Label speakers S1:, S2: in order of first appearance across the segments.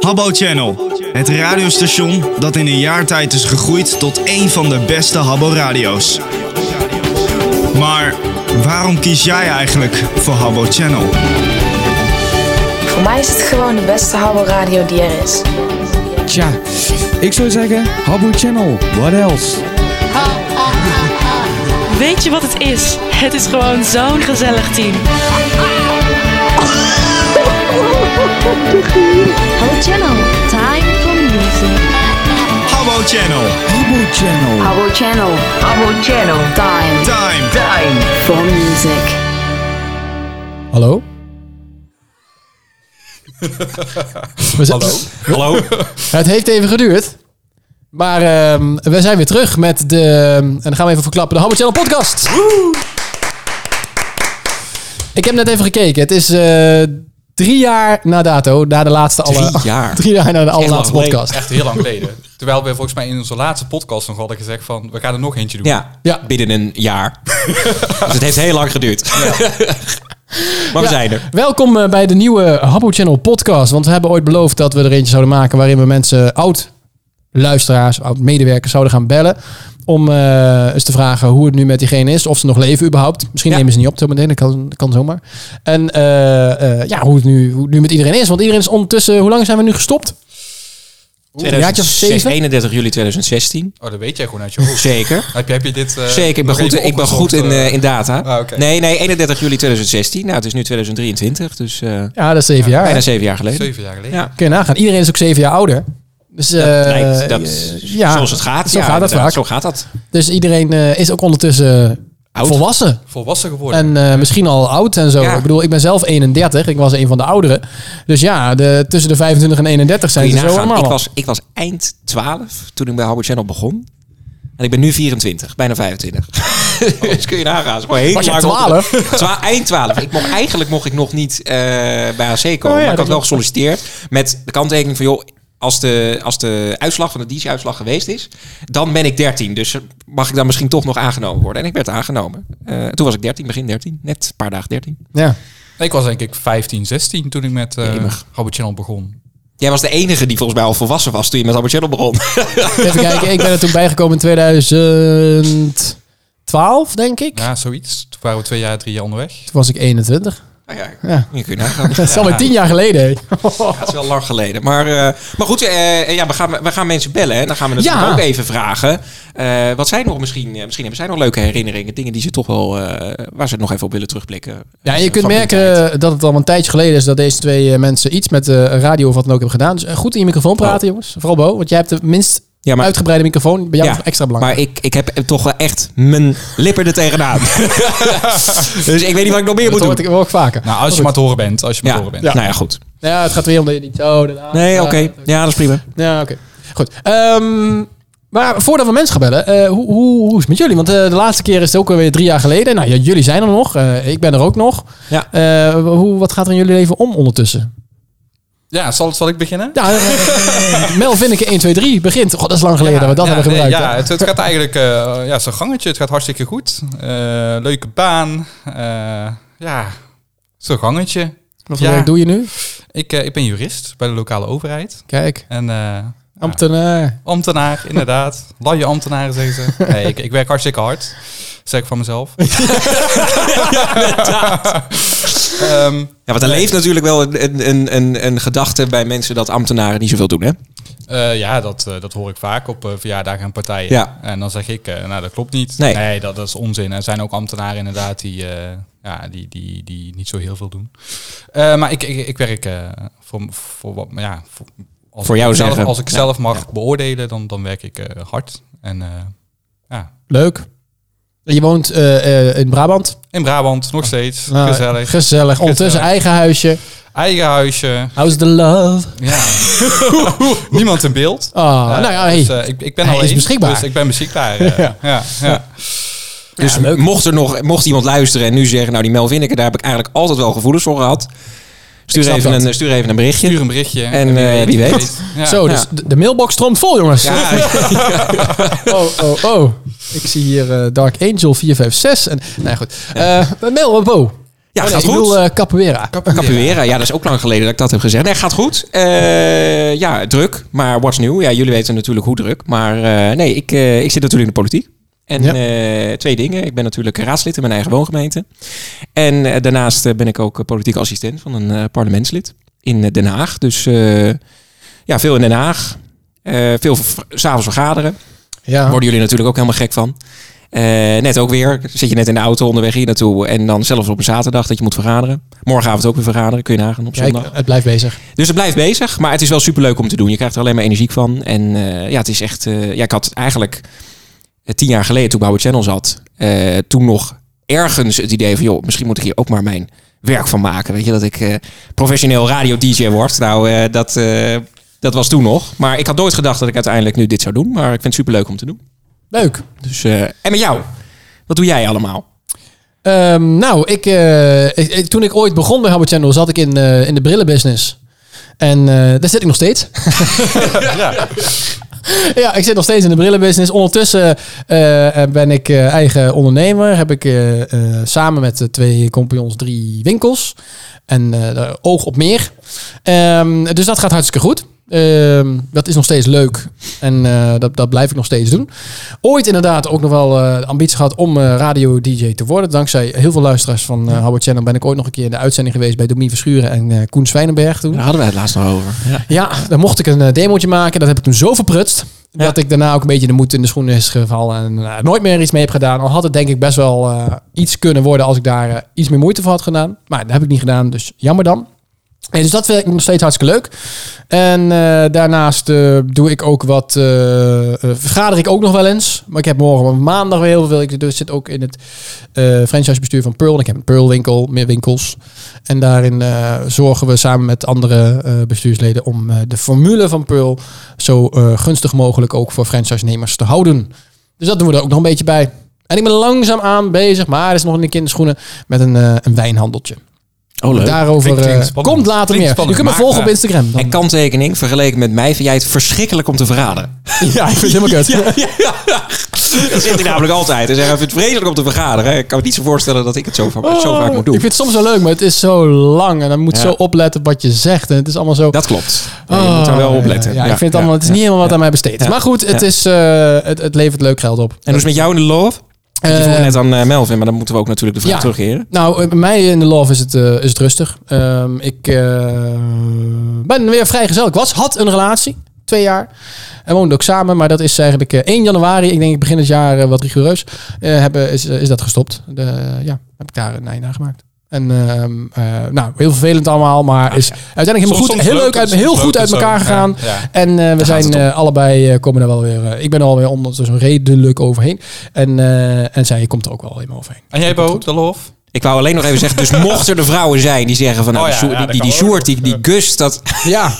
S1: Habbo Channel, het radiostation dat in een jaar tijd is gegroeid tot een van de beste Habbo-radio's. Maar waarom kies jij eigenlijk voor Habbo Channel?
S2: Voor mij is het gewoon de beste Habbo Radio die er is.
S3: Tja, ik zou zeggen, Habbo Channel, what else?
S4: Weet je wat het is? Het is gewoon zo'n gezellig team.
S5: Hello Channel, time for music.
S1: Habbo Channel,
S3: Habbo Channel.
S5: Our Channel, our Channel, time,
S1: time!
S5: time for music.
S6: Hallo? We zijn-
S7: Hallo?
S6: Het heeft even geduurd. Maar ehm, we zijn weer terug met de... En dan gaan we even verklappen. De Hammer Channel podcast. Ik heb net even gekeken. Het is eh, drie jaar na dato. Na de laatste... alle,
S7: Drie jaar?
S6: Drie jaar na de allerlaatste
S7: lang geleden.
S6: podcast.
S8: Echt heel lang geleden. Terwijl we volgens mij in onze laatste podcast nog hadden gezegd van... we gaan er nog eentje doen.
S7: Ja,
S6: Ja.
S7: binnen een jaar. dus het heeft heel lang geduurd. maar we
S6: Ja,
S7: zijn er.
S6: Welkom eh, bij de nieuwe Habbo Channel podcast. Want we hebben ooit beloofd dat we er eentje zouden maken waarin we mensen, oud luisteraars, oud medewerkers zouden gaan bellen. Om eh, eens te vragen hoe het nu met diegene is. Of ze nog leven überhaupt. Misschien
S7: Ja.
S6: nemen ze niet op zometeen. Dat kan, dat kan zomaar. En eh, eh, ja, hoe het, nu, hoe het nu met iedereen is. Want iedereen is ondertussen... Hoe lang zijn we nu gestopt? een jaartje of
S7: 2006,
S6: zeven?
S7: 31 juli 2016.
S8: Oh, dat weet jij gewoon uit je hoofd.
S7: Zeker.
S8: Heb je, heb je dit... eh,
S7: Zeker, ik ben
S8: nog
S7: goed,
S8: even
S7: ik ben goed in,
S8: opgezocht, eh?
S7: eh, in data.
S8: ah, oké.
S7: Nee, nee, 31 juli 2016. Nou, het is nu 2023, dus eh,
S6: Ja, dat is zeven jaar.
S7: bijna zeven jaar geleden.
S8: Zeven jaar geleden.
S7: Ja.
S6: Kun je nagaan. Iedereen is ook zeven jaar ouder. Dus, eh,
S7: dat lijkt, dat,
S6: ja,
S7: zoals het gaat.
S6: Zo
S7: ja,
S6: gaat dat
S7: inderdaad,
S6: vaak.
S7: Zo gaat dat.
S6: Dus iedereen eh, is ook ondertussen
S7: Oud.
S6: volwassen.
S8: Volwassen geworden.
S6: En eh, misschien al oud en zo.
S7: Ja.
S6: Ik bedoel, ik ben zelf 31. Ik was een van de ouderen. Dus ja, de, tussen de 25 en 31
S7: Kun
S6: zijn
S7: je
S6: ze zo
S7: nagaan,
S6: allemaal.
S7: ik,
S6: al.
S7: was, ik was eind 12 toen ik bij Habbo Channel begon. En ik ben nu 24, bijna 25. dus kun je nagaan. het is gewoon heel
S6: Was je
S7: lang op-
S6: 12?
S7: Twa- eind 12. Ik mocht, eigenlijk mocht ik nog niet eh, bij AC komen.
S6: Oh ja,
S7: maar ik
S6: dat
S7: had wel
S6: was-
S7: gesolliciteerd met de kanttekening van... joh, als de, als de uitslag van de DJ-uitslag geweest is... dan ben ik 13. Dus mag ik dan misschien toch nog aangenomen worden. En ik werd aangenomen. Eh, toen was ik 13, begin 13. Net een paar dagen 13.
S6: Ja.
S8: ik was denk ik 15, 16 toen ik met eh
S7: Jemig.
S8: Habbo Channel begon.
S7: Jij was de enige die volgens mij al volwassen was... toen je met Habbo Channel begon.
S6: Even kijken, ik ben er toen bijgekomen in 2012, denk ik.
S8: Ja, zoiets. Toen waren we twee jaar, drie jaar onderweg.
S6: Toen was ik 21.
S7: Nou ja,
S6: Ja.
S7: je kunt nagaan.
S6: Dat is alweer tien jaar geleden.
S7: Ja, het is wel lang geleden. Maar, eh, maar goed, eh, ja, we, gaan, we gaan mensen bellen. En dan gaan we natuurlijk
S6: Ja.
S7: ook even vragen. eh, wat zijn nog misschien, eh, misschien hebben zij nog leuke herinneringen. Dingen die ze toch wel, eh, waar ze nog even op willen terugblikken.
S6: Ja, en je
S7: Eh,
S6: kunt
S7: van die tijd.
S6: merken eh, dat het al een tijdje geleden is dat deze twee eh, mensen iets met de radio of wat dan ook hebben gedaan. Dus eh, goed in je microfoon praten, jongens. Vooral Bo, want jij hebt de minst
S7: Oh. Ja, maar-
S6: uitgebreide microfoon. Bij jou is het extra belangrijk.
S7: Maar ik, ik heb toch wel echt mijn lippen er tegenaan. dus ik weet niet wat ik nog meer
S6: dat
S7: moet
S6: hoor
S7: doen.
S6: ik wel vaker.
S8: Nou, als je maar te horen bent. Als je maar
S7: Ja,
S8: te horen bent.
S7: nou ja, goed.
S6: Ja, het gaat weer om dat je niet zo... dat- ah,
S7: Nee,
S6: ja,
S7: oké. Ja, dat is prima.
S6: Ja, oké. Goed. Ehm, maar voordat we mensen gaan bellen, eh, hoe, hoe, hoe is het met jullie? Want eh, de laatste keer is het ook alweer drie jaar geleden. Nou ja, jullie zijn er nog. eh, ik ben er ook nog.
S7: Ja.
S6: Eh, hoe, wat gaat er in jullie leven om ondertussen?
S8: Ja, zal, zal ik beginnen?
S6: Ja, eh, Mel Vinneke 1, 2, 3 begint. God, dat is lang geleden dat we dat
S8: ja,
S6: hebben
S8: nee,
S6: gebruikt.
S8: ja,
S6: hè?
S8: het, het gaat eigenlijk eh, ja, zo'n gangetje. Het gaat hartstikke goed. Eh, leuke baan. Eh, ja, zo'n gangetje.
S6: Wat
S8: ja.
S6: werk doe je nu?
S8: Ik, eh, ik ben jurist bij de lokale overheid.
S6: Kijk,
S8: En eh,
S6: ambtenaar.
S8: ambtenaar, inderdaad. Laie ambtenaren, zeggen ze. Nee, ik, ik werk hartstikke hard. Zeg ik van mezelf. Ehm,
S7: Ja, want er leeft natuurlijk wel een, een- een, een, een gedachte bij mensen dat ambtenaren niet zoveel doen, hè?
S8: eh, ja, dat, eh, dat hoor ik vaak op eh, verjaardagen en partijen.
S7: Ja.
S8: En dan zeg ik, eh, nou dat klopt niet.
S7: Nee.
S8: dat, dat is onzin. Er zijn ook ambtenaren inderdaad die, eh, ja, die, die, die niet zo heel veel doen. Eh, maar ik, ik, ik werk eh, voor, voor wat, ja, voor, als
S7: Voor
S8: ik
S7: jou
S8: zelf,
S7: zeggen.
S8: Als ik
S7: Ja.
S8: zelf mag beoordelen, dan, dan werk ik eh, hard. En eh, ja,
S6: Leuk. Je woont eh, eh, in Brabant.
S8: in Brabant nog steeds.
S6: Nou,
S8: gezellig.
S6: Gezellig. Ondertussen
S8: Gezellig.
S6: eigen huisje.
S8: Eigen huisje.
S6: How's the love?
S8: Ja. Niemand in beeld.
S6: Ah,
S8: Eh,
S6: nou ja, hey.
S8: dus, eh, ik, ik ben
S6: Hij
S8: alleen.
S6: is beschikbaar.
S8: Dus ik ben beschikbaar. eh. ja. Ja,
S7: Dus mocht er nog mocht iemand luisteren en nu zeggen, nou die Mel Vinneke, daar heb ik eigenlijk altijd wel gevoelens voor gehad. Stuur,
S6: snap
S7: even
S6: dat.
S7: een, stuur even een berichtje.
S8: Stuur een berichtje.
S7: En, eh, wie weet.
S8: Ja.
S6: Zo, dus
S7: Ja.
S6: de, de mailbox stroomt vol, jongens.
S7: Ja,
S6: Oh, oh, oh. Ik zie hier eh, Dark Angel 456. En, nou ja, goed. Eh Mel, eh, Bo.
S7: Ja,
S6: Oh, nee,
S7: gaat
S6: Ik bedoel
S7: goed.
S6: eh, capoeira.
S7: Capoeira, ja, dat is ook lang geleden dat ik dat heb gezegd. Nee, gaat goed. Eh, ja, druk, maar what's new? Ja, jullie weten natuurlijk hoe druk. Maar eh, nee, ik, eh, ik zit natuurlijk in de politiek. En
S6: Ja.
S7: eh, twee dingen. Ik ben natuurlijk raadslid in mijn eigen woongemeente. En eh, daarnaast eh, ben ik ook eh, politiek assistent van een eh, parlementslid in eh, Den Haag. Dus eh, ja, veel in Den Haag. Eh, veel v- s'avonds vergaderen.
S6: ja.
S7: Worden jullie natuurlijk ook helemaal gek van. Eh, net ook weer. Zit je net in de auto onderweg hier naartoe. En dan zelfs op een zaterdag dat je moet vergaderen. Morgenavond ook weer vergaderen. Kun je nagaan op
S6: Ja, ik-
S7: zondag.
S6: het blijft bezig.
S7: Dus het blijft bezig. Maar het is wel superleuk om te doen. Je krijgt er alleen maar energiek van. En eh, ja, het is echt... eh, ja, ik had eigenlijk eh, tien jaar geleden toen ik bij Howard Channel zat. eh, toen nog ergens het idee van... joh, misschien moet ik hier ook maar mijn werk van maken. Weet je, dat ik eh, professioneel radio-dj word. Nou, eh, dat... eh, dat was toen nog. Maar ik had nooit gedacht dat ik uiteindelijk nu dit zou doen. Maar ik vind het superleuk om te doen.
S6: Leuk.
S7: Dus, eh, en met jou? Wat doe jij allemaal?
S6: Ehm, nou, ik, eh, ik- ik- toen ik ooit begon bij Habbo Channel, zat ik in, eh, in de brillenbusiness. En eh, daar zit ik nog steeds. ja. ik zit nog steeds in de brillenbusiness. Ondertussen eh, eh, ben ik eh, eigen ondernemer. Heb ik eh, eh, samen met de twee compagnons drie winkels. En eh, daar oog op meer. Ehm, dus dat gaat hartstikke goed. Ehm, dat is nog steeds leuk. En eh, dat, dat blijf ik nog steeds doen. Ooit inderdaad ook nog wel eh, de ambitie gehad om eh, radio-dj te worden. Dankzij heel veel luisteraars van eh Howard Channel ben ik ooit nog een keer in de uitzending geweest bij Domien Verschuren en eh, Koen Zwijnenberg toen.
S7: Daar hadden we het laatst nog over. Ja.
S6: Ja, dan mocht ik een eh, demootje maken. Dat heb ik toen zo verprutst.
S7: Ja.
S6: Dat ik daarna ook een beetje de moed in de schoenen is gevallen. En eh, nooit meer iets mee heb gedaan. Al had het denk ik best wel eh, iets kunnen worden als ik daar eh, iets meer moeite voor had gedaan. Maar dat heb ik niet gedaan, dus jammer dan. En dus dat vind ik nog steeds hartstikke leuk. En eh, daarnaast eh, doe ik ook wat. eh, eh, vergader ik ook nog wel eens. Maar ik heb morgen op maandag weer heel veel. Ik dus zit ook in het eh franchisebestuur van Pearl. En ik heb een Pearl-winkel, meer winkels. En daarin eh, zorgen we samen met andere eh, bestuursleden om eh, de formule van Pearl zo eh, gunstig mogelijk ook voor franchise-nemers te houden. Dus dat doen we er ook nog een beetje bij. En ik ben langzaamaan bezig, maar er is nog een kinderschoenen met een, eh, een wijnhandeltje.
S7: Oh,
S6: Daarover
S8: Klinkt- klinkt
S6: eh,
S8: spannend.
S6: komt later
S8: Klinkt
S6: meer.
S8: spannend,
S6: je kunt me
S8: maar,
S6: volgen op
S8: eh,
S6: Instagram. Dan.
S7: En kanttekening, vergeleken met mij, vind jij het verschrikkelijk om te vergaderen.
S6: Ja, ik Ah, vind het helemaal kut.
S7: Dat zegt hij namelijk altijd. Hij zegt, hij vindt het vreselijk om te vergaderen. Ik kan me niet zo voorstellen dat ik het zo, va- zo vaak moet doen.
S6: Oh, Ik vind het soms wel leuk, maar het is zo lang. En dan moet je
S7: Ja.
S6: zo opletten op wat je zegt. En het is allemaal zo...
S7: Dat klopt. Ja, je moet daar wel
S6: Oh,
S7: op letten.
S6: Ja, ja, ik vind het allemaal... Het is niet helemaal wat aan mij besteed.
S7: Ja.
S6: Maar goed, het,
S7: Ja.
S6: is, eh, het, het levert leuk geld op. Dus-
S7: En hoe is het met jou in de love? Want je vroeg
S6: Eh,
S7: net aan eh, Melvin, maar dan moeten we ook natuurlijk de vraag
S6: ja.
S7: terugkeren.
S6: Nou, eh, bij mij in de love is het, eh, is het rustig. Ehm, ik eh, ben weer vrijgezel. Ik was, had een relatie. Twee jaar. En woonde ook samen. Maar dat is eigenlijk eh, 1 januari. Ik denk ik begin het jaar eh, wat rigoureus. eh, hebben, is, eh, is dat gestopt. De, ja, heb ik daar een einde aan gemaakt. En ehm, eh, nou, heel vervelend allemaal. Maar is uiteindelijk helemaal goed. heel leuk uit, heel goed uit elkaar gegaan. En eh, we zijn
S7: het om.
S6: eh, allebei eh, komen er wel weer. eh, ik ben er alweer ondertussen redelijk overheen. En, eh, en zij komt er ook wel helemaal overheen.
S8: En jij, Bo, de lof?
S7: Ik wou alleen nog even zeggen, dus mocht er de vrouwen zijn die zeggen van... Nou,
S8: Oh ja,
S7: die Sjoerd-
S8: ja, dat
S7: die, die, die
S8: kan ook.
S7: Sjoerd, die, die Gus, dat,
S6: Ja,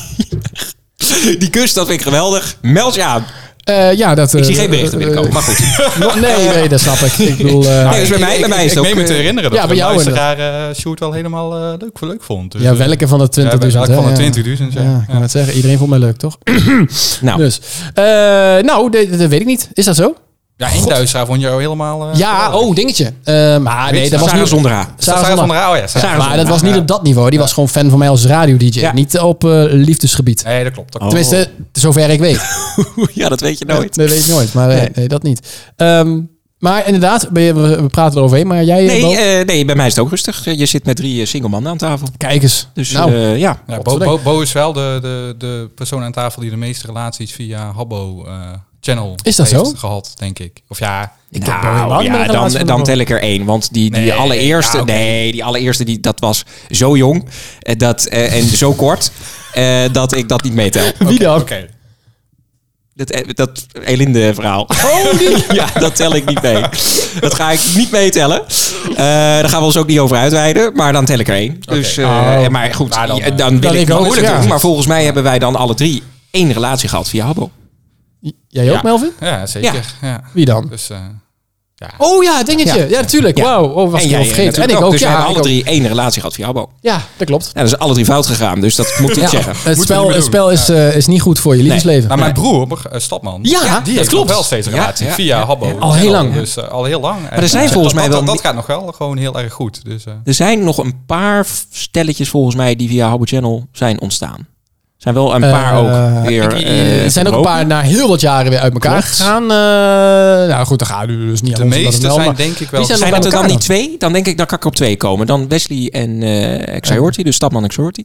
S7: die Gus, dat vind ik geweldig. Meld je aan.
S6: eh, ja dat.
S7: Ik
S6: eh,
S7: zie geen berichten
S6: eh,
S7: binnenkomen, maar goed.
S6: eh, nee, nee, dat snap ik. Ik bedoel, eh,
S7: Nee, dus bij mij, bij mij is
S8: ik
S7: het ook...
S8: meen me te
S7: eh,
S8: herinneren
S6: ja,
S8: dat
S6: bij
S8: de
S6: jou
S8: luisteraar eh Sjoerd wel helemaal eh, leuk, leuk vond. Dus,
S6: ja,
S8: eh,
S6: welke van de 20.000?
S8: ja, welke
S6: hè?
S8: van de
S6: Ja.
S8: 20.000,
S6: Ja,
S8: ja.
S6: ik kan het zeggen. Iedereen vond mij leuk, toch?
S7: Nou,
S6: Dus, eh, nou, dat, dat weet ik niet. Is dat zo?
S8: Ja, één luisteraar vond jou helemaal... eh,
S6: ja,
S8: geweldig.
S6: oh, dingetje. Eh, maar nee,
S8: je,
S6: dat was
S7: Sarah
S6: niet...
S7: zonder haar.
S8: Sarah
S6: Sarah
S8: van
S6: van-
S8: der Aa, oh ja. Sarah
S7: Sarah
S8: van
S6: Maar
S8: der
S6: dat was
S8: Aa,
S6: niet
S8: ja.
S6: op dat niveau. Die was gewoon fan van mij als radio-dj.
S7: Ja.
S6: Niet op eh, liefdesgebied.
S8: Nee, dat klopt. dat klopt.
S6: Tenminste, zover ik weet.
S7: Ja, dat weet je nooit.
S6: Dat weet ik nooit, maar eh, nee, dat niet. Ehm, maar inderdaad, ben je- we we praten eroverheen. Maar jij,
S7: Nee,
S6: Bo?
S7: eh, nee, bij mij is het ook rustig. Je zit met drie eh, single mannen aan tafel.
S6: kijk eens.
S7: Dus
S6: nou,
S7: eh, ja.
S8: Ja, Bo,
S6: Godverdomme.
S8: Bo, Bo is wel de, de, de persoon aan tafel die de meeste relaties via Habbo eh, Channel
S6: Is dat
S8: heeft
S6: zo?
S8: gehad, denk ik. Of ja,
S6: ik heb wel helemaal
S7: Nou,
S6: niet meer
S7: ja,
S6: een relatie
S7: dan,
S6: met
S7: dan
S6: hem.
S7: tel ik er één. Want die, die
S8: Nee,
S7: allereerste,
S8: ja, oké.
S7: nee, die allereerste, die, dat was zo jong eh, dat, eh, en zo kort eh, dat ik dat niet meetel.
S6: Wie dan?
S8: oké.
S7: Dat, eh, dat Elinde verhaal. ja, dat tel ik niet mee. Dat ga ik niet meetellen. Eh daar gaan we ons ook niet over uitweiden. Maar dan tel ik er één. Dus, eh,
S6: Oh.
S7: maar goed, ja,
S8: Maar
S7: dan,
S8: dan,
S7: wil
S8: eh,
S6: dan
S7: ik
S6: ik
S7: het
S6: ook,
S7: moeilijk
S6: ja.
S7: doen. Maar volgens mij hebben wij dan alle drie één relatie gehad via Habbo.
S6: Jij ook,
S8: Ja.
S6: Melvin?
S8: Ja, zeker. Ja.
S6: Wie dan?
S8: Dus, eh, Ja.
S6: Oh ja, dingetje. Ja,
S7: Ja.
S6: natuurlijk.
S7: Ja.
S6: Wauw. Oh, was
S7: en
S6: ik
S7: jij
S6: al vergeten. En
S7: natuurlijk
S6: ik
S7: ook.
S6: ook.
S7: dus we
S6: Ja,
S7: hebben
S6: ik
S7: alle
S6: ook.
S7: drie één relatie gehad via Habbo.
S6: ja, dat klopt.
S7: Ja, dat is alle drie fout gegaan, dus dat moet ik
S6: Ja,
S7: zeggen.
S6: Het,
S8: niet
S6: spel,
S8: meer
S6: het
S8: doen.
S6: spel is, eh, is niet goed voor je liefdesleven.
S8: Nou, mijn broer, eh, Stadman,
S7: Ja, dat
S8: die heeft
S7: klopt.
S8: nog wel steeds een
S7: Ja,
S8: relatie
S7: ja,
S8: via Habbo.
S6: Al heel lang.
S8: Dus eh, al heel lang. Maar
S7: er zijn volgens mij wel
S8: Dat,
S7: mi-
S8: gaat nog wel gewoon heel erg goed. Dus, eh,
S7: Er zijn nog een paar f- stelletjes volgens mij die via Habbo Channel zijn ontstaan. zijn wel een
S6: Eh,
S7: paar ook weer.
S8: ik-
S7: eh,
S6: Er zijn ook
S7: verbroken.
S6: een paar na heel wat jaren weer uit elkaar
S7: Klopt.
S6: gegaan. Eh, nou goed, dan gaan we dus niet
S8: de
S6: aan ons, dat
S8: meeste
S6: wel,
S8: zijn
S6: maar-
S8: denk ik wel...
S6: die zijn
S7: Zijn
S6: nog
S7: het
S6: bij
S7: er dan
S6: elkaar
S7: die twee? Dan denk ik, dan kan ik er op twee komen. Dan Wesley en eh Xayorti, dus Stadman en Xayorti.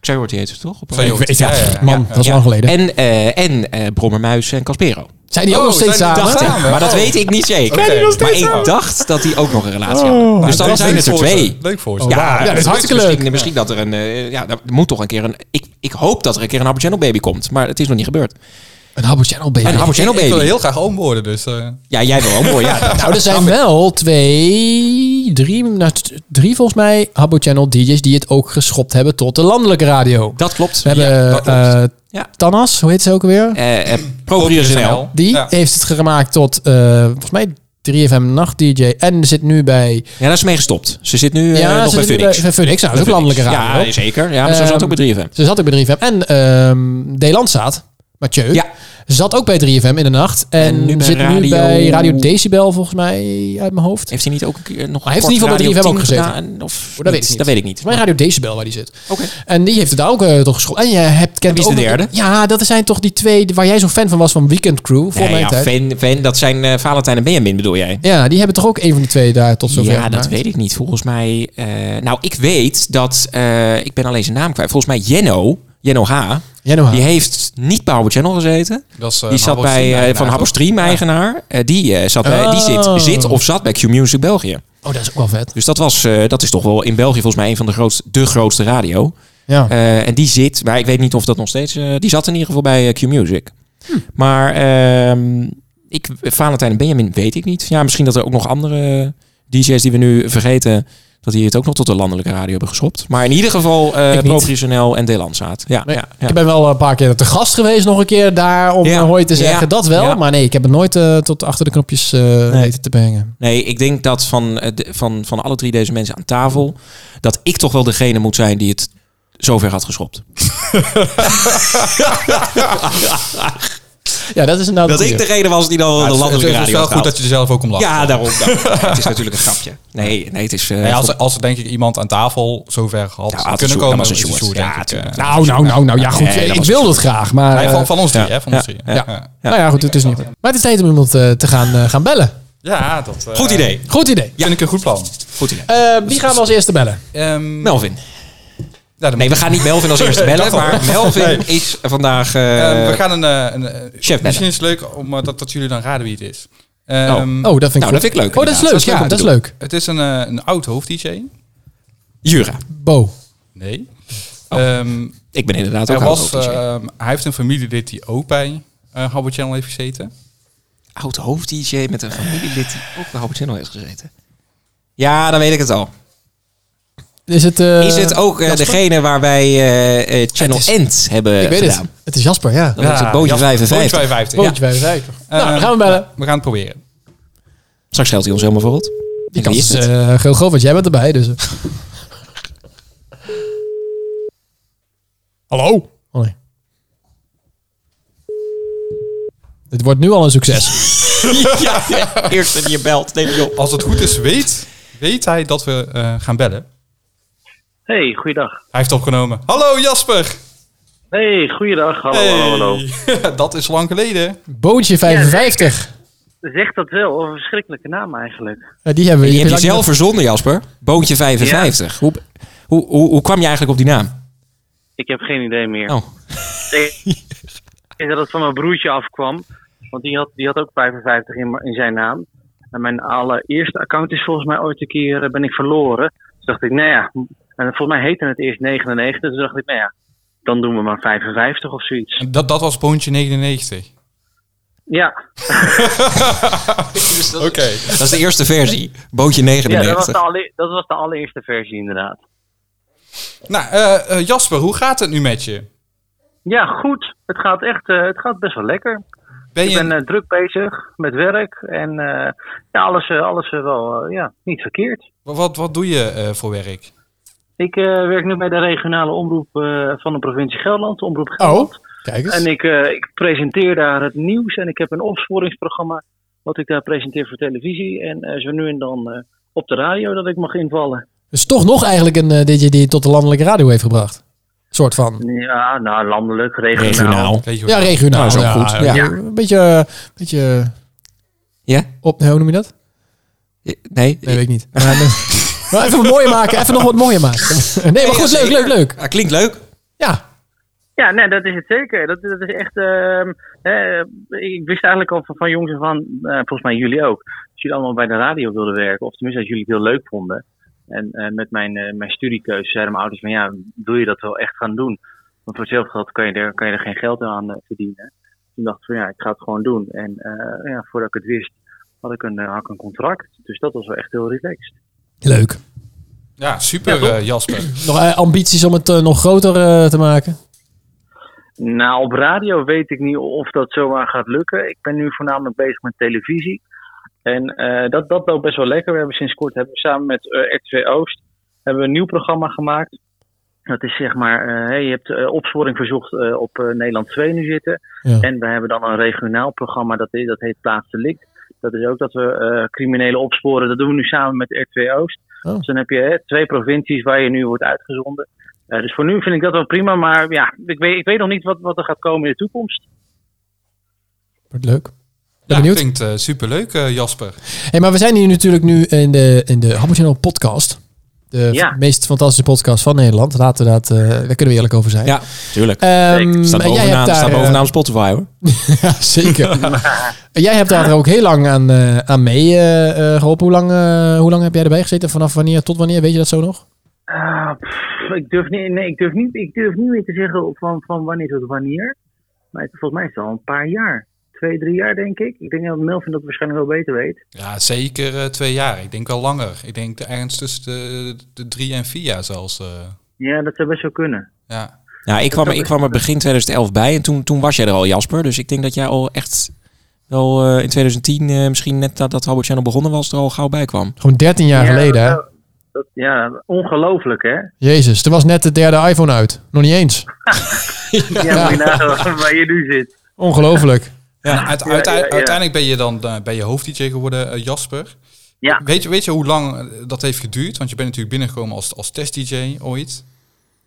S7: Xayorti heet het toch? Op-
S8: Xayorti.
S6: Ik weet, ja,
S8: Ja, ja, ja.
S6: man, dat is
S7: Ja.
S6: lang geleden.
S7: En, eh en eh Brommermuis en Caspero.
S6: zijn die ook
S8: Oh,
S6: nog steeds
S8: zijn die
S6: samen?
S8: dag-
S7: Dacht ik,
S8: samen?
S7: maar dat
S8: Oh.
S7: weet ik niet zeker.
S8: Oké.
S7: Maar ik dacht dat die ook nog een relatie
S6: Oh.
S7: hadden. Dus dan
S8: Nou,
S7: zijn
S8: leuk
S7: het er
S8: voor
S7: twee.
S8: ze. Leuk voor ze.
S6: Ja, ja, dat is
S7: dus
S6: hartstikke
S7: misschien,
S6: leuk.
S7: Misschien dat er een... eh, ja, er moet toch een keer een... Ik, ik hoop dat er een keer een Habbo Channel baby komt. Maar het is nog niet gebeurd.
S6: Een Habbo Channel baby.
S7: Een Habbo Channel
S8: Ik wil
S7: baby.
S8: heel graag oom worden, dus... eh,
S7: Ja, jij wil ook mooi. Ja, dus,
S6: Nou, er zijn wel twee, drie, nou, t- drie volgens mij Habbo Channel DJ's die het ook geschopt hebben tot de landelijke radio.
S7: dat klopt.
S6: We hebben
S7: dat klopt.
S6: eh,
S7: Ja.
S6: Tanas, hoe heet ze ook alweer?
S7: Eh, eh, ProPrius.nl.
S6: Die
S8: Ja.
S6: heeft het gemaakt tot, eh, volgens mij, 3FM Nacht DJ. En zit nu bij...
S7: Ja, daar is mee gestopt. Ze zit nu eh, nog
S6: ze
S7: bij
S6: zit nu
S7: Phoenix.
S6: bij Phoenix, nou, dat is ook landelijke radio.
S7: Ja, zeker. Ja, maar zo zat
S6: Ehm,
S7: ook bij 3FM.
S6: Ze zat ook bij 3FM. En ehm De Landstaat, Mathieu,
S7: Ja.
S6: zat ook bij 3FM in de nacht. En,
S7: En nu bij
S6: zit nu
S7: Radio-
S6: bij Radio Decibel, volgens mij, uit mijn hoofd.
S7: Heeft hij niet ook een keer nog
S6: Hij heeft
S7: kort
S6: in ieder geval
S7: Radio
S6: bij 3FM ook
S7: 10
S6: gezeten.
S7: gedaan? Of
S6: Oh, dat, weet ik
S7: niet?
S6: niet.
S7: dat weet ik niet.
S6: Volgens mij Radio Decibel waar die zit.
S7: Oké.
S6: En die heeft het daar ook eh, toch geschopt. En je hebt, kent
S7: wie is
S6: ook
S7: de
S6: nog-
S7: derde?
S6: Ja, dat zijn toch die twee waar jij zo fan van was van Weekend Crew. Voor
S7: Nee,
S6: mijn
S7: ja,
S6: tijd.
S7: Ven- Ven, dat zijn eh, Valentijn en Benjamin bedoel jij?
S6: Ja, die hebben toch ook een van die twee daar tot zover
S7: Ja, dat
S6: gemaakt?
S7: weet ik niet. Volgens mij... eh, nou, ik weet dat... eh, ik ben alleen zijn naam kwijt. Volgens mij Jenno, Jenno H.
S6: Jenno H.
S7: Die heeft niet bij Habbo Channel gezeten.
S8: dat is, eh,
S7: Die zat
S8: Habbo
S7: bij
S8: Stream
S7: eh, van
S8: eigenaar,
S7: Habbo
S8: toch?
S7: Stream eigenaar. Eh, die eh, zat bij, die zit,
S6: Oh.
S7: zit of zat bij Q-Music België.
S6: Oh, dat is ook wel vet.
S7: Dus dat, was, eh, dat is toch wel in België volgens mij een van de grootste, de grootste radio.
S6: Ja.
S7: Eh, en die zit, maar ik weet niet of dat nog steeds. eh, die zat in ieder geval bij eh, Q-Music.
S6: Hm.
S7: Maar ehm, ik, Valentijn en Benjamin weet ik niet. Ja, misschien dat er ook nog andere DJ's die we nu vergeten. dat die het ook nog tot de landelijke radio hebben geschopt. Maar in ieder geval eh
S6: Ik niet.
S7: professioneel en Delandzaat. Ja,
S6: Nee,
S7: ja, ja.
S6: Ik ben wel een paar keer te gast geweest, nog een keer daar om
S7: Ja.
S6: eh, hoi te
S7: Ja.
S6: zeggen. Dat wel,
S7: Ja.
S6: maar nee, ik heb het nooit eh, tot achter de knopjes eh, weten te brengen.
S7: Nee, ik denk dat van, eh, de- van, van alle drie deze mensen aan tafel. dat ik toch wel degene moet zijn die het zover had geschopt.
S6: Ja, dat is inderdaad.
S7: Dat ik degene was die dan
S8: Ja,
S7: de
S8: het is-
S7: landelijke radio
S8: Het is wel
S7: had
S8: goed
S7: gehaald.
S8: dat je er zelf ook om lacht.
S7: Ja, daarom. daarom. het is natuurlijk een grapje. Nee, nee het is. eh,
S8: Nee, als, er, als er denk ik iemand aan tafel zover had
S7: Ja, Aad
S8: kunnen
S7: Sjoerd,
S8: komen,
S7: dat was een
S8: is het
S7: Sjoerd.
S8: Sjoerd,
S7: Ja,
S8: denk ik,
S7: tuurlijk.
S8: eh.
S6: Nou, nou, nou, nou, ja, goed.
S7: Nee, dat
S6: ik
S7: was-
S6: wil dat graag, maar.
S8: Nee,
S6: eh,
S8: van, van ons drie, hè? Van
S7: ja,
S8: ons drie.
S6: ja.
S8: Ja.
S6: Nou ja, goed, het is niet. Maar het is tijd om iemand eh, te gaan, eh, gaan bellen.
S8: Ja, dat eh,
S7: Goed idee.
S6: Goed idee.
S8: vind ik een goed plan.
S7: Goed idee.
S6: Eh, wie gaan we als eerste bellen?
S8: Ehm,
S7: Melvin.
S8: ja, dan-
S7: Nee, we gaan niet Melvin als eerste bellen.
S8: Dacht al.
S7: maar Melvin is vandaag. eh,
S8: Ehm, we gaan een... eh, een, eh,
S7: bellen.
S8: Misschien is het leuk om, eh, dat, dat jullie dan raden wie het is. Ehm,
S6: Oh, dat vind ik,
S7: Nou,
S6: goed.
S7: dat vind ik leuk,
S6: Oh, dat
S7: inderdaad.
S6: is leuk.
S7: Dat is leuk
S6: Ja,
S7: om
S6: dat
S7: te
S6: is
S7: doen.
S6: leud.
S8: Het is een, eh, een oud hoofd-dj.
S7: Jura.
S6: Bo.
S8: Nee.
S6: Oh.
S8: Ehm,
S7: Ik ben inderdaad ook
S8: er was,
S7: oud hoofd-dj.
S8: ehm, hij heeft een familielid die ook bij eh Habbo Channel heeft gezeten.
S7: Oud hoofd-DJ met een familielid die ook bij Howard Channel heeft gezeten. Ja, dan weet ik het al.
S6: Is het. eh,
S7: Is het ook eh,
S6: Jasper?
S7: degene waar wij eh, eh, Channel End hebben
S6: Ik weet
S7: gedaan?
S6: het. Het is Jasper, ja.
S7: Dat is het bootje
S8: Jasper,
S7: 55.
S8: Bootje 55, ja. Ehm,
S6: Bootje bij de rij.
S7: Eh,
S6: Nou, dan gaan we bellen.
S8: We gaan het proberen.
S7: Straks geldt hij ons helemaal voor rot.
S6: Die kans
S7: Wie
S6: is
S7: is het?
S6: eh, heel groot, want jij bent erbij. Dus. Hallo? Oh nee. Het wordt nu al een succes.
S7: ja, de eerste die je belt. Neem die op.
S8: Als het goed is, weet, weet hij dat we eh, gaan bellen.
S9: Hey, goeiedag.
S8: Hij heeft opgenomen. Hallo Jasper!
S9: Hey, goeiedag. Hallo, hallo, hallo.
S8: hallo. dat is lang geleden.
S6: Bootje 55.
S9: Zeg dat wel, een verschrikkelijke naam eigenlijk.
S6: Ja, Eh, die hebben we
S7: Je hebt
S6: kunt
S7: jezelf
S6: eigenlijk
S7: verzonnen, Jasper. Boontje 55. Hoe, hoe, hoe, hoe kwam je eigenlijk op die naam?
S9: Ik heb geen idee meer.
S7: Oh.
S9: Ik denk dat het van mijn broertje afkwam, want die had, die had ook 55 in, in zijn naam. En mijn allereerste account is volgens mij ooit een keer eh, ben ik verloren. Toen dacht ik, nou ja, en volgens mij heette het eerst 99. Toen dacht ik, nou ja, dan doen we maar 55 of zoiets.
S8: Dat, dat was Boontje 99.
S9: Ja,
S8: Oké.
S7: Dat is de eerste versie. Boontje
S9: ja dat,
S7: 99.
S9: was de alle- dat was de allereerste versie inderdaad.
S8: Nou, eh, eh, Jasper, hoe gaat het nu met je?
S9: Ja, goed. Het gaat echt eh, het gaat best wel lekker.
S8: Ben je,
S9: Ik ben eh, druk bezig met werk en eh, ja, alles, eh, alles eh, wel eh, ja, niet verkeerd.
S8: wat, wat doe je eh, voor werk?
S9: Ik eh, werk nu bij de regionale omroep eh, van de provincie Gelderland, Omroep
S8: Oh.
S9: Gelderland.
S6: Oh, Kijk eens.
S9: En ik, eh, ik presenteer daar het nieuws en ik heb een opsporingsprogramma wat ik daar presenteer voor televisie. En eh, zo nu en dan eh, op de radio dat ik mag invallen.
S6: Dus toch nog eigenlijk een eh, DJ die je tot de landelijke radio heeft gebracht. soort van.
S9: Ja, nou landelijk, regionaal.
S8: Weet je wat-
S6: Ja,
S7: Nou,
S6: regionaal.
S7: is ook
S6: ja,
S7: goed. Ja.
S6: Een beetje, eh, beetje
S7: Ja?
S6: op... nee, Hoe noem je dat?
S7: Nee.
S6: Nee, weet ik niet. Maar, eh, maar even wat mooier maken. Even nog wat mooier maken. Nee, maar goed. Leuk, leuk, leuk.
S7: Ah, klinkt leuk.
S6: Ja.
S9: Ja, nee, dat is het zeker. Dat, dat is echt. ehm, hè, ik wist eigenlijk al van, van jongs en van, eh, volgens mij jullie ook, dat jullie allemaal bij de radio wilden werken. Of tenminste dat jullie het heel leuk vonden. En eh, met mijn, eh, mijn studiekeuze zeiden mijn ouders van ja, wil je dat wel echt gaan doen? Want voor hetzelfde geld kan je er, kan je er geen geld aan eh, verdienen. Toen dacht ik van ja, ik ga het gewoon doen. En eh, ja, voordat ik het wist, had ik, een, eh, had ik een contract. Dus dat was wel echt heel relaxed.
S6: Leuk.
S8: Ja, super eh, Jasper.
S6: Nog eh, ambities om het eh, nog groter eh, te maken?
S9: Nou, op radio weet ik niet of dat zomaar gaat lukken. Ik ben nu voornamelijk bezig met televisie. En eh, dat, dat loopt best wel lekker. We hebben sinds kort hebben we samen met eh RTV Oost hebben we een nieuw programma gemaakt. Dat is zeg maar, eh, hey, je hebt eh, opsporing verzocht eh, op eh, Nederland 2 nu zitten.
S6: Ja.
S9: En we hebben dan een regionaal programma, dat, is, dat heet Plaatsdelict. Dat is ook dat we eh criminelen opsporen. Dat doen we nu samen met RTV Oost.
S6: Oh.
S9: Dus dan heb je hè, twee provincies waar je nu wordt uitgezonden. Eh, dus voor nu vind ik dat wel prima. Maar ja, ik weet, ik weet nog niet wat, wat er gaat komen in de toekomst.
S6: Wordt leuk.
S8: Ja,
S6: benieuwd.
S8: klinkt eh super leuk Jasper.
S6: Hey, maar we zijn hier natuurlijk nu in de, in de Habbo Channel podcast. De
S9: Ja.
S6: f- meest fantastische podcast van Nederland. Laten we dat, eh, daar kunnen we eerlijk over zijn.
S7: Ja, tuurlijk.
S6: Ehm,
S7: Staat
S6: maar jij
S7: bovenaan,
S6: hebt daar,
S7: staat
S6: eh,
S7: bovenaan Spotify hoor.
S6: ja, zeker. jij hebt daar ook heel lang aan, eh, aan mee eh, eh, geholpen. Hoe lang, eh, hoe lang heb jij erbij gezeten? Vanaf wanneer tot wanneer? Weet je dat zo nog?
S9: Ah, pff, ik, durf niet, nee, ik, durf niet, ik durf niet meer te zeggen van, van wanneer tot wanneer. Maar het- volgens mij is het al een paar jaar. Twee, drie jaar denk ik. Ik denk dat Melvin dat waarschijnlijk wel beter weet.
S8: Ja, zeker eh, twee jaar. Ik denk wel langer. Ik denk ergens tussen de, de drie en vier jaar zelfs. eh.
S9: Ja, dat zou best wel kunnen.
S8: ja.
S7: Nou, ik kwam, ik kwam er begin 2011 bij en toen, toen was jij er al, Jasper. Dus ik denk dat jij al echt wel eh, in 2010, eh, misschien net dat, dat Habbo Channel begonnen was, er al gauw bij kwam.
S6: Gewoon 13 jaar
S9: Ja,
S6: geleden. hè?
S9: dat- dat- ja, ongelooflijk hè.
S6: Jezus, er was net de derde iPhone uit. Nog niet eens.
S9: Ja, moet je nagaan waar je nu zit.
S6: Ongelooflijk.
S8: Ja, uite-
S9: ja,
S8: uite-
S9: ja.
S8: Uiteindelijk ben je dan eh, ben je hoofd-dj geworden, eh, Jasper.
S9: Ja.
S8: Weet je, weet je hoe lang eh, dat heeft geduurd? Want je bent natuurlijk binnengekomen als, als test-dj ooit.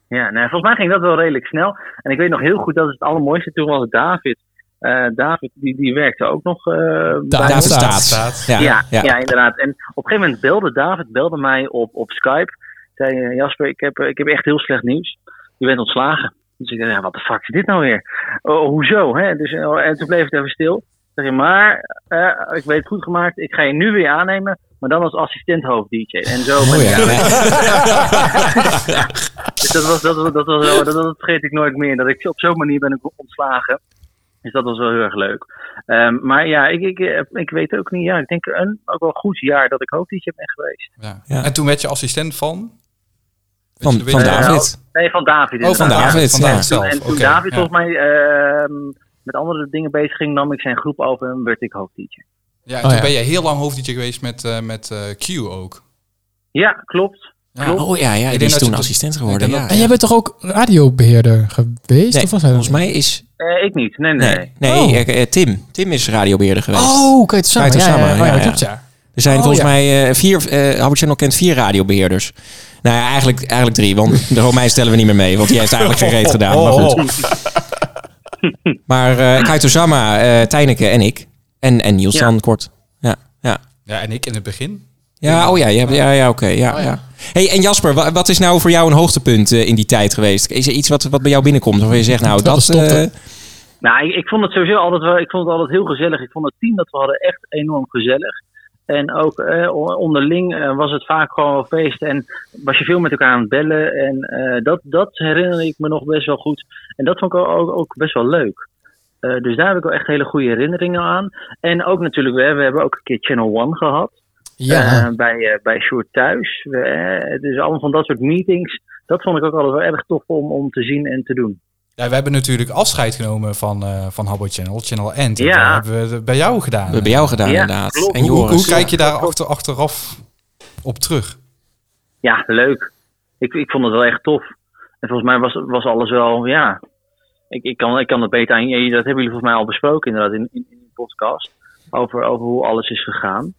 S9: Ja, nou, volgens mij ging dat wel redelijk snel. En ik weet nog heel goed, dat is het allermooiste. Toen was het David. Eh, David, die, die werkte ook nog eh, bij
S6: David
S9: ons.
S7: David Staats.
S8: Staats.
S7: Ja,
S9: Ja,
S7: ja.
S9: ja. inderdaad. En op een gegeven moment belde David belde mij op, op Skype. Zei eh, Jasper, ik heb, eh, ik heb echt heel slecht nieuws. Je bent ontslagen. Dus ik dacht, ja, wat de fuck is dit nou weer? Oh, hoezo? Hè? Dus, eh, oh, en toen bleef het even stil. Zeg je, maar eh, ik weet het goed gemaakt. Ik ga je nu weer aannemen. Maar dan als assistent hoofd-dj. En zo ben
S7: Oh
S9: ik
S7: ja.
S9: dus dat, was, dat, was, dat, was, wel- dat, dat vergeet ik nooit meer. Dat ik op zo'n manier ben ik ontslagen. Dus dat was wel heel erg leuk. Ehm, maar ja, ik, ik, eh, ik weet ook niet. Ja, ik denk een ook wel goed jaar dat ik hoofddietje ben geweest.
S8: Ja.
S7: Ja.
S8: En toen werd je assistent van?
S7: Van,
S8: Weet je-
S7: van
S8: weet je-
S7: David.
S9: Nee, van David.
S7: Oh, van
S9: inderdaad.
S7: David.
S8: van David
S7: ja.
S8: zelf.
S9: En toen
S8: Oké,
S9: David
S8: ja.
S9: volgens mij ehm, met andere dingen bezig ging, nam ik zijn groep over en werd ik hoofddietje.
S8: Ja, en
S6: Oh,
S8: toen
S6: ja.
S8: ben je heel lang hoofd-dj geweest met, eh, met eh, Q ook.
S9: Ja, klopt.
S8: Ja.
S9: klopt.
S7: Oh ja, ja die
S8: denk
S7: is
S8: dat
S7: toen
S8: je-
S7: assistent geworden.
S8: Ik denk
S7: Ja.
S8: dat-
S6: En jij bent toch ook radiobeheerder geweest?
S7: Nee,
S6: of was hij dat
S7: volgens mij is...
S9: Eh, ik niet. Nee, nee.
S7: Nee, nee
S6: Oh.
S7: eh, eh, Tim. Tim is radiobeheerder geweest.
S6: Oh, kijk, het samen.
S7: Kijk,
S6: Ja,
S7: het
S6: ja,
S7: samen,
S6: ja,
S7: ja,
S6: ja,
S7: ja.
S6: klopt, ja.
S7: Er zijn
S6: Oh,
S7: volgens
S6: ja.
S7: mij eh, vier, eh Habbo Channel kent vier radiobeheerders. Nou ja, eigenlijk, eigenlijk drie, want de Romein stellen we niet meer mee, want die heeft eigenlijk geen reet gedaan. Maar goed. Maar eh Kaito Sama, eh, Tijneke en ik. En, en Niels
S9: Ja.
S7: dan kort. Ja, ja.
S8: Ja, en ik in het begin.
S7: ja oh ja, ja, ja, ja oké. ja, ja. Hey, en Jasper, wa- wat is nou voor jou een hoogtepunt eh, in die tijd geweest? Is er iets wat, wat bij jou binnenkomt waarvan je zegt, nou
S6: Terwijl
S7: dat...
S6: we stopten.
S7: eh,
S9: Nou, ik, ik vond het sowieso altijd wel, ik vond het altijd heel gezellig. Ik vond het team dat we hadden echt enorm gezellig. En ook eh, on- onderling eh, was het vaak gewoon wel feest en was je veel met elkaar aan het bellen. En eh, dat, dat herinner ik me nog best wel goed. En dat vond ik ook, ook, ook best wel leuk. Eh, dus daar heb ik wel echt hele goede herinneringen aan. En ook natuurlijk, we, we hebben ook een keer Channel One gehad.
S6: Ja.
S9: Eh, bij, eh, bij Short Thuis. We, eh, dus allemaal van dat soort meetings. Dat vond ik ook altijd wel erg tof om, om te zien en te doen.
S8: Ja, we hebben natuurlijk afscheid genomen van, eh van Habbo Channel, Channel End. En
S9: Ja.
S8: Dat hebben we het eh, bij jou gedaan.
S7: hebben bij jou gedaan,
S9: Ja,
S7: inderdaad.
S9: klopt.
S7: En
S8: Hoe, hoe,
S7: Joris.
S8: hoe kijk je daar achter, achteraf op terug?
S9: Ja, leuk. Ik, ik vond het wel echt tof. En volgens mij was, was alles wel, ja. Ik, ik, kan, ik kan het beter aan je. Dat hebben jullie volgens mij al besproken, inderdaad, in, in, in de podcast. Over, over hoe alles is gegaan.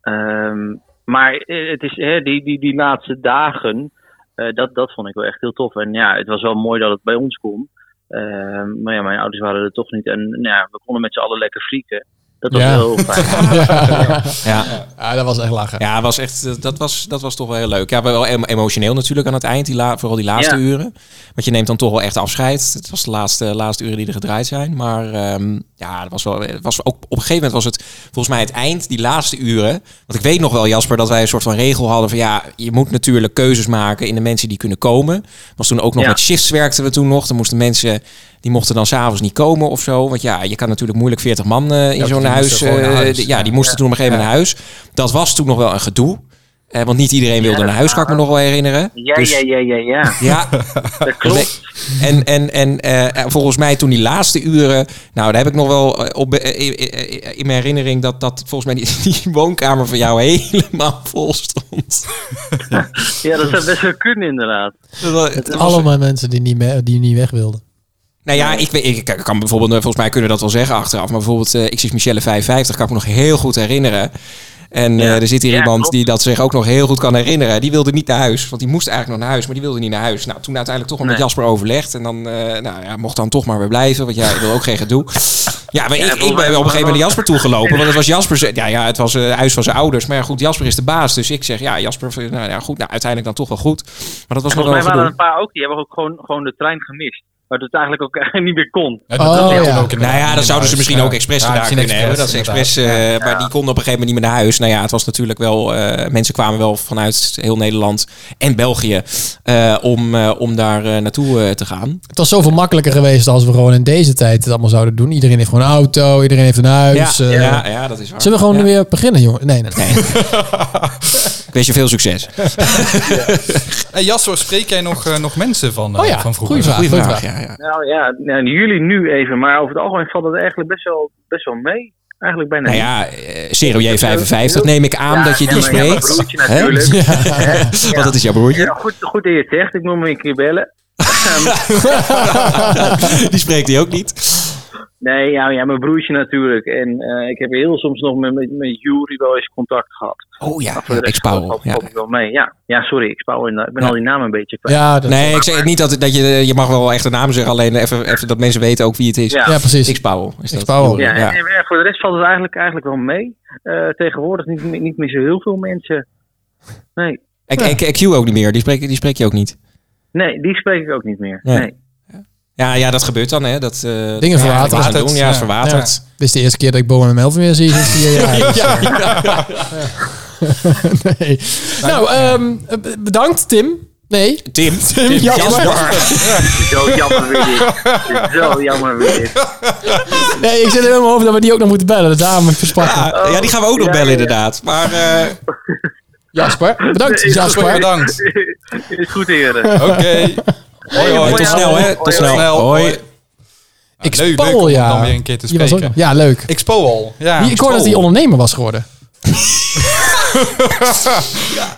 S9: Ehm, maar eh, het is, hè, die, die, die laatste dagen, eh, dat, dat vond ik wel echt heel tof. En ja, het was wel mooi dat het bij ons kon. Ehm, maar ja, mijn ouders waren er toch niet. En nou ja, we konden met z'n allen lekker frieken. Dat was
S6: Ja.
S9: heel fijn.
S6: ja.
S7: Ja,
S6: Ja, dat was echt lachen.
S7: ja was echt, eh, dat, was, dat was toch wel heel leuk. Ja, wel em- emotioneel natuurlijk aan het eind, die la, vooral die laatste
S9: Ja.
S7: uren. Want je neemt dan toch wel echt afscheid. Het was de laatste, laatste uren die er gedraaid zijn. Maar ehm, ja, het was wel, het was ook, op een gegeven moment was het volgens mij het eind, die laatste uren. Want ik weet nog wel, Jasper, dat wij een soort van regel hadden van ja, je moet natuurlijk keuzes maken in de mensen die kunnen komen. Was toen ook nog
S9: Ja.
S7: met shifts werkten we toen nog. Dan moesten mensen, die mochten dan s'avonds niet komen of zo. Want ja, je kan natuurlijk moeilijk 40 man eh, in
S8: Ja,
S7: zo'n
S8: die
S7: huis.
S8: moesten gewoon
S7: eh,
S8: naar huis.
S7: ja, die moesten toen op een gegeven moment naar huis. Dat was toen nog wel een gedoe. Eh, want niet iedereen wilde
S9: Ja,
S7: naar huis, kan ik me nog wel herinneren.
S9: Ja,
S7: Dus-
S9: ja, ja, ja, ja.
S7: ja.
S9: Dat klopt.
S7: En, en, en eh, en volgens mij toen die laatste uren... Nou, daar heb ik nog wel eh, op, eh, eh, eh, in mijn herinnering... dat, dat volgens mij die, die woonkamer van jou helemaal vol stond.
S9: Ja, dat zou best wel kunnen, inderdaad.
S7: Dat was- dat was-
S6: Allemaal mensen die niet, me- die niet weg wilden.
S7: Nou ja, ik, weet- ik, ik kan bijvoorbeeld, eh, volgens mij kunnen we dat wel zeggen achteraf. Maar bijvoorbeeld, eh, ik zie Michelle 55, kan ik me nog heel goed herinneren. En eh, er zit hier
S9: Ja,
S7: iemand
S9: klopt.
S7: die dat zich ook nog heel goed kan herinneren. Die wilde niet naar huis, want die moest eigenlijk nog naar huis, maar die wilde niet naar huis. Nou, toen uiteindelijk toch wel met
S9: Nee.
S7: Jasper overlegd. En dan, eh, nou ja, mocht dan toch maar weer blijven, want jij wil ook geen gedoe. Ja, maar ik, ik ben op een gegeven moment naar Jasper toegelopen, want het was Jasper's, ja, ja, het was eh, huis van zijn ouders. Maar ja, goed, Jasper is de baas, dus ik zeg, ja, Jasper, nou ja, goed, nou, uiteindelijk dan toch wel goed. Maar dat was nog wel
S9: Volgens mij
S7: een
S9: waren er
S7: gedoe.
S9: een paar ook die hebben ook gewoon, gewoon de trein gemist. Waardoor het eigenlijk ook eigenlijk niet meer kon.
S8: Ja,
S6: Oh,
S8: hebben we
S6: ja.
S8: in-
S7: Nou ja,
S8: in-
S7: dat zouden ze misschien
S8: ja.
S7: ook expres
S8: Ja,
S7: gedaan
S8: misschien
S7: kunnen hebben. Dat ze
S8: inderdaad.
S7: expres, eh, Maar die konden op een gegeven moment niet meer naar huis. Nou ja, het was natuurlijk wel... eh, mensen kwamen wel vanuit heel Nederland en België... eh, om, eh, om daar eh, naartoe eh, te gaan.
S6: Het was zoveel makkelijker geweest als we gewoon in deze tijd het allemaal zouden doen. Iedereen heeft gewoon een auto, iedereen heeft een huis.
S7: ja,
S6: eh.
S7: ja, ja, dat is waar.
S6: Zullen we gewoon
S7: Ja.
S6: weer beginnen, jongen? Nee, nee. nee.
S7: Ik wens je veel succes.
S8: Hey, Jasper, spreek jij nog, eh, nog mensen van, eh,
S6: Oh ja,
S8: van vroeger?
S6: goeie vraag.
S7: Goeie
S6: goed
S7: vraag,
S6: wel.
S7: ja, ja.
S9: Nou ja, nou, jullie nu even. Maar over het algemeen valt het eigenlijk best wel, best wel mee. Eigenlijk bijna
S7: Nou
S9: niet.
S7: ja, eh, Serum J55, neem ik aan
S9: Ja,
S7: dat je
S9: ja,
S7: die
S9: maar ja, mijn
S7: spreekt.
S9: broertje
S7: Hè?
S9: natuurlijk.
S7: Want dat is jouw broertje.
S9: Ja, goed, goed dat je het zegt. Ik moet me een keer bellen.
S7: Die spreekt hij ook niet.
S9: Nee, ja, ja, mijn broertje natuurlijk. En eh, ik heb heel soms nog met, met, met Jury wel eens contact gehad.
S7: Oh ja,
S9: Voor de rest
S7: ex-Powell.
S9: valt-
S7: Ja.
S9: valt het wel mee. Ja. ja, sorry, ik spouw in. Ik ben
S7: Ja.
S9: al die namen een beetje kwijt.
S6: Ja, dat-
S7: Nee, ik zeg niet dat, dat je... Je mag wel echt de naam zeggen, alleen even, even dat mensen weten ook wie het is.
S9: Ja.
S6: ja, precies.
S7: X Powell. Is dat?
S6: X Powell.
S9: Ja,
S7: Ja.
S9: en- en voor de rest valt het eigenlijk, eigenlijk wel mee. Eh, tegenwoordig niet, meer- niet meer zo heel veel mensen. Nee.
S7: En- en- en Q ook niet meer. Die spreek, die spreek je ook niet.
S9: nee, die spreek ik ook niet meer.
S7: Nee.
S9: Nee.
S7: Ja, ja, dat gebeurt dan. Hè. Dat, eh,
S6: Dingen
S7: ja,
S6: verwaterd.
S7: dat is aan het doen. Ja, is verwaterd.
S6: Ja. Dit is de eerste keer dat ik Bowen en Melvin weer zie sinds vier jaar. Dus,
S7: Ja,
S6: eh,
S7: ja.
S6: Nee. Nou, ehm, eh, bedankt Tim. Nee.
S7: Tim. Tim.
S6: Jasper.
S9: Zo jammer weer dit. Zo jammer weer dit.
S6: Nee, ik zit er helemaal over dat we die ook nog moeten bellen. Daarom versprak ik.
S7: Ja, ja, die gaan we ook nog
S9: Oh, Ja,
S7: bellen
S9: ja, ja.
S7: inderdaad. Maar eh,
S6: Jasper. Bedankt
S9: Nee,
S6: Jasper.
S9: Jasper,
S8: Bedankt.
S9: Is goed heren.
S8: Oké.
S9: Hey,
S8: hoi.
S9: mooie
S7: tot snel
S9: avond.
S7: hè. Tot
S9: Hoi,
S7: snel.
S9: hoi.
S8: Snel,
S7: Hoi.
S8: hoi.
S6: Ik
S8: Nou, leuk, leuk
S6: spouw,
S8: om
S6: ja.
S8: dan weer een keer te
S6: Die was ook
S8: spreken.
S6: nog- ja, leuk.
S8: Ik spoel al. Ja,
S6: Die- ik hoorde dat hij
S8: Expol.
S6: ondernemer was geworden.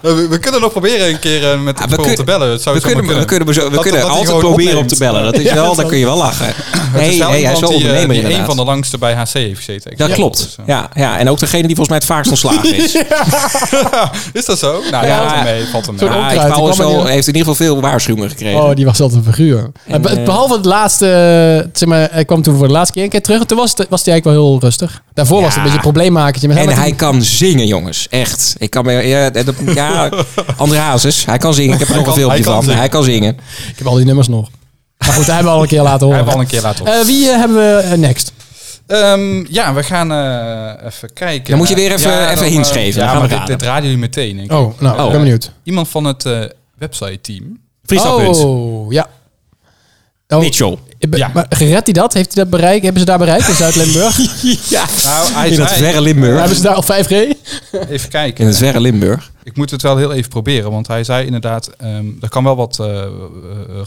S8: We, we kunnen nog proberen een keer eh, met
S7: Ja, we
S8: de Expol
S7: kunnen-
S8: te bellen. Het zou
S7: We
S8: zomaar
S7: kunnen, we kunnen, zo, we
S8: Dat-
S7: kunnen
S8: dat hij
S7: altijd
S8: gewoon
S7: proberen om
S8: opneemt.
S7: te bellen. Dat is
S6: Ja,
S7: wel,
S6: dat
S7: dan kun je wel lachen.
S8: Het
S7: Nee,
S8: is wel
S7: nee, hij is
S8: iemand
S7: wel
S8: die, eh,
S7: ondernemer
S8: die een
S7: inderdaad.
S8: van de Dus, eh. langste bij HC heeft gezeten.
S7: Dat klopt. Ja, ja, en ook degene die volgens mij het vaakst ontslagen is.
S8: Is dat zo? Nou ja,
S7: Ja.
S8: valt hem mee. Valt hem mee.
S6: Zo'n
S7: Ja,
S6: onkruid,
S7: ik wou
S6: die
S7: eens
S6: kwam
S7: wel,
S6: er niet-
S7: heeft in ieder geval veel waarschuwingen gekregen.
S6: Oh, die was altijd een figuur. En, be-
S7: eh,
S6: Behalve het laatste, eh, zeg maar, hij kwam toen voor de laatste keer een keer terug. Toen was, het- was hij eigenlijk wel heel rustig. Daarvoor was het een
S7: Ja.
S6: beetje een probleemmakertje. Maar
S7: En
S6: met
S7: hij kan zingen, jongens. Echt. Ik kan, me- ja, dat- ja, André Hazes, hij kan zingen. Ik heb er nog een
S8: kan- hij
S7: filmpje
S8: kan
S7: van.
S8: zingen.
S7: Hij kan zingen.
S6: Ik heb al die nummers nog. Maar goed, dat hebben we al een keer laten horen.
S8: Hij hebben al een keer laten op.
S6: Eh, wie eh, hebben we eh, next?
S8: Ehm, ja, we gaan eh, even kijken.
S7: Dan moet je weer even- even
S8: eh,
S7: hints geven. Dan
S8: Ja,
S7: gaan
S8: maar
S7: we
S8: dit,
S7: raden.
S8: dit raden jullie meteen. denk ik.
S6: Oh, nou, ik ben benieuwd.
S8: Iemand van het eh, website-team.
S7: Vriesdagpunt.
S6: Oh, ja. Oh,
S7: Mitchell.
S6: ik ben-
S8: Ja.
S6: Maar gered hij dat? Heeft hij dat bereikt? Hebben ze daar bereikt in Zuid-Limburg?
S7: Ja.
S8: Nou, hij
S7: In het
S8: zei,
S7: verre Limburg.
S6: hebben ze daar al 5G?
S8: even
S7: In
S8: kijken.
S7: het verre Limburg.
S8: Ik moet het wel heel even proberen, want hij zei inderdaad, ehm, er kan wel wat eh, eh,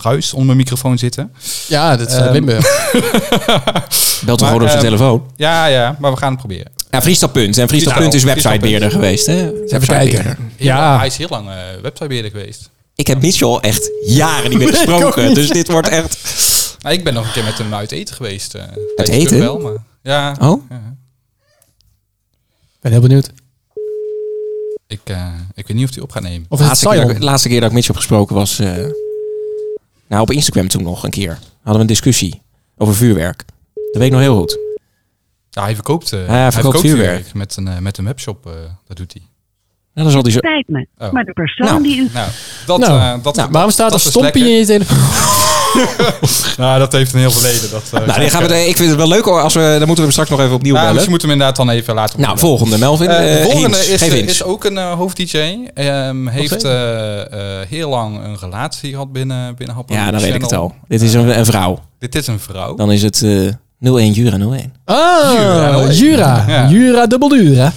S8: ruis onder mijn microfoon zitten.
S6: Ja, dat is eh,
S8: Ehm,
S6: Limburg.
S7: Bel toch
S8: Maar,
S7: gewoon op zijn
S8: ehm,
S7: telefoon.
S8: Ja, ja, maar we gaan het proberen.
S7: Ja, Vriesdagpunt. En Vriesdagpunt is
S8: Vriesdagpunt.
S7: websitebeheerder geweest. Hè? Websitebeheerder.
S6: Ja.
S8: Hij is heel lang eh websitebeheerder geweest.
S7: Ik heb Mitchell echt jaren niet meer gesproken. dus dit wordt echt...
S8: Nou, ik ben nog een keer met hem uit eten geweest. eh. Hij is
S7: eten?
S8: terug Wel, maar, ja,
S7: Oh?
S6: Ik ben heel benieuwd.
S8: ik, eh, ik weet niet of hij op gaat nemen.
S6: Of is het
S7: Laatste keer, dat ik-
S6: Sion?
S7: laatste keer dat ik Mitchell heb gesproken was... eh, nou, op Instagram toen nog een keer. Hadden we een discussie over vuurwerk. Dat weet ik nog heel goed.
S8: Ja, hij verkoopt, eh,
S7: Ah, hij verkoopt vuurwerk.
S8: met een, eh, met een webshop. eh, dat doet hij.
S7: Nou, dan zal die zo...
S10: Spijt me,
S8: Oh.
S10: maar de persoon
S7: Nou,
S10: die u...
S8: Nou, dat,
S6: Nou,
S8: eh, dat,
S6: Nou, waarom staat er
S8: dat is
S6: stompie in
S8: lekker.
S6: je telefoon?
S8: Nou, dat heeft een heel verleden. Dat, eh,
S7: Nou, die gaan we, de- ik vind het wel leuk. hoor, Als we, dan moeten we hem straks nog even opnieuw
S8: Ja, dus
S7: bellen.
S8: je moet hem inderdaad dan even laten
S7: Nou,
S8: volgens
S7: volgende. Melvin.
S8: Eh, de
S7: eh,
S8: volgende
S7: hints.
S8: is,
S7: Geef hints.
S8: is ook een eh, hoofd-DJ. Ehm, heeft
S6: zeker.
S8: eh, eh, heel lang een relatie gehad binnen, binnen Happy
S7: Ja, dan weet ik het
S8: Channel.
S7: al. Dit is een, een vrouw.
S8: Dit is een vrouw.
S7: Dan is het eh 01 Jura 01.
S6: Ah,
S8: Jura.
S6: Jura.
S8: Ja.
S6: Jura dubbel dura.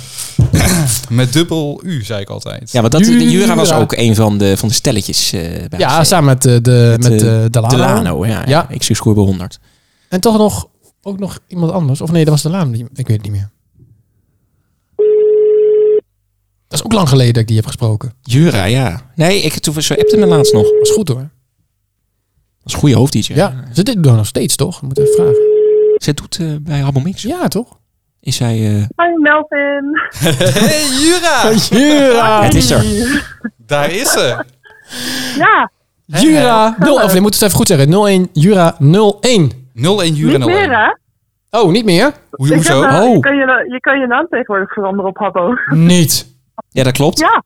S8: Met dubbel U, zei ik altijd.
S7: Ja, want dat, de Jura was
S6: Jura.
S7: ook een van de, van de stelletjes eh, bij
S6: Ja,
S7: ons.
S6: samen met, eh, de, met,
S7: eh,
S6: eh, Delano.
S7: Delano, ja. ja.
S6: Ja.
S7: Ik zie scorebel 100.
S6: En toch nog, ook nog iemand anders. Of nee, dat was Delano. die- Ik weet het niet meer. Dat is ook lang geleden dat ik die heb gesproken.
S7: Jura, ja. Nee, ik toen zo appte me laatst nog.
S6: Dat is goed hoor.
S7: Dat is een goede hoofddietje.
S6: Ja, ze dit doen nog steeds toch? Moet even vragen.
S7: Zij doet eh, bij Rabbel Mix.
S6: Ja, toch?
S7: Is zij... eh,
S10: Hoi Melvin.
S8: Hey, Jura!
S6: Jura!
S7: het is er.
S8: Daar is ze.
S10: Ja,
S6: Jura! nul- Of nee, moet het even goed zeggen. 01 Jura 01.
S8: 01 Jura
S10: niet meer
S8: 01.
S10: hè?
S6: Oh, niet meer?
S8: Hoe-
S10: Ik
S8: Hoezo?
S10: zeg maar,
S6: Oh.
S10: je, kan je, je kan je naam tegenwoordig veranderen op Habbo.
S6: Niet.
S7: Ja, dat klopt.
S10: Ja,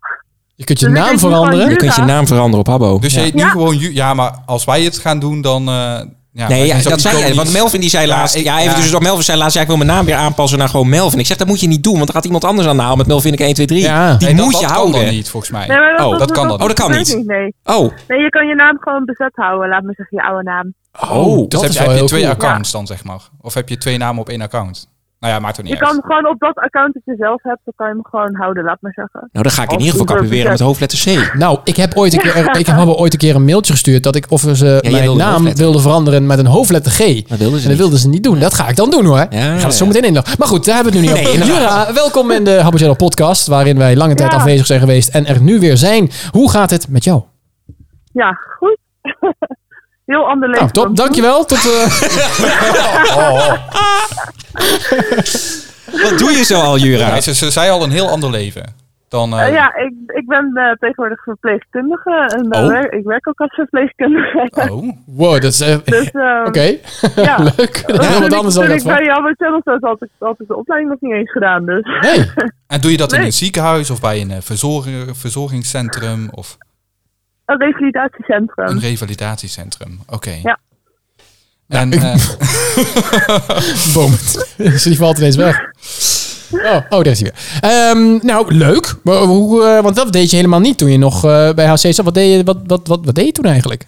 S6: Je kunt je
S10: Dus ik
S6: naam
S10: heet nu gewoon
S6: veranderen.
S7: Je kunt je
S10: Jura.
S7: naam veranderen op Habbo.
S8: Dus je
S7: Ja.
S8: heet nu
S10: Ja.
S8: gewoon Ju- Ja, maar als wij het gaan doen, dan... eh, ja,
S7: Nee,
S8: wij
S7: ja,
S8: zijn zo
S7: dat zei jij.
S8: iconisch.
S7: Want Melvin die zei
S8: Ja,
S7: laatst...
S8: ik-
S7: Ja, even
S8: ja.
S7: dus door Melvin zei laatst... Ja, ik wil mijn naam weer aanpassen naar gewoon Melvin. Ik zeg, dat moet je niet doen. Want er gaat iemand anders aan de haal met Melvin ik 1, 2, 3.
S6: Ja.
S7: Die
S8: Nee, dat-
S7: moet
S8: dat
S7: je
S8: kan
S7: houden.
S8: dan niet, volgens mij.
S10: nee, maar dat,
S7: Oh, dat kan dan. Oh, dat kan
S10: gebeurt
S7: niet.
S10: Nee.
S7: Oh.
S10: nee, je kan je naam gewoon bezet houden, laat me zeggen, je oude naam.
S7: Oh,
S6: dat
S8: Dus
S6: is
S8: heb,
S6: wel
S8: je- heb je
S6: heel
S8: twee
S6: cool.
S8: accounts dan, zeg maar? Of heb je twee namen op één account? Nou ja, maakt er niet
S10: Je
S8: uit.
S10: kan gewoon op dat account dat je zelf hebt, dan kan je hem gewoon houden, laat maar zeggen.
S7: Nou, dan ga ik in ieder geval
S10: dus
S7: capiveren met hoofdletter C.
S6: Nou, ik heb ooit een keer, ik heb ooit een keer een mailtje gestuurd dat ik of ze mijn
S7: wilde
S6: naam
S7: hoofdletter.
S6: wilde veranderen met een hoofdletter G.
S7: Dat wilden ze
S6: en dat
S7: niet.
S6: wilden ze niet doen. Dat ga ik dan doen hoor. ik ga het
S7: ja,
S6: zo
S7: ja.
S6: meteen inloggen. Maar goed, daar hebben we het nu niet
S7: Nee,
S6: over.
S7: inderdaad.
S6: Jura, welkom in de Habbo Channel podcast, waarin wij lange tijd
S10: Ja.
S6: afwezig zijn geweest en er nu weer zijn. Hoe gaat het met jou?
S10: Ja, goed. Heel ander leven.
S6: Nou, top.
S10: dan toen.
S6: Dankjewel. Tot, eh
S7: Wat doe je zo al, Jura?
S8: Ja, ze, ze zei al een heel ander leven dan... eh,
S10: Eh, ja, ik, ik ben eh, tegenwoordig verpleegkundige en eh,
S7: Oh.
S10: wer- ik werk ook als verpleegkundige.
S8: Oh.
S6: wow, dat is... eh,
S10: Dus, ehm,
S6: Oké,
S10: ja.
S6: leuk. Dat is
S10: Toen
S6: heel wat
S10: ik-
S6: anders dan ik
S10: toen
S6: had
S10: ik bij
S6: verwacht.
S10: Jammer Channel zat, had ik, had ik de opleiding nog niet eens gedaan. Dus.
S6: Nee,
S8: En doe je dat in
S10: Nee.
S8: een ziekenhuis of bij een eh, verzorger, verzorgingscentrum of
S10: Een revalidatiecentrum.
S8: een revalidatiecentrum? Oké.
S10: Ja.
S8: En, eh,
S6: boom. Dus die valt ineens weg. Oh, oh daar is hij weer. Ehm, nou, leuk. Maar hoe, eh, want dat deed je helemaal niet toen je nog eh, bij HC zat. Wat deed je, wat, wat, wat, wat deed je toen eigenlijk?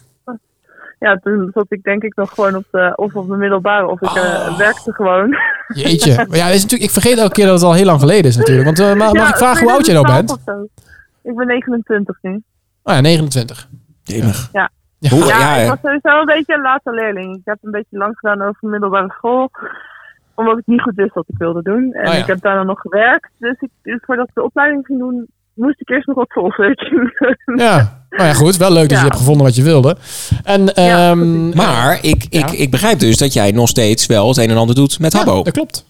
S10: Ja, toen zat ik denk ik nog gewoon op de, of op de middelbare of ik eh,
S6: Oh.
S10: werkte gewoon.
S6: Jeetje. Maar ja, dat is natuurlijk, ik vergeet elke keer dat het al heel lang geleden is natuurlijk. Want, eh, ma- mag
S10: Ja,
S6: ik vragen hoe oud jij nou
S10: 2012
S6: bent?
S10: of zo. Ik ben 29 nu.
S6: Oh ja, 29.
S7: Jemig.
S10: Ja.
S6: Ja.
S7: Hoe,
S10: Ja,
S7: ja,
S10: ik
S7: eh,
S10: was sowieso een beetje een late leerling. Ik heb een beetje lang gedaan over middelbare school. Omdat ik niet goed wist wat ik wilde doen. En
S6: Oh ja.
S10: ik heb daarna nog gewerkt. Dus, ik, dus voordat ik de opleiding ging doen, moest ik eerst nog wat soulsearching doen.
S6: Ja. Nou ja, goed. Wel leuk dat je
S10: Ja.
S6: hebt gevonden wat je wilde. En,
S10: Ja,
S6: ehm,
S7: Maar ik, ik,
S6: Ja.
S7: ik begrijp dus dat jij nog steeds wel het een en ander doet met
S6: ja,
S7: Habbo.
S6: dat klopt.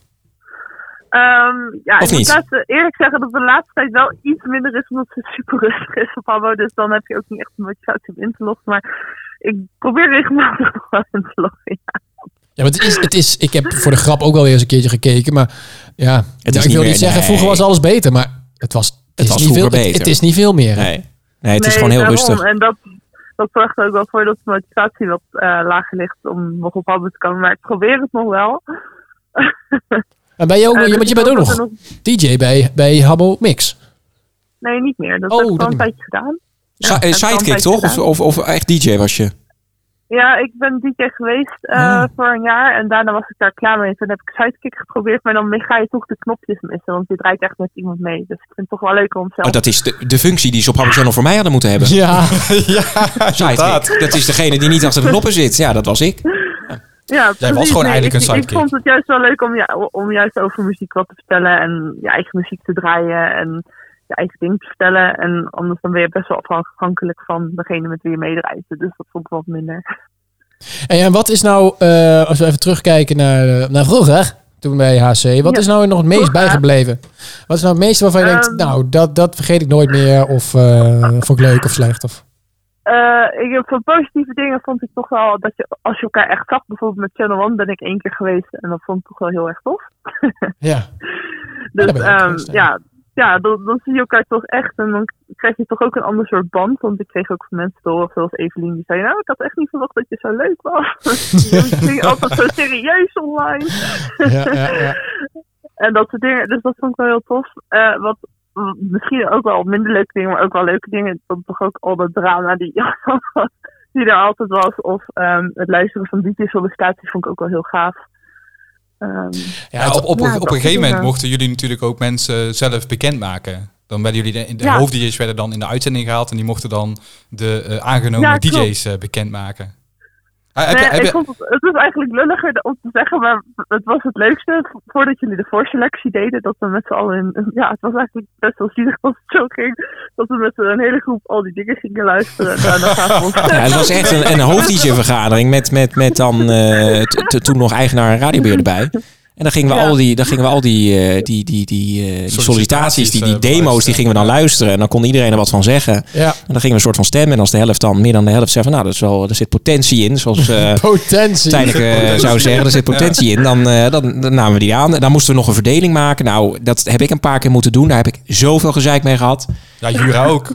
S10: Ehm, ja,
S7: Of niet?
S10: ik moet laatst, eh, eerlijk zeggen dat de laatste tijd wel iets minder is, omdat het super rustig is op Habbo. Dus dan heb je ook niet echt een beetje uit om in te loggen. Maar ik probeer regelmatig nog wel in te loggen. ja.
S6: Ja, maar het is, het is, ik heb voor de grap ook wel eens een keertje gekeken. Maar ja,
S7: is
S6: ja, ik
S7: niet
S6: wil
S7: meer-
S6: niet zeggen,
S7: nee.
S6: vroeger was alles beter. Maar het was, het
S7: was
S6: is, niet veel,
S7: vroeger
S6: het,
S7: beter.
S6: het is niet veel meer. hè?
S7: Nee. nee, het is
S10: Nee,
S7: gewoon heel
S10: daarom. eh,
S7: rustig.
S10: En dat, dat zorgt er ook wel voor dat de motivatie wat eh, lager ligt om nog op Habbo te komen. Maar ik probeer het nog wel.
S6: En ben je ook,
S10: Eh, dus
S6: want je
S10: ik
S6: bent ook
S10: hoop dat
S6: nog
S10: er
S6: DJ bij, bij Habbo Mix.
S10: Nee, niet meer. Dat
S6: Oh,
S10: heb ik
S6: dat
S10: al een
S6: niet meer.
S10: tijdje gedaan.
S7: Sa- eh,
S10: dat kan
S7: sidekick
S10: bij
S7: toch? Of,
S10: gedaan.
S7: of, of echt DJ was je?
S10: Ja, ik ben DJ geweest eh,
S7: Ah.
S10: voor een jaar en daarna was ik daar klaar mee. Toen heb ik sidekick geprobeerd, maar dan ga je toch de knopjes missen, want je draait echt met iemand mee. Dus ik vind het toch wel leuk om zelf...
S7: Oh, dat is de, de functie die ze op Habbo Channel voor mij hadden moeten hebben.
S6: Ja,
S7: Sidekick. Dat is degene die niet achter de knoppen zit. Ja, dat was ik.
S10: ja, precies.
S8: was gewoon
S10: Nee,
S8: eigenlijk
S10: ik,
S8: een
S10: Ik
S8: sidekick.
S10: vond het juist wel leuk om, ja, om juist over muziek wat te vertellen en je eigen muziek te draaien en je eigen ding te vertellen. En anders dan ben je best wel afhankelijk van degene met wie je meedraait. Dus dat vond ik wat minder.
S6: Hey, en wat is nou, eh, als we even terugkijken naar, eh, naar vroeger, toen bij HC, wat
S10: Ja.
S6: is nou nog het meest
S10: Vroeger.
S6: bijgebleven? Wat is nou het meeste waarvan je denkt,
S10: Ehm.
S6: nou, dat, dat vergeet ik nooit meer, of eh, vond ik leuk of slecht? Of...
S10: Eh, ik heb van positieve dingen vond ik toch wel dat je, als je elkaar echt zag, bijvoorbeeld met Channel One ben ik één keer geweest en dat vond ik toch wel heel erg tof.
S6: Ja.
S10: Dus
S6: daar ben je ook
S10: ehm,
S6: geweest, ja.
S10: ja, ja dan, dan zie je elkaar toch echt en dan krijg je toch ook een ander soort band. Want ik kreeg ook van mensen te horen, zoals Evelien, die zei, nou ik had echt niet verwacht dat je zo leuk was. je ging altijd zo serieus online.
S6: Ja, ja, ja.
S10: En dat soort dingen. Dus dat vond ik wel heel tof. Eh, wat m- misschien ook wel minder leuke dingen, maar ook wel leuke dingen. Dat toch ook al dat drama die, die er altijd was. Of ehm, het luisteren van DJ's op de statie vond ik ook wel heel gaaf. Ehm,
S8: Ja, op, op,
S10: Ja,
S8: op
S10: dat
S8: een
S10: is
S8: gegeven moment
S10: waar.
S8: mochten jullie natuurlijk ook mensen zelf bekendmaken. Dan werden jullie de, de
S10: Ja.
S8: hoofd-DJ's werden dan in de uitzending gehaald en die mochten dan de eh, aangenomen
S10: Ja, klopt.
S8: DJ's eh, bekendmaken. Ah, heb je-
S10: nee,
S8: heb
S10: ik
S8: je-
S10: vond het, het was eigenlijk lulliger om te zeggen, maar het was het leukste v- voordat jullie de voorselectie deden. Dat we met z'n allen in. Ja, het was eigenlijk best wel zielig als het zo ging. Dat we met een hele groep al die dingen gingen luisteren. En daarna gaven we ons.
S7: Ja, het was echt een, een hoofd-DJ-vergadering met, met, met dan eh, t- t- toen nog eigenaar en radiobeheer erbij. En dan gingen we
S10: Ja.
S7: al die, dan gingen we al die, eh, die, die, die, eh, die sollicitaties, die, die
S8: eh,
S7: demo's, die gingen we dan luisteren. En dan kon iedereen er wat van zeggen. En
S6: ja.
S7: dan gingen we een soort van stemmen. En als de helft dan, meer dan de helft, zei van nou, dat is wel, er zit potentie in. Zoals eh
S6: Potentie.
S7: Stijnek eh, zou zeggen, er zit potentie in. Dan, eh, dan, dan namen we die aan. En dan moesten we nog een verdeling maken. Nou, dat heb ik een paar keer moeten doen. Daar heb ik zoveel gezeik mee gehad.
S8: ja, Jura ook.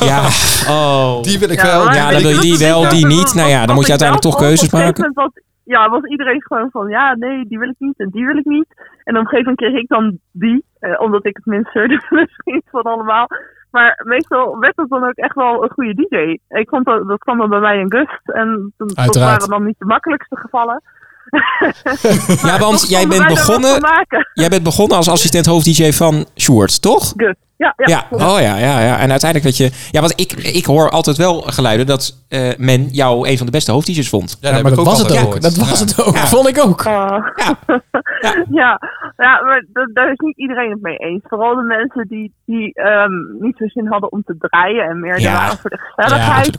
S7: Ja, oh.
S8: Die wil ik
S10: Ja,
S8: wel.
S10: maar
S7: Ja,
S10: weet
S7: dan wil
S10: je
S7: je die
S10: wat het
S7: wel,
S10: is?
S7: die
S10: Ja,
S7: niet. Nou ja,
S10: wat-
S7: dan moet je
S10: wat ik
S7: uiteindelijk
S10: wel
S7: toch
S10: vond,
S7: keuzes
S10: op een gegeven
S7: maken.
S10: moment was- ja, was iedereen gewoon van, ja, nee, die wil ik niet en die wil ik niet. En op een gegeven moment kreeg ik dan die, eh, omdat ik het minst zeurde misschien van allemaal. Maar meestal werd dat dan ook echt wel een goede DJ. Ik vond dat, dat kwam dan bij mij in Gust en toen, dat
S6: Uiteraard.
S10: waren dan niet de makkelijkste gevallen.
S7: Ja, want
S10: Toch
S7: Dus jij bent
S10: konden wij daar wat
S7: begonnen,
S10: van maken.
S7: jij bent begonnen als assistent hoofd-dj van Sjoerd, toch?
S10: Gust, ja, ja.
S7: Ja, oh ja, ja, ja. En uiteindelijk dat je... Ja, want ik, ik hoor altijd wel geluiden dat eh, men jou een van de beste hoofd-dj's vond.
S8: Ja,
S6: Ja,
S8: heb
S6: maar
S8: ik
S6: dat
S8: ook
S6: was het
S8: altijd
S6: ook.
S8: gehoord.
S6: Dat was
S8: Ja.
S6: het ook. Vond ik ook.
S10: Ah.
S7: Ja. Ja.
S10: ja, ja, maar da- daar is niet iedereen het mee eens. Vooral de mensen die, die ehm, niet zo zin hadden om te draaien en meer
S7: Ja.
S10: daar waren voor de gezelligheid.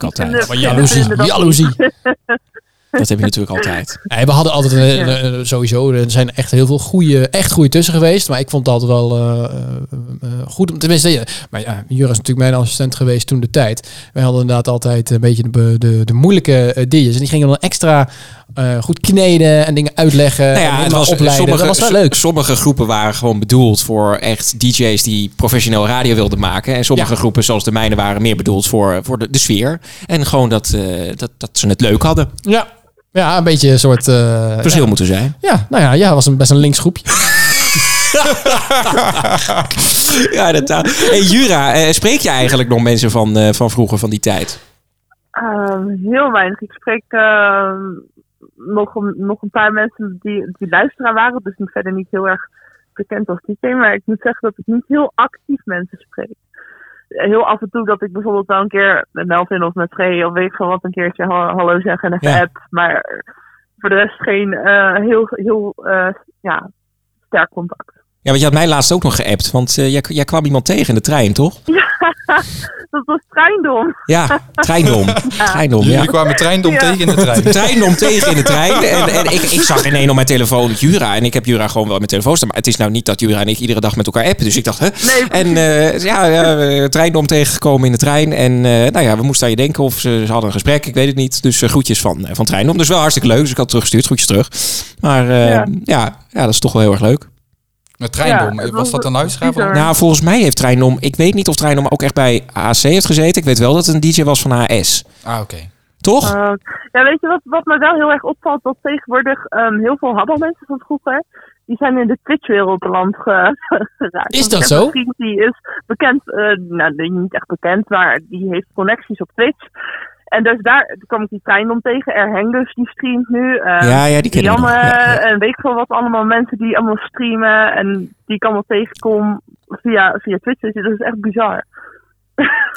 S7: natuurlijk
S10: Die
S7: altijd.
S10: vinden-
S6: Maar
S10: vinden- vinden
S6: jaloezie,
S10: dat-
S6: jaloezie.
S7: Dat heb je natuurlijk altijd.
S6: Nee, we hadden altijd een- een- een- sowieso, er zijn echt heel veel goede, echt goede tussen geweest. Maar ik vond het altijd wel eh, eh, goed. om- Tenminste, ja, maar ja, Jura is natuurlijk mijn assistent geweest toen de tijd. Wij hadden inderdaad altijd een beetje de, be- de, de moeilijke eh DJ's. En die gingen dan extra eh, goed kneden en dingen uitleggen.
S7: Nou
S6: en
S7: ja, het
S6: helemaal
S7: was,
S6: opleiden.
S7: sommige,
S6: dat was wel leuk.
S7: Sommige groepen waren gewoon bedoeld voor echt DJ's die professioneel radio wilden maken. En sommige
S6: Ja.
S7: groepen, zoals de mijne, waren meer bedoeld voor, voor de, de sfeer. En gewoon dat, eh, dat, dat ze het leuk hadden.
S6: Ja. ja, een beetje een soort... eh,
S7: Verschil moeten zijn.
S6: ja, nou ja, ja, was een, best een links groepje.
S7: Ja, inderdaad. Hey, Jura, eh, spreek je eigenlijk nog mensen van, eh, van vroeger, van die tijd?
S10: Ehm, heel weinig. Ik spreek ehm, nog, een, nog een paar mensen die, die luisteraar waren, dus ik ben verder niet heel erg bekend als DJ, maar ik moet zeggen dat ik niet heel actief mensen spreek. Heel af en toe dat ik bijvoorbeeld wel een keer met Melvin of met Free of weet ik veel wat een keertje ha- hallo zeg en even
S7: Ja.
S10: app, maar voor de rest geen eh, heel, heel eh, ja, sterk contact.
S7: Ja, want je had mij laatst ook nog geappt. Want eh, jij, jij kwam iemand tegen in de trein, toch?
S10: Dat was treindom.
S7: Ja, treindom. Treindom,
S8: Jullie
S7: ja.
S8: kwamen treindom
S10: Ja.
S8: tegen in de trein.
S7: treindom tegen in de trein. En, en ik, ik zag ineens op mijn telefoon Jura. En ik heb Jura gewoon wel op mijn telefoon staan. Maar het is nou niet dat Jura en ik iedere dag met elkaar appen. Dus ik dacht, hè?
S10: Nee,
S7: En eh, ja, ja, eh, treindom tegengekomen in de trein. En eh, nou ja, we moesten aan je denken. Of ze, ze hadden een gesprek, ik weet het niet. Dus eh, groetjes van, eh, van treindom. Dus wel hartstikke leuk. Dus ik had teruggestuurd, groetjes terug. Maar eh, ja.
S10: Ja.
S7: Ja, dat is toch wel heel erg leuk.
S8: Met treindom. eh,
S10: Ja, het
S8: was
S10: was
S8: dat een luisteraar?
S10: bizar.
S8: van-
S7: Nou, volgens mij heeft treindom... Ik weet niet of treindom ook echt bij AC heeft gezeten. Ik weet wel dat het een DJ was van AS.
S8: Ah, oké.
S7: Toch?
S10: Eh, ja, weet je wat, wat me wel heel erg opvalt? Dat tegenwoordig ehm, heel veel Habbo-mensen van vroeger... die zijn in de Twitch-wereld beland ge- geraakt.
S6: Is
S10: Want
S6: dat
S10: ik heb
S6: zo?
S10: Een vriend die is bekend, eh, nou die niet echt bekend, maar die heeft connecties op Twitch... En dus daar kwam ik die trein om tegen. Er Hengers die streamt nu. eh,
S7: ja, ja, die ken ik nog.
S10: Janne
S7: Ja, ja.
S10: en weet ik veel wat allemaal mensen die allemaal streamen en die ik allemaal tegenkom via, via Twitch. weet je, Dat is echt bizar.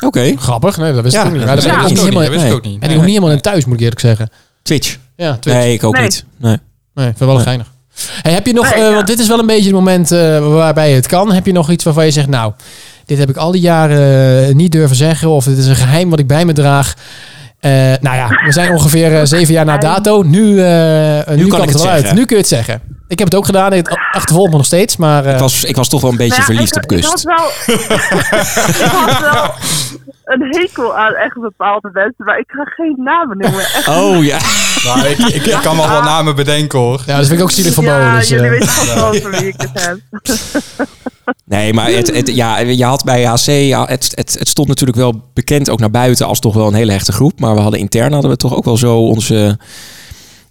S7: Oké,
S6: Grappig, nee, dat wist
S7: Ja,
S6: ik ook niet.
S7: dat
S6: Maar dat
S7: wist
S6: ben
S7: ik ook
S6: ik ook niet
S7: niet,
S6: helemaal,
S7: dat wist ik ook
S6: en
S7: niet.
S6: ik ook niet helemaal in thuis, moet ik eerlijk zeggen.
S7: Twitch.
S6: Ja, Twitch.
S7: Nee, ik ook
S10: Nee.
S7: niet. Nee.
S6: Nee, vind ik wel geinig. Hey, heb je nog,
S10: Nee,
S6: eh,
S10: ja.
S6: want dit is wel een beetje het moment eh, waarbij het kan. Heb je nog iets waarvan je zegt, nou, dit heb ik al die jaren eh, niet durven zeggen. Of dit is een geheim wat ik bij me draag. Eh, nou ja, we zijn ongeveer eh, zeven jaar na dato. Nu, eh, nu,
S7: kan
S6: kan,
S7: ik
S6: het
S7: het
S6: wel uit.
S7: zeggen.
S6: Nu kun je het zeggen. Ik heb het ook gedaan. Het achtervolgt me nog steeds. Maar eh,
S7: Ik, was, ik was toch wel een beetje
S10: Nou ja,
S7: verliefd
S10: ik-
S7: op
S10: ik had
S7: kust.
S10: wel- ik had wel een hekel aan echt bepaalde mensen, maar ik ga geen namen noemen. Echt.
S7: Oh ja.
S8: Nou, ik, ik, ik kan wel wat namen bedenken hoor.
S6: ja, dat vind ik ook zielig van
S10: ja,
S6: Bo. Dus, eh,
S10: jullie weten vast wel over wie ik het heb.
S7: Nee, maar het, het, ja, je had bij HC, ja, het, het, het stond natuurlijk wel bekend ook naar buiten als toch wel een hele hechte groep. Maar we hadden intern hadden we toch ook wel zo onze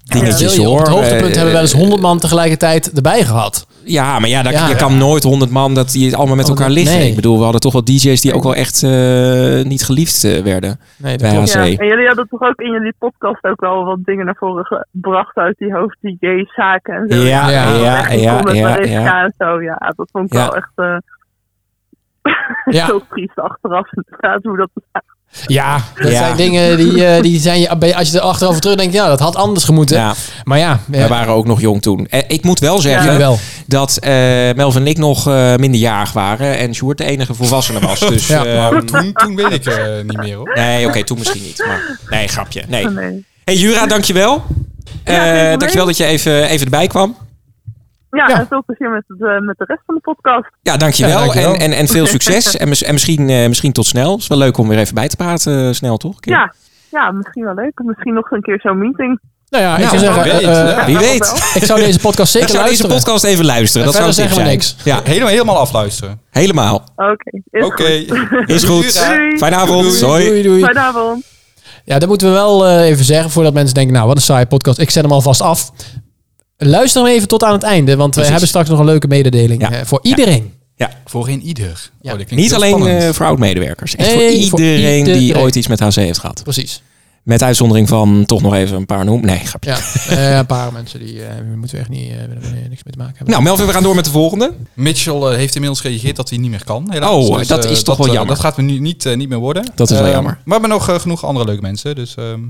S6: wil
S7: dingetjes
S6: je, op
S7: hoor.
S6: het hoogtepunt
S7: Eh,
S6: hebben we wel eens honderd man tegelijkertijd erbij gehad.
S7: Ja, maar ja, daar,
S6: Ja.
S7: je kan nooit honderd man dat die het allemaal met
S6: Oh,
S7: elkaar
S6: dat-
S7: liggen.
S6: nee.
S7: Ik bedoel, we hadden toch wel DJ's die ook wel echt eh, niet geliefd eh, werden
S6: Nee, dat
S7: bij
S6: klopt.
S7: HC.
S10: Ja, en jullie hadden toch ook in jullie podcast ook wel wat dingen naar voren gebracht uit die hoofd die zaken en zo.
S7: Ja,
S6: Ja.
S7: ja, ja,
S10: Ik
S7: ja,
S10: kon met
S7: ja,
S10: Mariska
S7: ja.
S10: en zo, ja, dat vond ik
S7: Ja.
S10: wel echt eh,
S6: Ja.
S10: zo triest achteraf inderdaad hoe dat
S6: Ja, dat
S7: Ja.
S6: zijn dingen die, eh, die zijn je, bij- als je er achterover terug denkt, ja, dat had anders gemoeten.
S7: Ja,
S6: Maar ja, eh,
S7: we waren ook nog jong toen. Eh, ik moet wel zeggen
S6: jullie wel.
S7: dat eh Melvin en ik nog eh, minderjarig waren en Sjoerd de enige volwassene was. Dus
S6: Ja.
S7: eh,
S8: Maar toen, toen weet ik eh, niet meer hoor.
S7: nee, oké, toen misschien niet. Maar nee, grapje.
S6: Oh,
S7: Nee.
S10: nee.
S7: Hey Jura, dankjewel.
S10: geen
S7: Eh
S10: probleem.
S7: dankjewel dat je even, even erbij kwam.
S10: Ja,
S6: Ja.
S10: en veel plezier met, het, eh, met de rest van de podcast.
S7: Ja, dankjewel.
S6: Ja, dankjewel.
S7: En, en, en veel succes. en mis- en misschien, eh, misschien tot snel. Het is wel leuk om weer even bij te praten. eh, snel, toch? Kim?
S10: Ja. ja, misschien wel leuk. Misschien nog een keer zo'n meeting.
S6: Nou ja, ik
S7: Nou,
S6: zou zeggen,
S7: wie weet.
S6: eh, eh,
S7: ja. Wie
S10: Ja,
S7: weet.
S10: wel.
S6: ik zou deze podcast zeker
S7: Ik zou deze
S6: luisteren.
S7: podcast even luisteren.
S6: En
S7: Dat zou een
S6: verder
S7: tip zijn.
S6: zeggen we
S7: Ja,
S8: Helemaal, helemaal afluisteren.
S7: helemaal.
S10: Oké, is
S8: Oké.
S10: goed.
S7: Is goed.
S10: Doei.
S7: Fijne avond.
S6: Doei,
S7: Hoi.
S6: doei, doei.
S10: Fijne avond.
S6: Ja, dat moeten we wel eh, even zeggen voordat mensen denken, nou, wat een saaie podcast. Ik zet hem alvast af. Luister hem even tot aan het einde, want we
S7: Precies.
S6: hebben straks nog een leuke mededeling
S7: Ja.
S6: eh, voor iedereen.
S8: Voor geen ieder. Oh,
S6: Ja.
S8: dat klinkt
S7: Niet
S8: heel
S7: alleen
S8: spannend.
S7: eh, voor oud-medewerkers. Echt
S6: Nee,
S7: voor,
S6: voor
S7: iedereen die
S6: iedereen.
S7: ooit iets met HC heeft gehad.
S6: Precies.
S7: Met uitzondering van toch nog even een paar noemen. Nee, grapje.
S6: Ja, eh, een paar mensen die eh, moeten we echt niet, eh, willen we niks mee te maken hebben.
S7: Nou, Melvin, we gaan door met de volgende.
S8: Mitchell eh, heeft inmiddels gereageerd dat hij niet meer kan. helaas.
S7: Oh, dat
S8: eh,
S7: is toch wel
S8: eh,
S7: jammer.
S8: Dat gaat me nu niet, eh, niet meer worden.
S7: Dat is wel
S8: Eh,
S7: jammer.
S8: Maar we hebben nog eh, genoeg andere leuke mensen. Dus ehm,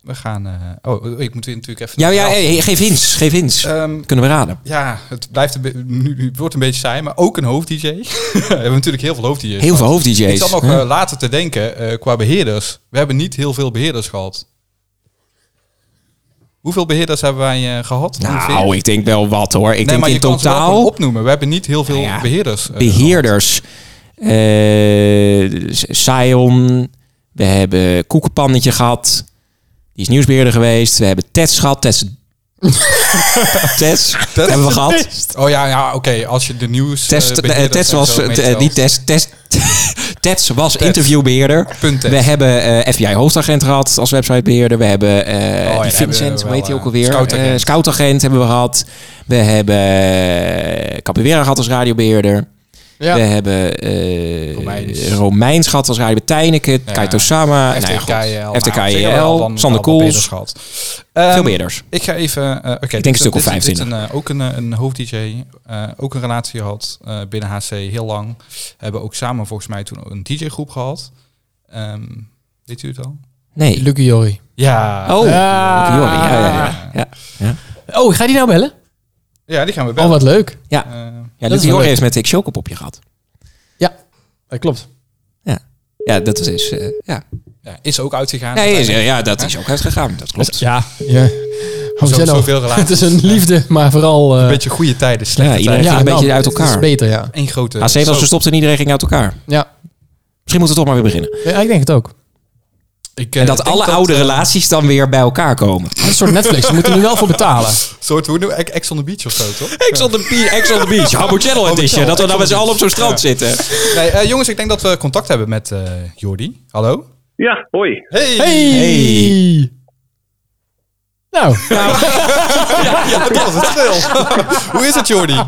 S8: we gaan... eh, oh, ik moet weer natuurlijk even...
S7: Ja, ja, hey, geef hints. Geef hints.
S8: Ehm,
S7: Kunnen we raden.
S8: ja, het blijft een be- nu nu wordt een beetje saai, maar ook een hoofd-dj. we hebben natuurlijk heel veel hoofd-dj's.
S7: Heel veel Hm?
S8: Ik
S7: hoofd-dj's.
S8: zat nog
S7: hè?
S8: eh, later te denken eh, qua beheerders. We hebben niet heel veel beheerders gehad. Hoeveel beheerders hebben wij eh, gehad?
S7: Nou,
S8: ongeveer?
S7: ik denk wel wat hoor. Ik
S8: nee,
S7: denk
S8: maar
S7: in
S8: je kan ze wel
S7: totaal
S8: gewoon eh, opnoemen. We hebben niet heel veel
S7: Nou ja,
S8: beheerders. eh,
S7: beheerders. eh, S- Sion. We hebben Koekenpannetje gehad. Die is nieuwsbeheerder geweest. We hebben Tets gehad. Tets. Tets hebben we gehad.
S8: gehad. Oh ja, ja oké. Als je de nieuws...
S7: Tets,
S8: eh,
S7: eh,
S8: beheerders
S7: Tets
S8: en
S7: was,
S8: zo
S7: eh,
S8: meetelt.
S7: niet Tets, Tets, Tets was interviewbeheerder.
S8: Punt Tets.
S7: We hebben eh, FBI hoofdagent gehad als websitebeheerder. We hebben eh,
S8: daar
S7: die
S8: Oh hebben we
S7: Vincent, hoe
S8: wel,
S7: heet hij ook
S8: eh,
S7: alweer?
S8: scoutagent.
S7: Eh, scoutagent hebben we gehad. We hebben eh, Capoeira gehad als radiobeheerder.
S6: Ja.
S7: We hebben eh
S8: Romeins.
S7: Romeins. gehad als Radio Tijneke,
S8: Ja.
S7: Kaito Sama,
S8: FTKL. Nou, op zich hebben we wel
S7: FTKL,
S8: dan
S7: E Sander
S8: wel wat
S7: Koels.
S8: beheerders gehad. Ehm,
S7: Veel beheerders.
S8: Ik ga even... eh, Oké,
S7: denk een stuk of
S8: vijf
S7: 25.
S8: ook een, eh, een hoofd-dj, eh, ook een relatie gehad eh, binnen HC, heel lang. Hebben ook samen volgens mij toen ook een dj-groep gehad. Ehm, weet u het al?
S7: Nee.
S6: Lucky Jory.
S8: Ja.
S7: Oh,
S6: Ja.
S7: Lucky Jordi, ja, ja, ja. ja.
S6: Oh, ga je die nou bellen?
S8: Ja, die gaan we
S6: Oh,
S8: bellen.
S6: wat leuk.
S8: Eh,
S7: ja
S6: wel
S7: Lucky Jordi
S6: leuk.
S7: heeft met ik Chocopopje gehad.
S6: Dat klopt.
S7: Ja, dat is... is eh, ja.
S8: ja, is ook uitgegaan.
S7: Nee, is- ja, dat is ook uitgegaan. Dat klopt.
S6: Ja. ja.
S8: Zo-
S6: Jenno,
S8: zoveel relaties.
S6: Het is een liefde, maar vooral... eh,
S8: Een beetje goede tijden,
S7: Ja,
S8: slechte
S7: iedereen
S8: tijden.
S7: ging
S6: Ja,
S7: een
S6: nou,
S7: beetje uit
S6: het is
S7: elkaar.
S6: beter, ja.
S8: Eén grote...
S7: AC was dus-
S8: Zo.
S7: verstopt en iedereen ging uit elkaar.
S6: Ja,
S7: Misschien moeten we toch maar weer beginnen.
S6: ja ik denk het ook.
S8: Ik, eh,
S7: En dat
S8: denk
S7: alle oude
S8: eh,
S7: relaties dan weer bij elkaar komen.
S6: Een soort Netflix, we moeten er nu wel voor betalen.
S8: Een soort, hoe noem ik, Ex on the Beach of zo, toch?
S7: Ex on the Beach, Ex on the Beach, Habbo Channel Edition. Dat we dan met z'n allen op zo'n strand zitten.
S8: Nee, eh, jongens, ik denk dat we contact hebben met eh Jordi. Hallo?
S9: Ja, hoi.
S8: Hey!
S6: Hey!
S7: Hey.
S6: Nou,
S8: Wat was het stil? Hoe is het, Jordi? Nou,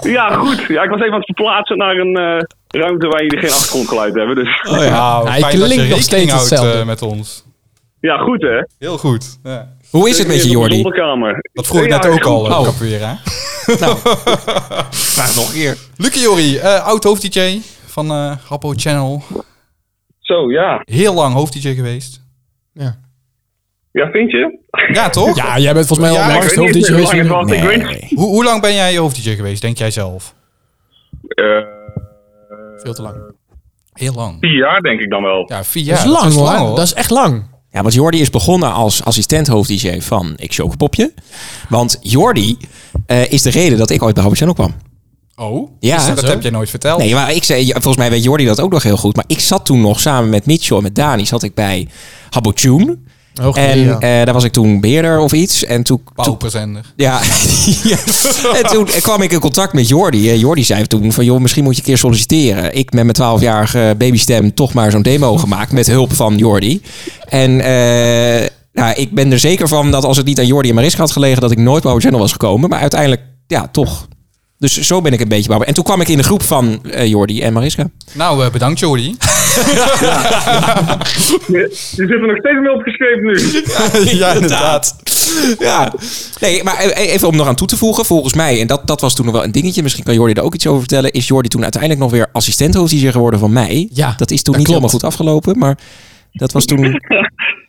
S9: Ja, goed. Ja, ik was even aan het verplaatsen naar een eh, ruimte waar jullie geen achtergrondgeluid hebben. Dus.
S8: Nou,
S6: Hij
S8: fijn
S6: klinkt
S8: dat je
S6: nog
S8: rekening
S6: steeds
S8: houdt,
S6: hetzelfde.
S8: eh, met ons.
S9: Ja, goed hè?
S8: Heel goed. Ja.
S7: Hoe is het met je, Jordi?
S9: Zolderkamer.
S8: Dat vroeg ik net ook al,
S9: oh.
S8: eh, capoeira.
S7: Vraag nog een keer.
S8: Lucky Jori, eh oud hoofd-dj van eh Happo Channel.
S9: Zo, ja.
S8: Heel lang hoofd-dj geweest.
S9: Ja, vind je?
S8: Ja, toch?
S6: Ja, jij bent volgens mij al de
S8: Ja, ik
S6: langste
S9: weet niet
S6: hoofd-dj
S9: hoe
S6: geweest.
S9: lang het was.
S6: die-
S9: Ik weet niet.
S8: Hoe, hoe lang ben jij hoofd-dj geweest, denk jij zelf?
S9: Eh,
S6: Veel te lang.
S8: Heel lang.
S9: vier jaar denk ik dan wel.
S8: Ja, vier
S6: Dat
S8: jaar.
S6: is lang
S8: lang,
S6: hoor. Dat is echt lang.
S7: Ja, want Jordi is begonnen als assistent hoofd-DJ van Ik Show Popje. Want Jordi eh, is de reden dat ik ooit bij Habo Channel kwam.
S8: Oh,
S7: Ja,
S8: ja, dat
S7: zo.
S8: heb jij nooit verteld.
S7: Nee, maar ik zei, ja, volgens mij weet Jordi dat ook nog heel goed. Maar ik zat toen nog samen met Mitchell en met Dani zat ik bij Habbo Tune.
S6: Hoog
S7: En
S6: ja.
S7: eh, daar was ik toen beheerder of iets. En toen, toen-
S8: Pauperzender.
S7: ja, ja. en toen kwam ik in contact met Jordi. En Jordi zei toen van, joh, misschien moet je een keer solliciteren. Ik met mijn 12-jarige babystem toch maar zo'n demo gemaakt met hulp van Jordi. En eh, nou, ik ben er zeker van dat als het niet aan Jordi en Mariska had gelegen, dat ik nooit bij Howard Channel was gekomen. Maar uiteindelijk, ja, toch. Dus zo ben ik een beetje bij. En toen kwam ik in de groep van eh, Jordi en Mariska.
S8: Nou, eh, bedankt Jordi.
S9: Je, je zit er nog steeds mee opgeschreven nu.
S7: ja, inderdaad. Ja. Nee, maar e- even om nog aan toe te voegen. Volgens mij, en dat, dat was toen nog wel een dingetje. Misschien kan Jordi er ook iets over vertellen. Is Jordi toen uiteindelijk nog weer assistent hoofddiger geworden van mij?
S6: Ja,
S7: Dat is toen
S6: dat
S7: niet
S6: klopt.
S7: helemaal goed afgelopen, maar dat was toen...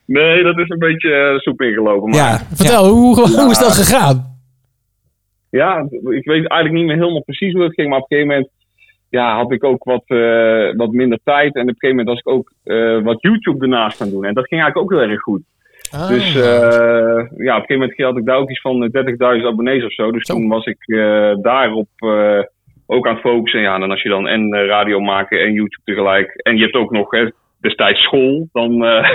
S9: Nee, dat is een beetje eh, soep ingelopen. Maar ja.
S7: ja, ja.
S6: Vertel, hoe, hoe is dat gegaan?
S9: ik weet eigenlijk niet meer helemaal precies hoe het ging. Maar op een gegeven moment ja, had ik ook wat, eh, wat minder tijd. En op een gegeven moment was ik ook eh, wat YouTube ernaast gaan doen. En dat ging eigenlijk ook heel erg goed. Dus
S6: Oh. Ah.
S9: eh, ja, op een gegeven moment had ik daar ook iets van eh, 30.000 abonnees of zo. Dus toen was ik eh, daarop eh, ook aan het focussen. Ja, en dan als je dan en eh, radio maken en YouTube tegelijk. En je hebt ook nog hè, destijds school. Dan, eh,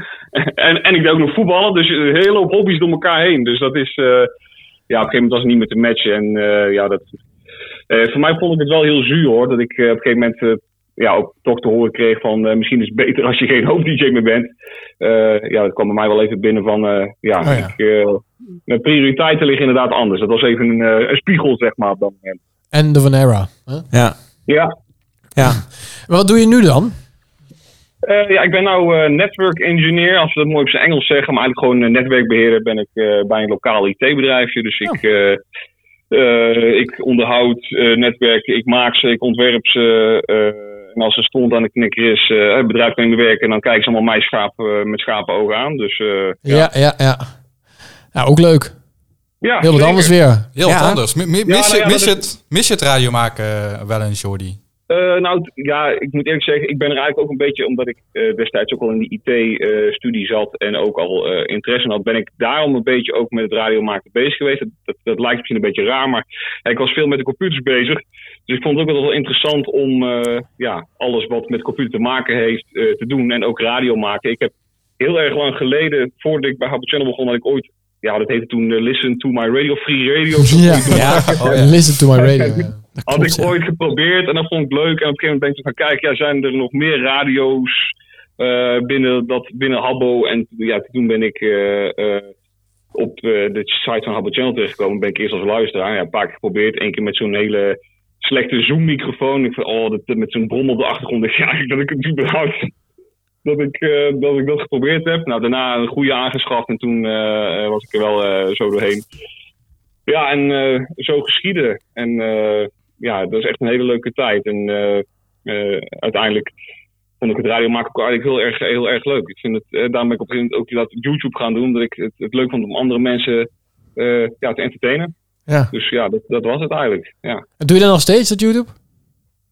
S9: en, en ik deed ook nog voetballen. Dus een hele hoop hobby's door elkaar heen. Dus dat is... eh, ja, op een gegeven moment was het niet meer te matchen. En eh, ja, dat... eh, voor mij vond ik het wel heel zuur hoor. Dat ik eh, op een gegeven moment... eh, ja, ook toch te horen kreeg van eh, misschien is het beter als je geen hoofd-DJ meer bent. Eh, ja, dat kwam bij mij wel even binnen van, eh, ja,
S6: ja.
S9: Ik, eh, mijn prioriteiten liggen inderdaad anders. Dat was even een, eh, een spiegel, zeg maar, op dat moment.
S6: En de Vanera. Huh?
S7: Ja.
S9: Ja,
S6: Maar wat doe je nu dan?
S9: Eh, ja ik ben nou eh, network engineer, als we dat mooi op zijn Engels zeggen. Maar eigenlijk gewoon eh, netwerkbeheerder ben ik eh, bij een lokaal IT-bedrijfje. Dus ik, eh, eh, ik onderhoud eh, netwerken, ik maak ze, ik ontwerp ze. eh, en als er stond aan de knikker is, eh, het bedrijf kan in de werken. En dan kijken ze allemaal mij schaap, eh, met schapenogen aan. Dus eh,
S6: Ja, ja, ja. ja. Nou, ook leuk.
S9: ja,
S6: Heel wat
S9: zeker.
S6: anders weer.
S8: Heel
S7: Ja.
S8: wat anders. Mi- mi-
S9: Ja,
S8: mis,
S9: nou
S8: je,
S9: ja,
S8: mis,
S9: dat
S8: het, mis je het radio maken eh, wel eens, Jordi?
S9: Eh, nou t- ja, ik moet eerlijk zeggen, ik ben er eigenlijk ook een beetje, omdat ik eh, destijds ook al in die IT-studie zat en ook al eh, interesse in had, ben ik daarom een beetje ook met het radiomaken bezig geweest. Dat, dat, dat lijkt misschien een beetje raar, maar ja, ik was veel met de computers bezig. Dus ik vond het ook wel wel interessant om eh, ja, alles wat met computer te maken heeft eh, te doen en ook radio maken. Ik heb heel erg lang geleden, voordat ik bij Habbo Channel begon, had ik ooit, ja dat heette toen eh, Listen to My Radio, Free Radio.
S6: Oh, Ja. Listen to my radio. ja.
S9: Had ik ooit geprobeerd en dat vond ik leuk. En op een gegeven moment ben ik zo van, kijk, ja, zijn er nog meer radio's eh, binnen, dat, binnen Habbo? En ja, toen ben ik eh, eh, op eh, de site van Habbo Channel terechtgekomen. Ben ik eerst als luisteraar, ja, een paar keer geprobeerd. Eén keer met zo'n hele slechte Zoom-microfoon. Ik van, oh, dat, met zo'n brom op de achtergrond. Ik ja, dat ik het überhaupt... Dat ik, eh, dat ik dat geprobeerd heb. Nou, daarna een goede aangeschaft en toen eh, was ik er wel eh, zo doorheen. Ja, en eh, zo geschieden. En eh, ja, dat is echt een hele leuke tijd. En eh, eh, uiteindelijk vond ik het radio maken ook eigenlijk heel erg, heel erg leuk. Ik vind het, eh, daarom ben ik op een gegeven moment ook dat YouTube gaan doen, omdat ik het, het leuk vond om andere mensen eh, ja, te entertainen.
S6: Ja.
S9: Dus ja, dat, dat was het eigenlijk. Ja.
S6: En Doe je dat nog steeds, dat YouTube?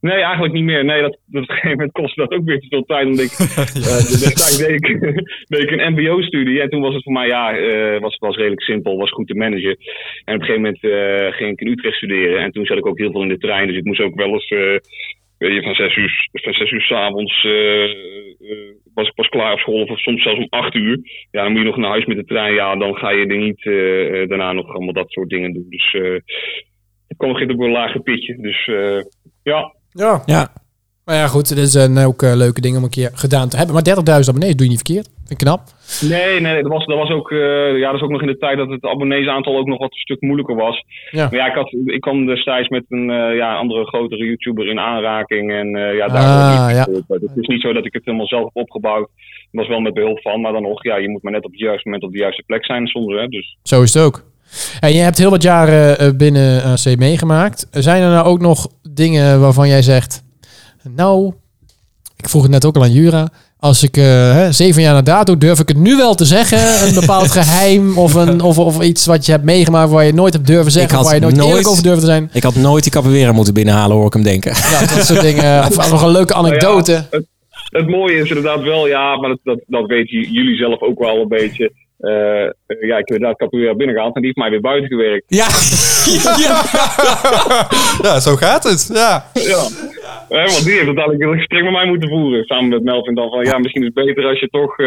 S9: Nee, eigenlijk niet meer. Nee, dat, dat op een gegeven moment kostte dat ook weer te veel tijd. Omdat ik, eh, destijds deed ik, deed ik een MBO-studie. En toen was het voor mij, ja, eh, was, was redelijk simpel, was goed te managen. En op een gegeven moment eh, ging ik in Utrecht studeren. En toen zat ik ook heel veel in de trein. Dus ik moest ook wel eens, eh, weet je, van zes uur, van zes uur s'avonds eh eh, was ik pas klaar op school. Of soms zelfs om acht uur. Ja, dan moet je nog naar huis met de trein. Ja, dan ga je er niet eh, eh, daarna nog allemaal dat soort dingen doen. Dus eh ik kwam geen op een lager pitje. Dus eh, ja.
S6: Ja.
S7: Ja.
S6: nou eh, Maar ja, goed, dit zijn ook eh, leuke dingen om een keer gedaan te hebben. Maar 30.000 abonnees doe je niet verkeerd. Vind ik knap.
S9: Nee, nee, dat was, dat was ook, eh, ja, dat is ook nog in de tijd dat het abonneesaantal ook nog wat een stuk moeilijker was.
S6: Ja.
S9: Maar ja, ik, had, ik kwam destijds met een eh, ja, andere grotere YouTuber in aanraking. En eh, ja,
S6: Ah,
S9: daar
S6: ja.
S9: Het is niet zo dat ik het helemaal zelf heb opgebouwd. Het was wel met behulp van, maar dan nog, ja, je moet maar net op het juiste moment op de juiste plek zijn soms. Hè, dus
S6: Zo is het ook. En je hebt heel wat jaren eh, binnen AC meegemaakt. Zijn er nou ook nog dingen waarvan jij zegt... Nou, ik vroeg het net ook al aan Jura. Als ik eh, hè, zeven jaar na dato durf ik het nu wel te zeggen. Een bepaald geheim of, een, of, of iets wat je hebt meegemaakt... waar je nooit hebt durven zeggen. Waar je nooit, eerlijk over durven te zijn.
S7: Ik had nooit die capoeira moeten binnenhalen, hoor ik hem denken.
S6: Ja, dat soort dingen. Of nog een leuke anekdote.
S9: Nou ja, het, het mooie is inderdaad wel, ja, maar dat, dat, dat weten j- jullie zelf ook wel een beetje. Eh, ja, ik heb inderdaad Capoeira binnengehaald en die heeft mij weer buiten gewerkt.
S7: Ja,
S8: ja zo gaat het. Ja.
S9: Ja. Hè, want die heeft uiteindelijk een gesprek met mij moeten voeren. Samen met Melvin dan van, ja, misschien is het beter als je toch... eh,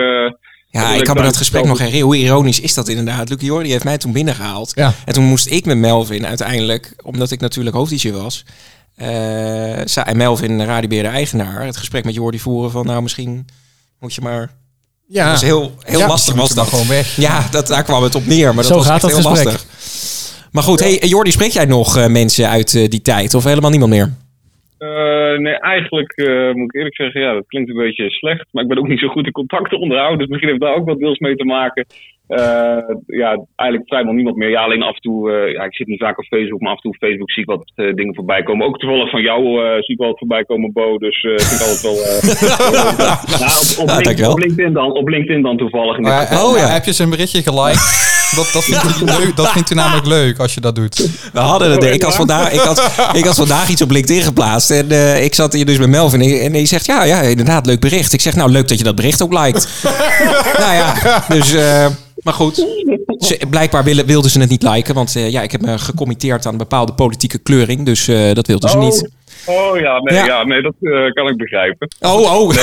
S7: Ja,
S9: dat
S7: ik kan me dat
S9: dan-
S7: gesprek nog herinneren. Hoe ironisch is dat inderdaad? Lucky Jordi heeft mij toen binnengehaald.
S6: Ja.
S7: En toen moest ik met Melvin uiteindelijk, omdat ik natuurlijk hoofddietje was... eh, zei- en Melvin, radiobeer de eigenaar, het gesprek met Jordi voeren van... Nou, misschien moet je maar...
S6: Ja.
S7: Dat was heel, heel
S6: Ah. Ja.
S7: lastig. Was dat.
S8: gewoon weg.
S7: Ja, dat, daar kwam het op neer. Maar dat
S6: Zo
S7: was
S6: gaat
S7: echt
S6: dat
S7: heel
S6: gesprek.
S7: lastig. Maar goed, hey, Jordi, spreek jij nog eh, mensen uit eh, die tijd? Of helemaal niemand meer?
S9: eh, nee, eigenlijk eh, moet ik eerlijk zeggen, ja, dat klinkt een beetje slecht. Maar ik ben ook niet zo goed in contacten onderhouden. Dus misschien heeft daar ook wat deels mee te maken. Eh, ja, eigenlijk vrijwel niemand meer. Ja, alleen af en toe, eh, ja, ik zit niet vaak op Facebook, maar af en toe op Facebook zie ik wat eh, dingen voorbij komen. Ook toevallig van jou eh, zie ik wel wat voorbij komen, Bo. Dus eh, vind ik altijd wel... eh, ja, op, op,
S7: Ja,
S9: LinkedIn,
S7: dankjewel.
S9: op, LinkedIn dan, op LinkedIn dan toevallig. In dit geval.
S7: Oh,
S8: oh
S7: ja.
S8: ja. Heb je zijn berichtje geliked? Dat, dat, vindt hij leuk, dat vindt hij namelijk leuk als je dat doet.
S7: We hadden het. Ik had, vandaag, ik, had, ik had vandaag iets op LinkedIn geplaatst. En eh, ik zat hier dus met Melvin. En, en hij zegt, ja, ja, inderdaad, leuk bericht. Ik zeg, nou, leuk dat je dat bericht ook liked. nou ja, dus... eh, maar goed, ze, blijkbaar willen, wilden ze het niet liken. Want eh, ja, ik heb me gecommitteerd aan een bepaalde politieke kleuring. Dus eh, dat wilden ze niet.
S9: Oh, oh ja, nee,
S7: Ja.
S9: ja. nee dat eh, kan ik begrijpen.
S7: Oh, oh.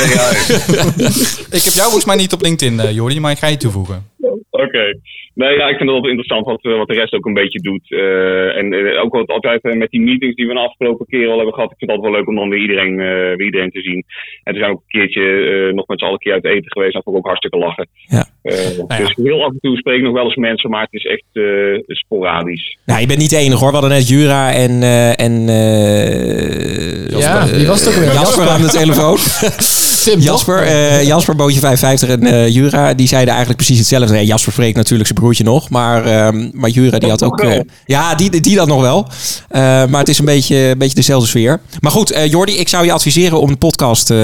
S8: Ik heb jou volgens mij niet op LinkedIn, eh Jordi, maar ik ga je toevoegen.
S9: Oké. Nee, ja, ik vind het altijd interessant wat, eh, wat de rest ook een beetje doet. Eh, en eh, ook wat, altijd eh, met die meetings die we de afgelopen keer al hebben gehad. Ik vind het altijd wel leuk om dan weer iedereen, eh, weer iedereen te zien. En toen zijn we ook een keertje eh, nog met z'n allen een keer uit eten geweest. Dat vond ik ook hartstikke lachen.
S7: Ja.
S9: Eh,
S8: ja.
S9: Dus heel af en toe spreek ik nog wel eens mensen, maar het is echt eh, sporadisch.
S7: Nou, je bent niet de enige hoor. We hadden net Jura en... eh, en eh,
S6: Ja, wie was het ook weer?
S7: Jasper aan de telefoon.
S6: Tim,
S7: Jasper, eh, Jasper Bootje 55 en eh, Jura, die zeiden eigenlijk precies hetzelfde. Nee, Jasper spreekt natuurlijk zijn broertje nog, maar, ehm, maar Jura die had ook... eh, ja, die, die dat nog wel. Eh, maar het is een beetje, een beetje dezelfde sfeer. Maar goed, eh, Jordi, ik zou je adviseren om de podcast eh,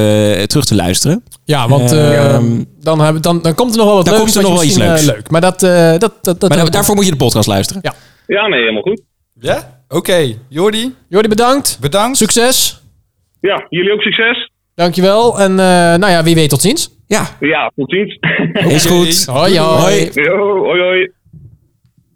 S7: terug te luisteren.
S6: Ja, want eh,
S7: Ehm,
S6: dan, hebben, dan, dan komt er nog wel wat
S7: dan
S6: leuks.
S7: komt er
S6: wat
S7: nog
S6: je
S7: wel iets
S6: misschien,
S7: leuks.
S6: eh, leuk. Maar dat... eh, dat, dat, dat
S7: maar da- daarvoor moet je de podcast luisteren.
S6: Ja.
S9: Ja, nee, helemaal goed.
S8: Ja? Oké, Jordi,
S6: Jordi, bedankt.
S8: bedankt.
S6: Succes.
S9: Ja, jullie ook succes.
S6: Dankjewel. En eh, nou ja, wie weet tot ziens.
S7: Ja,
S9: Ja, tot ziens.
S7: is goed.
S6: Hoi, hoi.
S7: Hoi.
S9: Yo, hoi hoi.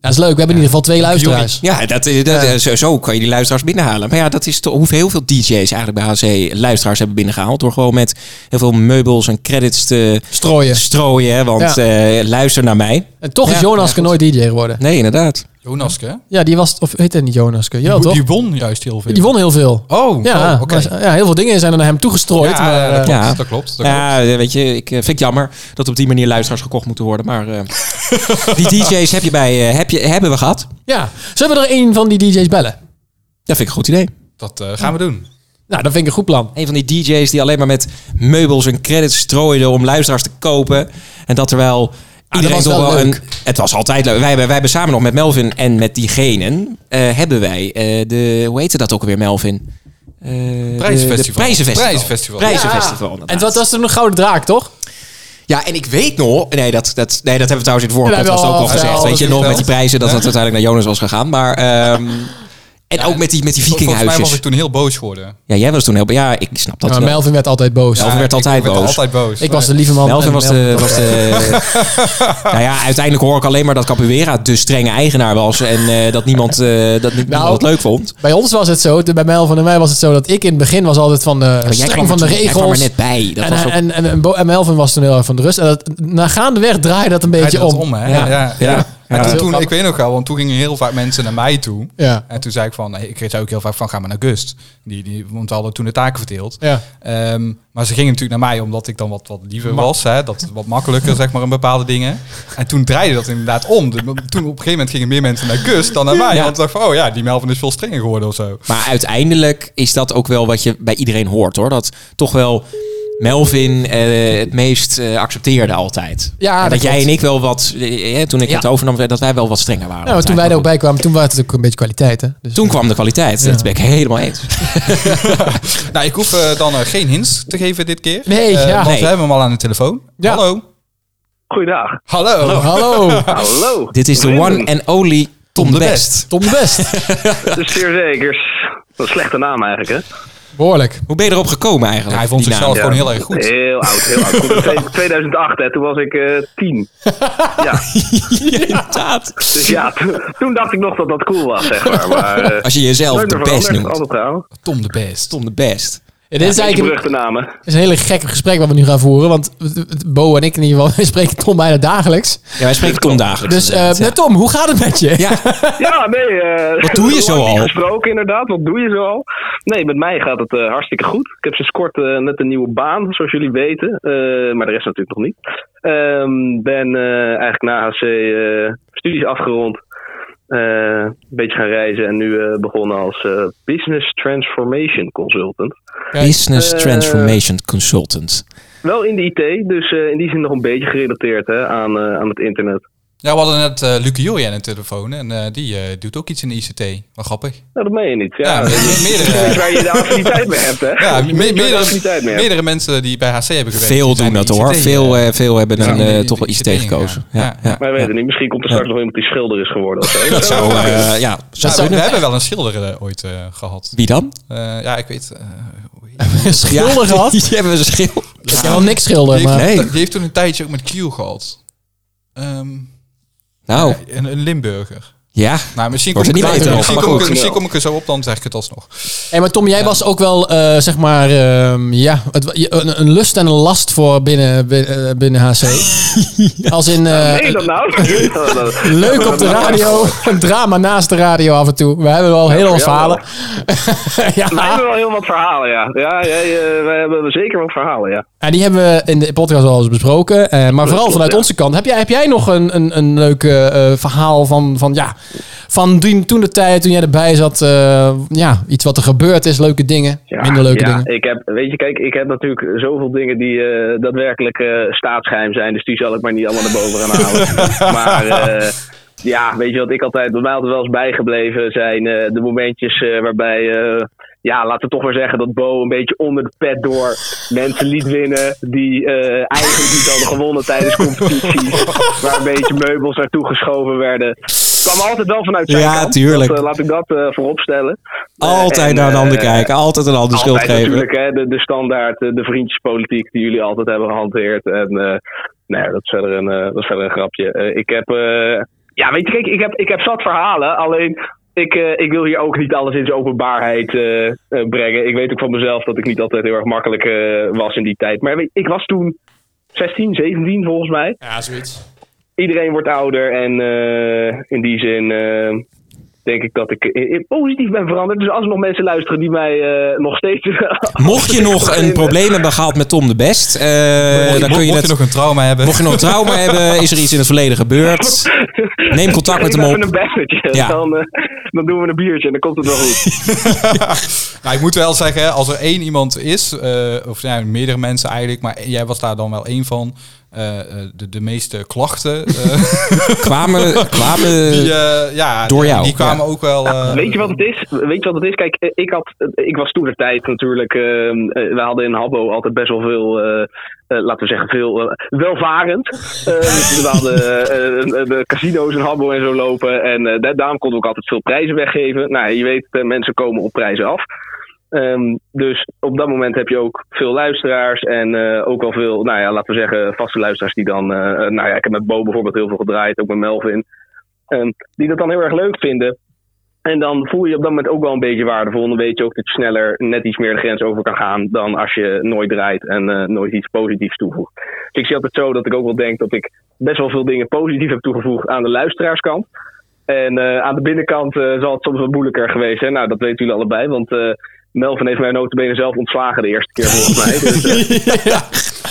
S6: Dat is leuk. We hebben in ieder geval twee luisteraars.
S7: Ja, dat, eh, dat, eh, zo, zo kan je die luisteraars binnenhalen. Maar ja, dat is toch hoeveel heel veel DJ's eigenlijk bij HC luisteraars hebben binnengehaald. Door gewoon met heel veel meubels en credits te
S6: Strooien.
S7: strooien. Hè, want eh, luister naar mij.
S6: En toch is
S7: Ja, ja,
S6: Jonaske
S7: goed.
S6: nooit DJ geworden.
S7: Nee, inderdaad.
S8: Jonaske,
S6: Ja, die was... Of heet hij niet Jonaske? Ja,
S8: die,
S6: toch?
S8: die won juist heel veel.
S6: Die won heel veel.
S8: Oh,
S6: Ja,
S8: oh, oké.
S6: maar- ja, heel veel dingen zijn naar hem toegestrooid.
S8: Ja,
S6: maar, eh,
S8: dat, klopt,
S7: ja.
S8: dat klopt. dat
S7: Ja, weet je, ik eh, vind het jammer dat op die manier luisteraars gekocht moeten worden. Maar eh, die DJ's heb je bij, eh, heb je, hebben we gehad.
S6: ja. Zullen we er een van die DJ's bellen?
S7: Dat vind ik een goed idee.
S8: klopt. Dat eh, gaan we doen.
S6: Nou, dat vind ik een goed plan.
S7: Een van die DJ's die alleen maar met meubels en credits strooiden om luisteraars te kopen. En dat terwijl iedereen
S6: dat was
S7: toch
S6: wel
S7: wel een...
S6: leuk.
S7: Het was altijd leuk. Wij hebben, wij hebben samen nog met Melvin en met diegenen... eh, hebben wij eh, de... Hoe heette dat ook weer, Melvin? Eh, de- de
S8: Prijzenfestival.
S7: Prijzenfestival.
S8: Prijzenfestival.
S7: Prijzenfestival, inderdaad.
S6: En dat was toen een gouden draak, toch?
S7: Ja, en ik weet nog... Nee, dat, dat, nee, dat hebben we trouwens in het vorige
S6: Ja,
S7: podcast ook
S6: wel,
S7: al
S6: wel,
S7: gezegd.
S6: wel,
S7: Weet je
S8: wel.
S7: nog, met die prijzen, dat dat uiteindelijk naar Jonas was gegaan. Maar... ehm, en ook met die, met die
S8: Volgens mij was
S7: vikinghuisjes.
S8: ik toen heel boos geworden.
S7: Ja, jij was toen heel... Ja, ik snap dat
S6: Maar
S7: wel.
S6: Melvin werd altijd boos.
S7: Melvin werd
S8: ik
S7: altijd
S8: werd
S7: boos.
S8: altijd boos.
S6: Ik was de lieve man.
S7: Melvin
S6: en
S7: was de... Was de nou ja, uiteindelijk hoor ik alleen maar dat Capoeira de strenge eigenaar was. En eh, dat niemand, eh, dat
S6: Nou,
S7: ni- niemand het leuk vond.
S6: Bij ons was het zo, bij Melvin en mij was het zo dat ik in het begin was altijd van de
S7: Maar Oh, jij
S6: streng
S7: kwam
S6: van de
S7: er toen- Jij kwam er
S6: regels.
S7: net bij. Dat
S6: En,
S7: was ook,
S6: en, en, en Bo- en Melvin was toen heel erg van de rust. En dat, na gaandeweg draaide dat een
S8: Hij
S6: beetje
S8: deed het
S6: om.
S8: om, hè?
S7: Ja.
S8: Ja, ja,
S7: Ja.
S8: ja. En
S6: Ja.
S8: toen,
S6: Heel
S8: toen, ik
S6: grappig.
S8: weet nog wel, want toen gingen heel vaak mensen naar mij toe.
S6: Ja.
S8: En toen zei ik van, ik kreeg ook heel vaak van, ga maar naar Gust. Die, die, want we hadden toen de taken verdeeld.
S6: Ja.
S8: Ehm, maar ze gingen natuurlijk naar mij omdat ik dan wat, wat liever
S6: Ma-
S8: was. Hè, dat wat makkelijker, zeg maar, in bepaalde dingen. En toen draaide dat inderdaad om. De- toen op een gegeven moment gingen meer mensen naar Gust dan naar mij.
S7: Ja.
S8: Want ik dacht van, oh ja, die Melvin is veel strenger geworden of zo.
S7: Maar uiteindelijk is dat ook wel wat je bij iedereen hoort hoor. Dat toch wel Melvin eh, het meest eh, accepteerde altijd.
S6: Ja,
S7: En dat,
S6: dat
S7: jij
S6: klopt.
S7: en ik wel wat, eh, eh, toen ik
S6: Ja.
S7: het overnam, dat wij wel wat strenger waren.
S6: Nou, maar toen wij er ook bij kwamen, toen was het ook een beetje kwaliteit. Hè? Dus
S7: Toen kwam de kwaliteit. Dat ben ik helemaal eens.
S8: nou, ik hoef eh, dan eh, geen hints te geven dit keer.
S6: Nee,
S8: Eh,
S6: ja.
S8: Want
S6: Nee.
S8: we hebben hem al aan de telefoon. Hallo.
S9: Goeiedag.
S8: Hallo.
S6: Hallo.
S9: Hallo.
S7: Dit is de one and only Tom, de Best.
S6: Tom de Best.
S9: Zeer zekers. Dat is een slechte naam eigenlijk, hè?
S6: Behoorlijk.
S7: Hoe ben je erop gekomen eigenlijk?
S8: hij vond
S7: die
S8: zichzelf
S7: naam.
S8: gewoon heel erg goed.
S9: Heel oud, heel oud. Komt uit 2008, hè? Toen was ik eh, tien. Ja.
S7: Inderdaad.
S9: Dus ja, toen- toen dacht ik nog dat dat cool was, zeg maar. maar eh,
S7: Als je jezelf
S9: nooit
S7: de
S9: meer
S7: best
S9: veranderd,
S7: noemt.
S9: Altijd trouw.
S8: Tom de Best.
S7: Tom de Best.
S6: Ja, dit is
S9: Die
S6: eigenlijk een,
S9: beruchte namen.
S6: is een hele gek gesprek wat we nu gaan voeren. Want Bo en ik in ieder geval, wij spreken Tom bijna dagelijks.
S7: Ja, wij spreken Tom dagelijks.
S6: Dus eh,
S7: inderdaad, ja.
S6: Tom, hoe gaat het met je?
S7: Ja,
S9: Ja, nee. eh,
S7: Wat doe je zo
S9: lang niet
S7: al?
S9: gesproken inderdaad. Wat doe je zo al? Nee, met mij gaat het eh, hartstikke goed. Ik heb sinds kort eh, net een nieuwe baan, zoals jullie weten. Eh, maar de rest natuurlijk nog niet. Ehm, ben eh, eigenlijk na HC eh, studies afgerond. Eh, een beetje gaan reizen en nu eh, begonnen als eh, business transformation consultant.
S7: Business
S9: Eh,
S7: Transformation Consultant.
S9: Wel in de IT, dus eh, in die zin nog een beetje gerelateerd hè, aan, eh, aan het internet.
S8: Ja, we hadden net eh Luc Jury aan de telefoon en eh, die eh, doet ook iets in de ICT. Wat grappig.
S9: Nou, dat meen je niet. Ja,
S8: Ja,
S9: dat is
S8: me-
S9: iets
S8: meerdere,
S9: waar je de affiniteit mee hebt, hè?
S8: ja, me-
S9: Je moet er de
S8: meerdere,
S9: affiniteit mee hebben.
S8: meerdere mensen die bij HC hebben gewerkt.
S7: Veel
S8: die zijn
S7: doen dat
S8: in
S7: hoor.
S8: ICT,
S7: Veel,
S8: eh,
S7: eh, veel hebben
S8: zijn
S7: dan
S8: in
S7: eh,
S8: de
S7: toch wel iets
S8: ICT
S7: tegengekozen.
S8: ingegaan.
S7: Ja,
S8: Ja,
S7: ja.
S9: Wij weten niet, misschien komt er straks nog iemand die schilder is geworden. Of zo.
S7: Dat zou, eh, ja,
S8: Ja,
S7: zou
S8: we, we
S7: kunnen.
S8: hebben wel een schilder eh, ooit eh, gehad.
S7: Wie dan?
S8: Eh, ja, ik weet. eh, hoe heet
S6: Schilder gehad?
S7: Die hebben we een schil.
S6: Ik heb wel niks schilderen,
S8: die,
S6: maar...
S8: heeft,
S7: Nee.
S8: die heeft toen een tijdje ook met Q gehad. Ehm,
S7: Nou,
S8: een, een Limburger.
S7: ja.
S8: Nou, misschien kom
S7: Wordt
S8: ik,
S7: er niet beter op,
S8: misschien
S7: maar
S8: kom ik-
S7: goed.
S8: misschien kom ik er zo op, dan zeg ik het alsnog.
S6: Hey, maar Tom, jij was ook wel, eh, zeg maar, ehm, ja, het wa- je- een, een lust en een last voor binnen, bin- eh, binnen HC. Als in eh,
S9: Meen je dat nou?
S6: leuk op de radio, een drama naast de radio af en toe. We hebben wel heel wat
S9: ja,
S6: verhalen.
S9: Wij hebben
S6: ja,
S9: wel heel wat verhalen, ja. Ja, eh, ja, ja, wij hebben zeker wat verhalen, ja.
S6: Ah, en die hebben we in de podcast al eens besproken. eh, maar vooral
S9: klopt,
S6: vanuit
S9: ja.
S6: onze kant. Heb jij, heb jij nog een, een, een leuk eh, eh, verhaal van, van, ja, van die- toen de tijd, toen jij erbij zat. eh, ja, iets wat er gebeurd is, leuke dingen,
S9: Ja,
S6: minder leuke
S9: ja,
S6: dingen.
S9: Ik heb, weet je, kijk, ik heb natuurlijk zoveel dingen die eh, daadwerkelijk eh, staatsgeheim zijn. Dus die zal ik maar niet allemaal naar boven gaan halen. maar eh, ja, weet je wat ik altijd, bij mij altijd wel eens bijgebleven zijn eh, de momentjes eh, waarbij... eh, ja, laten we toch maar zeggen dat Bo een beetje onder de pet door mensen liet winnen. die eh, eigenlijk niet hadden gewonnen tijdens competities. waar een beetje meubels naartoe geschoven werden. Het kwam altijd wel vanuit zijn
S7: Ja,
S9: kant.
S7: tuurlijk.
S9: Dat, eh, laat ik dat eh voorop stellen. Eh,
S7: Altijd
S9: en,
S7: naar de ander
S9: eh,
S7: kijken. Altijd een ander schuld
S9: altijd
S7: geven.
S9: natuurlijk, hè, de, de standaard, eh, de vriendjespolitiek die jullie altijd hebben gehanteerd. En eh, nou ja, dat is verder een, eh, dat is verder een grapje. Eh, ik heb, eh, ja, weet je, kijk, ik heb, ik heb zat verhalen, alleen ik, eh, ik wil hier ook niet alles in zijn openbaarheid eh, eh, brengen. Ik weet ook van mezelf dat ik niet altijd heel erg makkelijk eh, was in die tijd. Maar weet- ik was toen 16, 17 volgens mij
S6: Ja, zoiets.
S9: iedereen wordt ouder en eh, in die zin eh, denk ik dat ik eh, eh, positief ben veranderd. Dus als er nog mensen luisteren die mij eh, nog steeds...
S7: Mocht je nog een probleem hebben gehad met Tom de Best, eh, dan kun je
S8: mocht
S7: het.
S8: je nog een trauma hebben.
S7: Mocht je nog een trauma hebben, is er iets in het verleden gebeurd? Neem contact met hem
S9: Even een
S7: op.
S9: belletje.
S7: Ja.
S9: Dan, eh, dan doen we een biertje en dan komt het wel goed.
S8: Nou, ik moet wel zeggen, als er één iemand is, eh, of nou, meerdere mensen eigenlijk, maar jij was daar dan wel één van. eh, eh, de, de meeste klachten. eh,
S7: Kwamen, kwamen
S8: die, eh, ja,
S7: door
S8: die-
S7: jou,
S8: Die kwamen ook wel. eh,
S9: Weet je wat het is? Weet je wat het is? Kijk, eh, ik, had, eh, ik was toen de tijd natuurlijk... eh, eh, we hadden in Habbo altijd best wel veel... eh, eh, laten we zeggen, veel eh, welvarend. Eh, we hadden eh, eh, de casino's in Hamburg en zo lopen. En eh, da- daarom konden we ook altijd veel prijzen weggeven. Nou, je weet, eh, mensen komen op prijzen af. Ehm, dus op dat moment heb je ook veel luisteraars. En eh, ook al veel, nou ja, laten we zeggen, vaste luisteraars die dan. eh, eh, nou ja, ik heb met Bo bijvoorbeeld heel veel gedraaid, ook met Melvin. Ehm, die dat dan heel erg leuk vinden. En dan voel je je op dat moment ook wel een beetje waardevol. En dan weet je ook dat je sneller net iets meer de grens over kan gaan dan als je nooit draait en eh, nooit iets positiefs toevoegt. Dus ik zie altijd zo dat ik ook wel denk dat ik best wel veel dingen positief heb toegevoegd aan de luisteraarskant. En eh, aan de binnenkant eh, zal het soms wat moeilijker geweest zijn. Nou, dat weten jullie allebei, want eh, Melvin heeft mij notabene zelf ontslagen de eerste keer volgens mij. Dus, eh,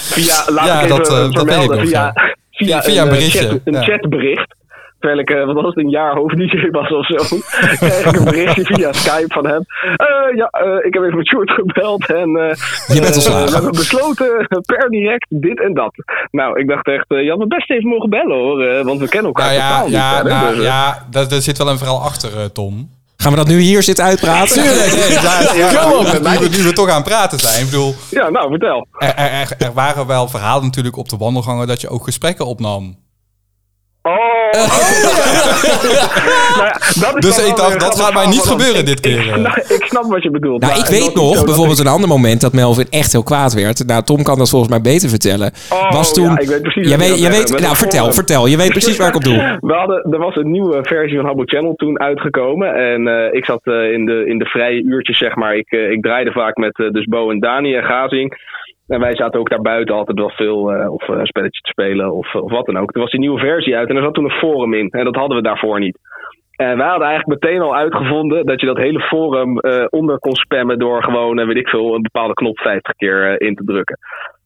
S9: Via, laat
S8: Ja,
S9: ik even
S8: dat, eh, dat
S9: vermelden,
S8: weet ik nog,
S9: via,
S8: ja.
S9: via,
S8: Ja, via
S9: een,
S8: een
S9: eh,
S8: berichtje,
S9: chat- een
S8: ja.
S9: chatbericht. Terwijl ik, eh, wat was het, een jaar hoofd-DJ was of zo. kreeg ik een berichtje via Skype van hem. Eh, ja, eh, ik heb even met Sjoerd gebeld en... eh,
S7: Je bent
S9: eh,
S7: ontslagen.
S9: we hebben besloten per direct dit en dat. Nou, ik dacht echt, eh, je had me best even mogen bellen hoor. eh, want we kennen elkaar
S8: Nou ja,
S9: totaal
S8: ja,
S9: niet. verder,
S8: nou,
S9: dus, eh.
S8: ja daar, daar zit wel een verhaal achter, eh, Tom.
S7: Gaan we dat nu hier zitten uitpraten?
S8: Tuurlijk, nee, ja, ja,
S7: Kom
S8: nu-
S7: op.
S8: nu we- Nu we toch aan het praten zijn. Ik bedoel,
S9: Ja, nou, vertel.
S8: er, er, er- er waren wel verhalen natuurlijk op de wandelgangen dat je ook gesprekken opnam.
S9: Nou ja, Oh. dat is
S8: Dus
S9: dan wel
S8: ik
S9: weer
S8: dacht, dat
S9: grappig
S8: gaat mij niet
S9: verhaal, want
S8: gebeuren
S9: ik-
S8: dit keer. eh.
S9: Nou, ik snap wat je bedoelt.
S7: Nou,
S9: maar
S7: ik
S9: dat
S7: weet
S9: is zo
S7: nog,
S9: dat
S7: bijvoorbeeld een ander moment dat Melvin echt heel kwaad werd. Nou, Tom kan dat volgens mij beter vertellen. was toen,
S9: Oh, ja, ik weet precies
S7: Jij
S9: wat je
S7: weet,
S9: gaat
S7: jij
S9: zeggen.
S7: weet,
S9: Met
S7: nou,
S9: een
S7: vertel,
S9: forum.
S7: vertel. Je weet precies waar ik op doe.
S9: We hadden, er was een nieuwe versie van Habbo Channel toen uitgekomen. En eh, ik zat eh, in, de, in de vrije uurtjes, zeg maar. Ik, eh, ik draaide vaak met eh, dus Bo en Dani en Gazing. En wij zaten ook daar buiten altijd wel veel eh, of eh, een spelletje te spelen of, of wat dan ook. Er was die nieuwe versie uit en er zat toen een forum in. En dat hadden we daarvoor niet. En wij hadden eigenlijk meteen al uitgevonden dat je dat hele forum eh, onder kon spammen door gewoon, eh, weet ik veel, een bepaalde knop 50 keer eh, in te drukken.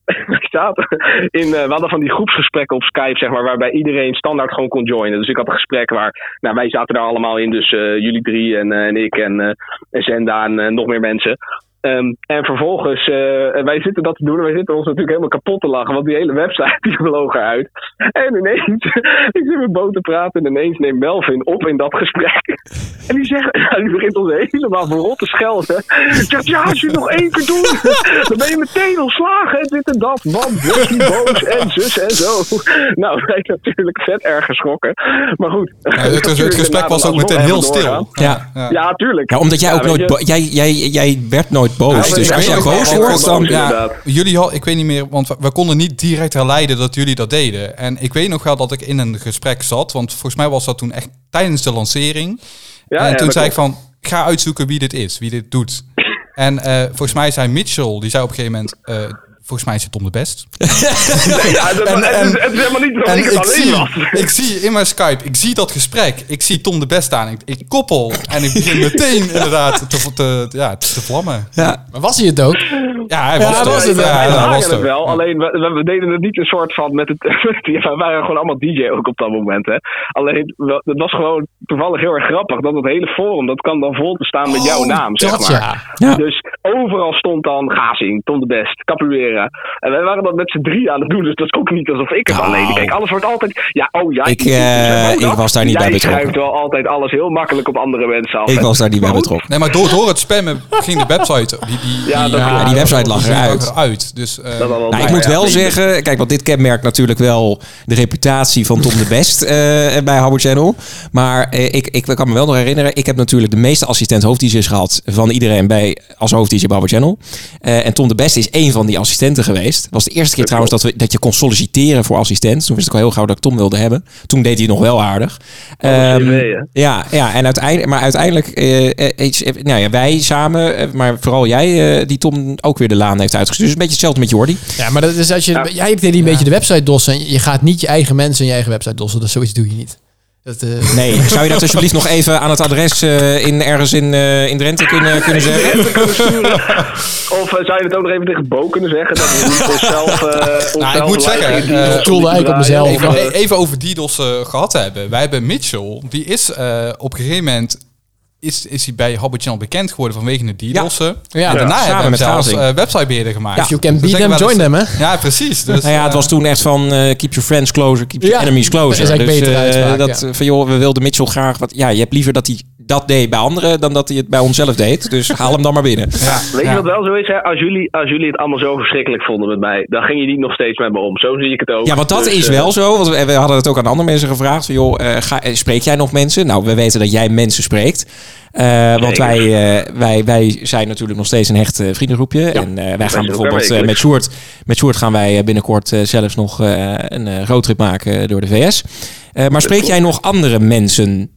S9: Ik zaten in, eh, we hadden van die groepsgesprekken op Skype, zeg maar, waarbij iedereen standaard gewoon kon joinen. Dus ik had een gesprek waar, nou, wij zaten daar allemaal in, dus eh, jullie drie en, eh, en ik en, eh, en Zenda en eh, nog meer mensen. Ehm, en vervolgens, eh, wij zitten dat te doen en wij zitten ons natuurlijk helemaal kapot te lachen, want die hele website die vloog eruit. En ineens, ik zit met Bo te praten en ineens neemt Melvin op in dat gesprek. En die zegt, ja, die begint ons helemaal verrot te schelden. Ik zeg, ja, als je het nog één keer doet, dan ben je meteen ontslagen en dit en dat. Want je is niet boos en zus en zo. Nou, wij natuurlijk vet erg geschrokken. Maar goed.
S8: het- het gesprek was ook meteen heel stil.
S7: Ja.
S9: Ja, tuurlijk.
S7: Ja, omdat jij
S9: Ja,
S7: ook
S9: weet
S7: nooit...
S9: je.
S7: bo- Jij, jij, jij werd nooit boos.
S8: Ja,
S7: dus
S8: ik
S7: als
S8: weet
S7: jij
S8: nog
S7: boos
S8: wel,
S7: wordt, dan...
S8: ja,
S9: inderdaad.
S8: jullie al, ik weet niet meer, want we, we konden niet direct herleiden dat jullie dat deden. En ik weet nog wel dat ik in een gesprek zat, want volgens mij was dat toen echt tijdens de lancering.
S9: Ja,
S8: en
S9: ja,
S8: toen
S9: dat
S8: zei ik
S9: klopt.
S8: van, ga uitzoeken wie dit is, wie dit doet. En eh, volgens mij zei Mitchell, die zei op een gegeven moment, eh, volgens mij is het Tom de Best.
S9: Ja, dat,
S8: En-
S9: het, is,
S8: en-
S9: het is helemaal niet dat
S8: En
S9: ik het
S8: ik
S9: alleen
S8: zie,
S9: was.
S8: ik zie in mijn Skype, ik zie dat gesprek. Ik zie Tom de Best aan. Ik, ik koppel en ik begin meteen inderdaad te, te, ja, te vlammen.
S7: Ja.
S6: Maar was hij het ook?
S8: Ja, hij was,
S6: Ja,
S8: toch.
S6: was het wel.
S8: Ja,
S9: wij
S8: dat
S9: waren
S8: was
S9: het
S8: toch.
S9: wel, alleen we, we- we deden het niet een soort van met het. ja, we waren gewoon allemaal DJ ook op dat moment. Hè. Alleen we- het was gewoon toevallig heel erg grappig dat het hele forum dat kan dan vol te staan met jouw naam, zeg
S6: dat
S9: maar.
S6: ja.
S7: Oh, Ja.
S9: Dus overal stond dan Gazing, Tom de Best, Capoeira. En wij waren dat met z'n drie aan het doen, dus dat is ook niet alsof ik het
S7: Nou.
S9: alleen. Kijk, alles wordt altijd. Ja, oh ja,
S7: Ik, eh,
S9: oh,
S7: ik
S9: dat.
S7: was daar niet
S9: Jij
S7: bij betrokken.
S9: schuift wel altijd alles heel makkelijk op andere mensen af.
S7: Ik
S9: hè.
S7: was daar niet bij
S9: Maar goed,
S7: betrokken.
S8: Nee, maar door, door het spammen ging de website... Die, die,
S9: Ja, nou, dat klopt. Ja,
S7: die website lag eruit.
S8: uit. Dus, eh,
S9: Dat wel wel
S7: Nou, ik
S9: bij,
S7: moet
S9: ja.
S7: wel zeggen, kijk, want dit kenmerkt natuurlijk wel de reputatie van Tom de Best eh, bij Habbo Channel. Maar eh, ik, ik kan me wel nog herinneren, ik heb natuurlijk de meeste assistent hoofddj's gehad van iedereen bij, als hoofddj bij Habbo Channel. Eh, en Tom de Best is één van die assistenten geweest. Het was de eerste keer trouwens dat, we, dat je kon solliciteren voor assistent. Toen wist ik al heel gauw dat ik Tom wilde hebben. Toen deed hij het nog wel aardig. Ehm,
S9: CV, hè?
S7: ja, ja en uiteindelijk, maar uiteindelijk, eh, eh, iets- eh, nou ja, wij samen, eh, maar vooral jij, eh, die Tom ook weer de laan heeft uitgestuurd. Dus een beetje hetzelfde met Jordi.
S6: Ja, maar dat is als je, jij hebt hier een beetje de website dossen. En je gaat niet je eigen mensen in je eigen website dossen. Dus zoiets doe je niet. Dat, eh,
S7: Nee, zou je dat alsjeblieft nog even aan het adres eh, in, ergens in, eh, in Drenthe kunnen, kunnen zeggen?
S9: Of eh, zou je het ook nog even tegen Bo kunnen zeggen? Dat we niet onszelf. eh
S7: Nou,
S9: onszelf
S8: ik moet zeggen,
S9: lijken die
S8: eh,
S9: ons
S8: ik
S6: doelde eigenlijk op mezelf.
S9: draaien?
S8: Even,
S9: Of, eh,
S8: e- even over DDoS eh, gehad hebben. Wij hebben Mitchell, die is eh, op een gegeven moment is, is hij bij Hobbit Channel bekend geworden vanwege de DDoS'en.
S6: Ja. Ja.
S8: En daarna
S7: Samen
S8: hebben we
S7: met
S8: hem zelfs
S7: Gazing.
S8: eh, websitebeheerder gemaakt.
S6: If you can
S8: We
S6: beat
S8: zeggen
S6: them,
S8: wel eens-
S6: join them,
S8: Ja, precies. Dus,
S7: Nou ja, het
S8: eh,
S7: was toen echt van eh, keep your friends closer, keep your
S6: Ja,
S7: enemies closer.
S6: dat is eigenlijk
S7: dus,
S6: betere
S7: eh,
S6: uitspraak,
S7: dat,
S6: ja.
S7: eh, van joh, we wilden Mitchell graag wat. Ja, je hebt liever dat hij dat deed bij anderen dan dat hij het bij onszelf deed. Dus haal hem dan maar binnen.
S8: ja,
S9: Weet
S8: ja.
S9: je wat wel zo is? Hè? Als, jullie, als jullie het allemaal zo verschrikkelijk vonden met mij, dan ging je niet nog steeds met me om. Zo zie ik het ook.
S7: Ja, want dat
S9: Dus,
S7: is
S9: eh,
S7: wel zo. Want we we hadden het ook aan andere mensen gevraagd. Van, joh, eh, ga, eh, spreek jij nog mensen? Nou, we weten dat jij mensen spreekt. Eh, want
S9: Zeker.
S7: wij, eh, wij, wij zijn natuurlijk nog steeds een hecht eh, vriendengroepje. en eh, wij gaan
S9: elkaar
S7: bijvoorbeeld eh, met,
S9: wekelijks.
S7: Sjoerd, met Sjoerd gaan wij eh, binnenkort eh, zelfs nog eh, een eh, roadtrip maken door de VS. Eh, maar spreek jij nog andere mensen?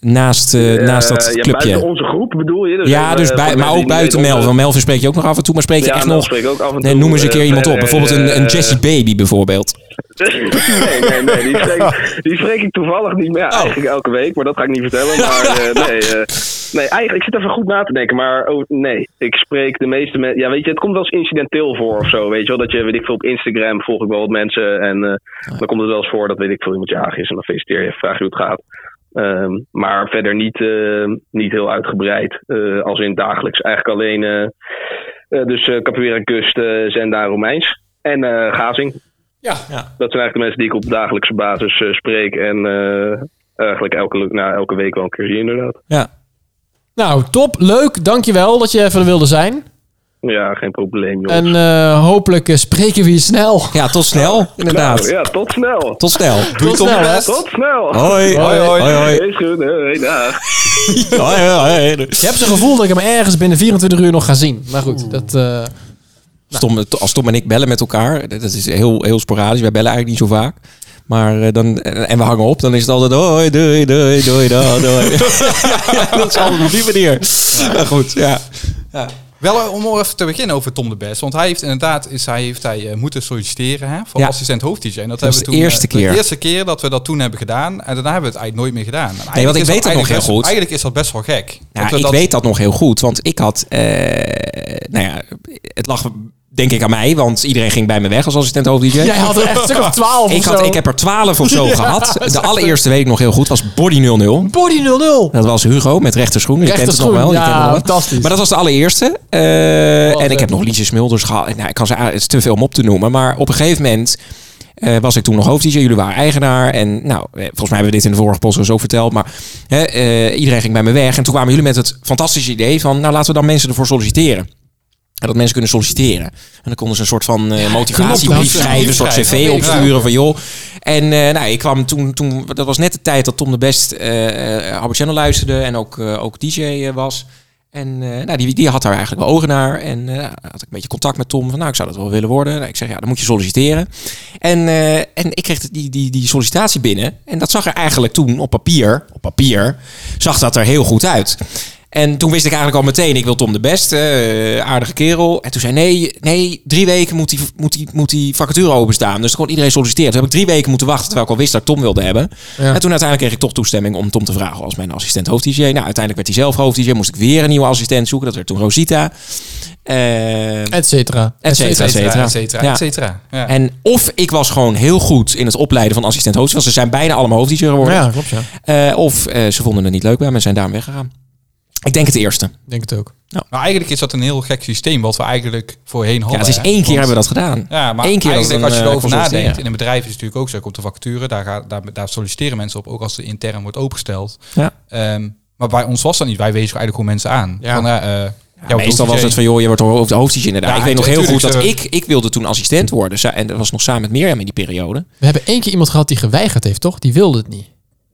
S7: naast, eh, naast dat
S11: ja,
S7: clubje?
S11: Buiten onze groep bedoel je?
S7: ja,
S11: eh,
S7: dus
S11: van
S7: bij, maar
S11: die-
S7: ook buiten
S11: die-
S7: Melvin. Want Melvin spreek je ook nog af en toe, maar spreek je
S11: Ja,
S7: echt
S11: Mel
S7: nog...
S11: spreek ik ook af en
S7: nee,
S11: toe,
S7: noem eens een
S11: eh,
S7: keer iemand op.
S11: eh,
S7: Bijvoorbeeld een, een
S11: eh,
S7: Jessie Baby bijvoorbeeld.
S11: nee, nee, nee. Die spreek, die spreek ik toevallig niet meer. Ja, Eigenlijk elke week, maar dat ga ik niet vertellen. Maar eh, nee, eh, nee, eigenlijk, ik zit even goed na te denken. Maar oh, nee, ik spreek de meeste mensen. Ja, weet je, het komt wel eens incidenteel voor of zo. Weet je wel, dat je, weet ik veel, op Instagram volg ik wel wat mensen. En eh, dan komt het wel eens voor dat, weet ik veel, iemand jarig is. En dan feliciteer je, vraag je hoe het gaat. Ehm, maar verder niet, eh, niet heel uitgebreid, eh, als in dagelijks. Eigenlijk alleen, eh, eh, dus eh Capoeira Kust, eh, Zenda en Romeins. En eh, Gazing. Dat zijn eigenlijk de mensen die ik op dagelijkse basis eh, spreek. En eh, eigenlijk elke, nou, elke week wel een keer zie, inderdaad.
S6: Nou, top. Leuk. Dankjewel dat je even er wilde zijn.
S11: Ja, geen probleem, joh.
S6: En eh, hopelijk eh, spreken we je snel.
S7: Ja, tot snel.
S11: Nou, ja, tot snel.
S7: Tot snel.
S6: Doei, Tom.
S11: snel, hè? Tot snel.
S7: Hoi. Hoi, hoi. Hoi, hoi.
S11: Is goed, hoi, dag.
S6: Je hebt zo'n gevoel dat ik hem ergens binnen 24 uur nog ga zien. Maar goed, dat... eh,
S7: Stom, als Tom en ik bellen met elkaar, dat is heel, heel sporadisch. Wij bellen eigenlijk niet zo vaak. Maar eh, dan, en en we hangen op, dan is het altijd doei, doei, doei, doei, doei, doei. Ja, dat is altijd op die manier. Maar goed, ja.
S8: Ja. Wel eh, om even te beginnen over Tom de Best. Want hij heeft inderdaad is, hij heeft hij, eh, moeten solliciteren hè, voor
S7: Ja.
S8: assistent hoofd-DJ. En dat,
S7: was
S8: hebben we
S7: de
S8: toen, eh,
S7: eerste keer.
S8: De eerste keer dat we dat toen hebben gedaan. En daarna hebben we het eigenlijk nooit meer gedaan. En eigenlijk
S7: want ik
S8: is dat
S7: weet het nog
S8: eigenlijk
S7: heel
S8: best-
S7: goed.
S8: Eigenlijk is dat best wel gek.
S7: Ja,
S8: Dat we
S7: ik
S8: dat-
S7: weet dat nog heel goed, want ik had, eh, nou ja, het lag denk ik aan mij, want iedereen ging bij me weg als assistent hoofd-dj.
S6: Jij had er echt een stuk of 12
S7: ik,
S6: of
S7: had,
S6: zo.
S7: ik heb er 12 of zo
S6: Ja, dat
S7: gehad.
S6: is
S7: De
S6: echt-
S7: allereerste weet ik nog heel goed, was Body 00.
S6: Body 00.
S7: Dat was Hugo met rechterschoenen. Je kent het nog wel.
S6: Rechterschoen,
S7: je kent
S6: ja,
S7: het nog wel.
S6: fantastisch.
S7: Maar dat was de allereerste. Eh, en ik heb nog Liesje Smulders gehad. Nou, ik kan ze, het is te veel om op te noemen. Maar op een gegeven moment eh, was ik toen nog hoofd-DJ. Jullie waren eigenaar. En nou, eh, volgens mij hebben we dit in de vorige podcast ook verteld. Maar hè, eh, iedereen ging bij me weg. En toen kwamen jullie met het fantastische idee van... nou, laten we dan mensen ervoor solliciteren. En dat mensen kunnen solliciteren. En dan konden ze een soort van eh, motivatiebrief
S8: klopt, dat-
S7: schrijven, een soort cv
S8: Ja.
S7: opsturen van joh. En eh, nou, ik kwam toen, toen, dat was net de tijd dat Tom de Best eh eh, Albert Channel luisterde en ook, eh, ook DJ eh, was. En eh, nou, die, die had daar eigenlijk wel ogen naar. En eh, nou, had ik een beetje contact met Tom. Van, nou, ik zou dat wel willen worden. Nou, ik zeg, ja, dan moet je solliciteren. En, eh, en ik kreeg die, die, die sollicitatie binnen. En dat zag er eigenlijk toen op papier, op papier, zag dat er heel goed uit. En toen wist ik eigenlijk al meteen, ik wil Tom de Best, eh, aardige kerel. En toen zei hij, nee, nee, drie weken moet die, moet, die, moet die vacature openstaan. Dus gewoon iedereen solliciteert. Toen heb ik drie weken moeten wachten, terwijl ik al wist dat ik Tom wilde hebben. En toen uiteindelijk kreeg ik toch toestemming om Tom te vragen als mijn assistent hoofd-dj. Nou, uiteindelijk werd hij zelf hoofd-dj, moest ik weer een nieuwe assistent zoeken. Dat werd toen Rosita. Eh,
S6: et cetera.
S7: et cetera, et cetera.
S8: Et cetera,
S7: Ja.
S8: et cetera. Ja.
S7: En of ik was gewoon heel goed in het opleiden van assistent hoofd want ze zijn bijna allemaal hoofd-dj geworden.
S6: Ja, klopt, ja.
S7: Eh, of eh, ze vonden het niet leuk bij me en zijn daarom weggegaan. Ik denk het eerste.
S6: Ik denk het ook.
S8: Maar eigenlijk is dat een heel gek systeem wat we eigenlijk voorheen hadden.
S7: het is
S8: hè?
S7: één keer
S8: Want-
S7: hebben we dat gedaan.
S8: Ja, maar
S7: Eén keer dat
S8: eigenlijk
S7: we
S8: als je
S7: een, eh,
S8: erover
S7: consulteren.
S8: nadenkt, in een bedrijf is het natuurlijk ook zo, komt de vacature, daar, gaat, daar, daar solliciteren mensen op, ook als er intern wordt opengesteld.
S7: Ja.
S8: Ehm, maar bij ons was dat niet, wij wezen eigenlijk gewoon mensen aan.
S7: Ja.
S8: Van, ja, eh, jouw
S7: Meestal
S8: hoofd-
S7: was het van, joh, je wordt hoofd- hoofddienst inderdaad.
S8: Ja,
S7: ik weet nog heel goed
S8: tuurlijk,
S7: dat
S8: ze-
S7: ik, ik wilde toen assistent worden. Sa- En dat was nog samen met Mirjam in die periode.
S6: We hebben één keer iemand gehad die geweigerd heeft, toch? Die wilde het niet.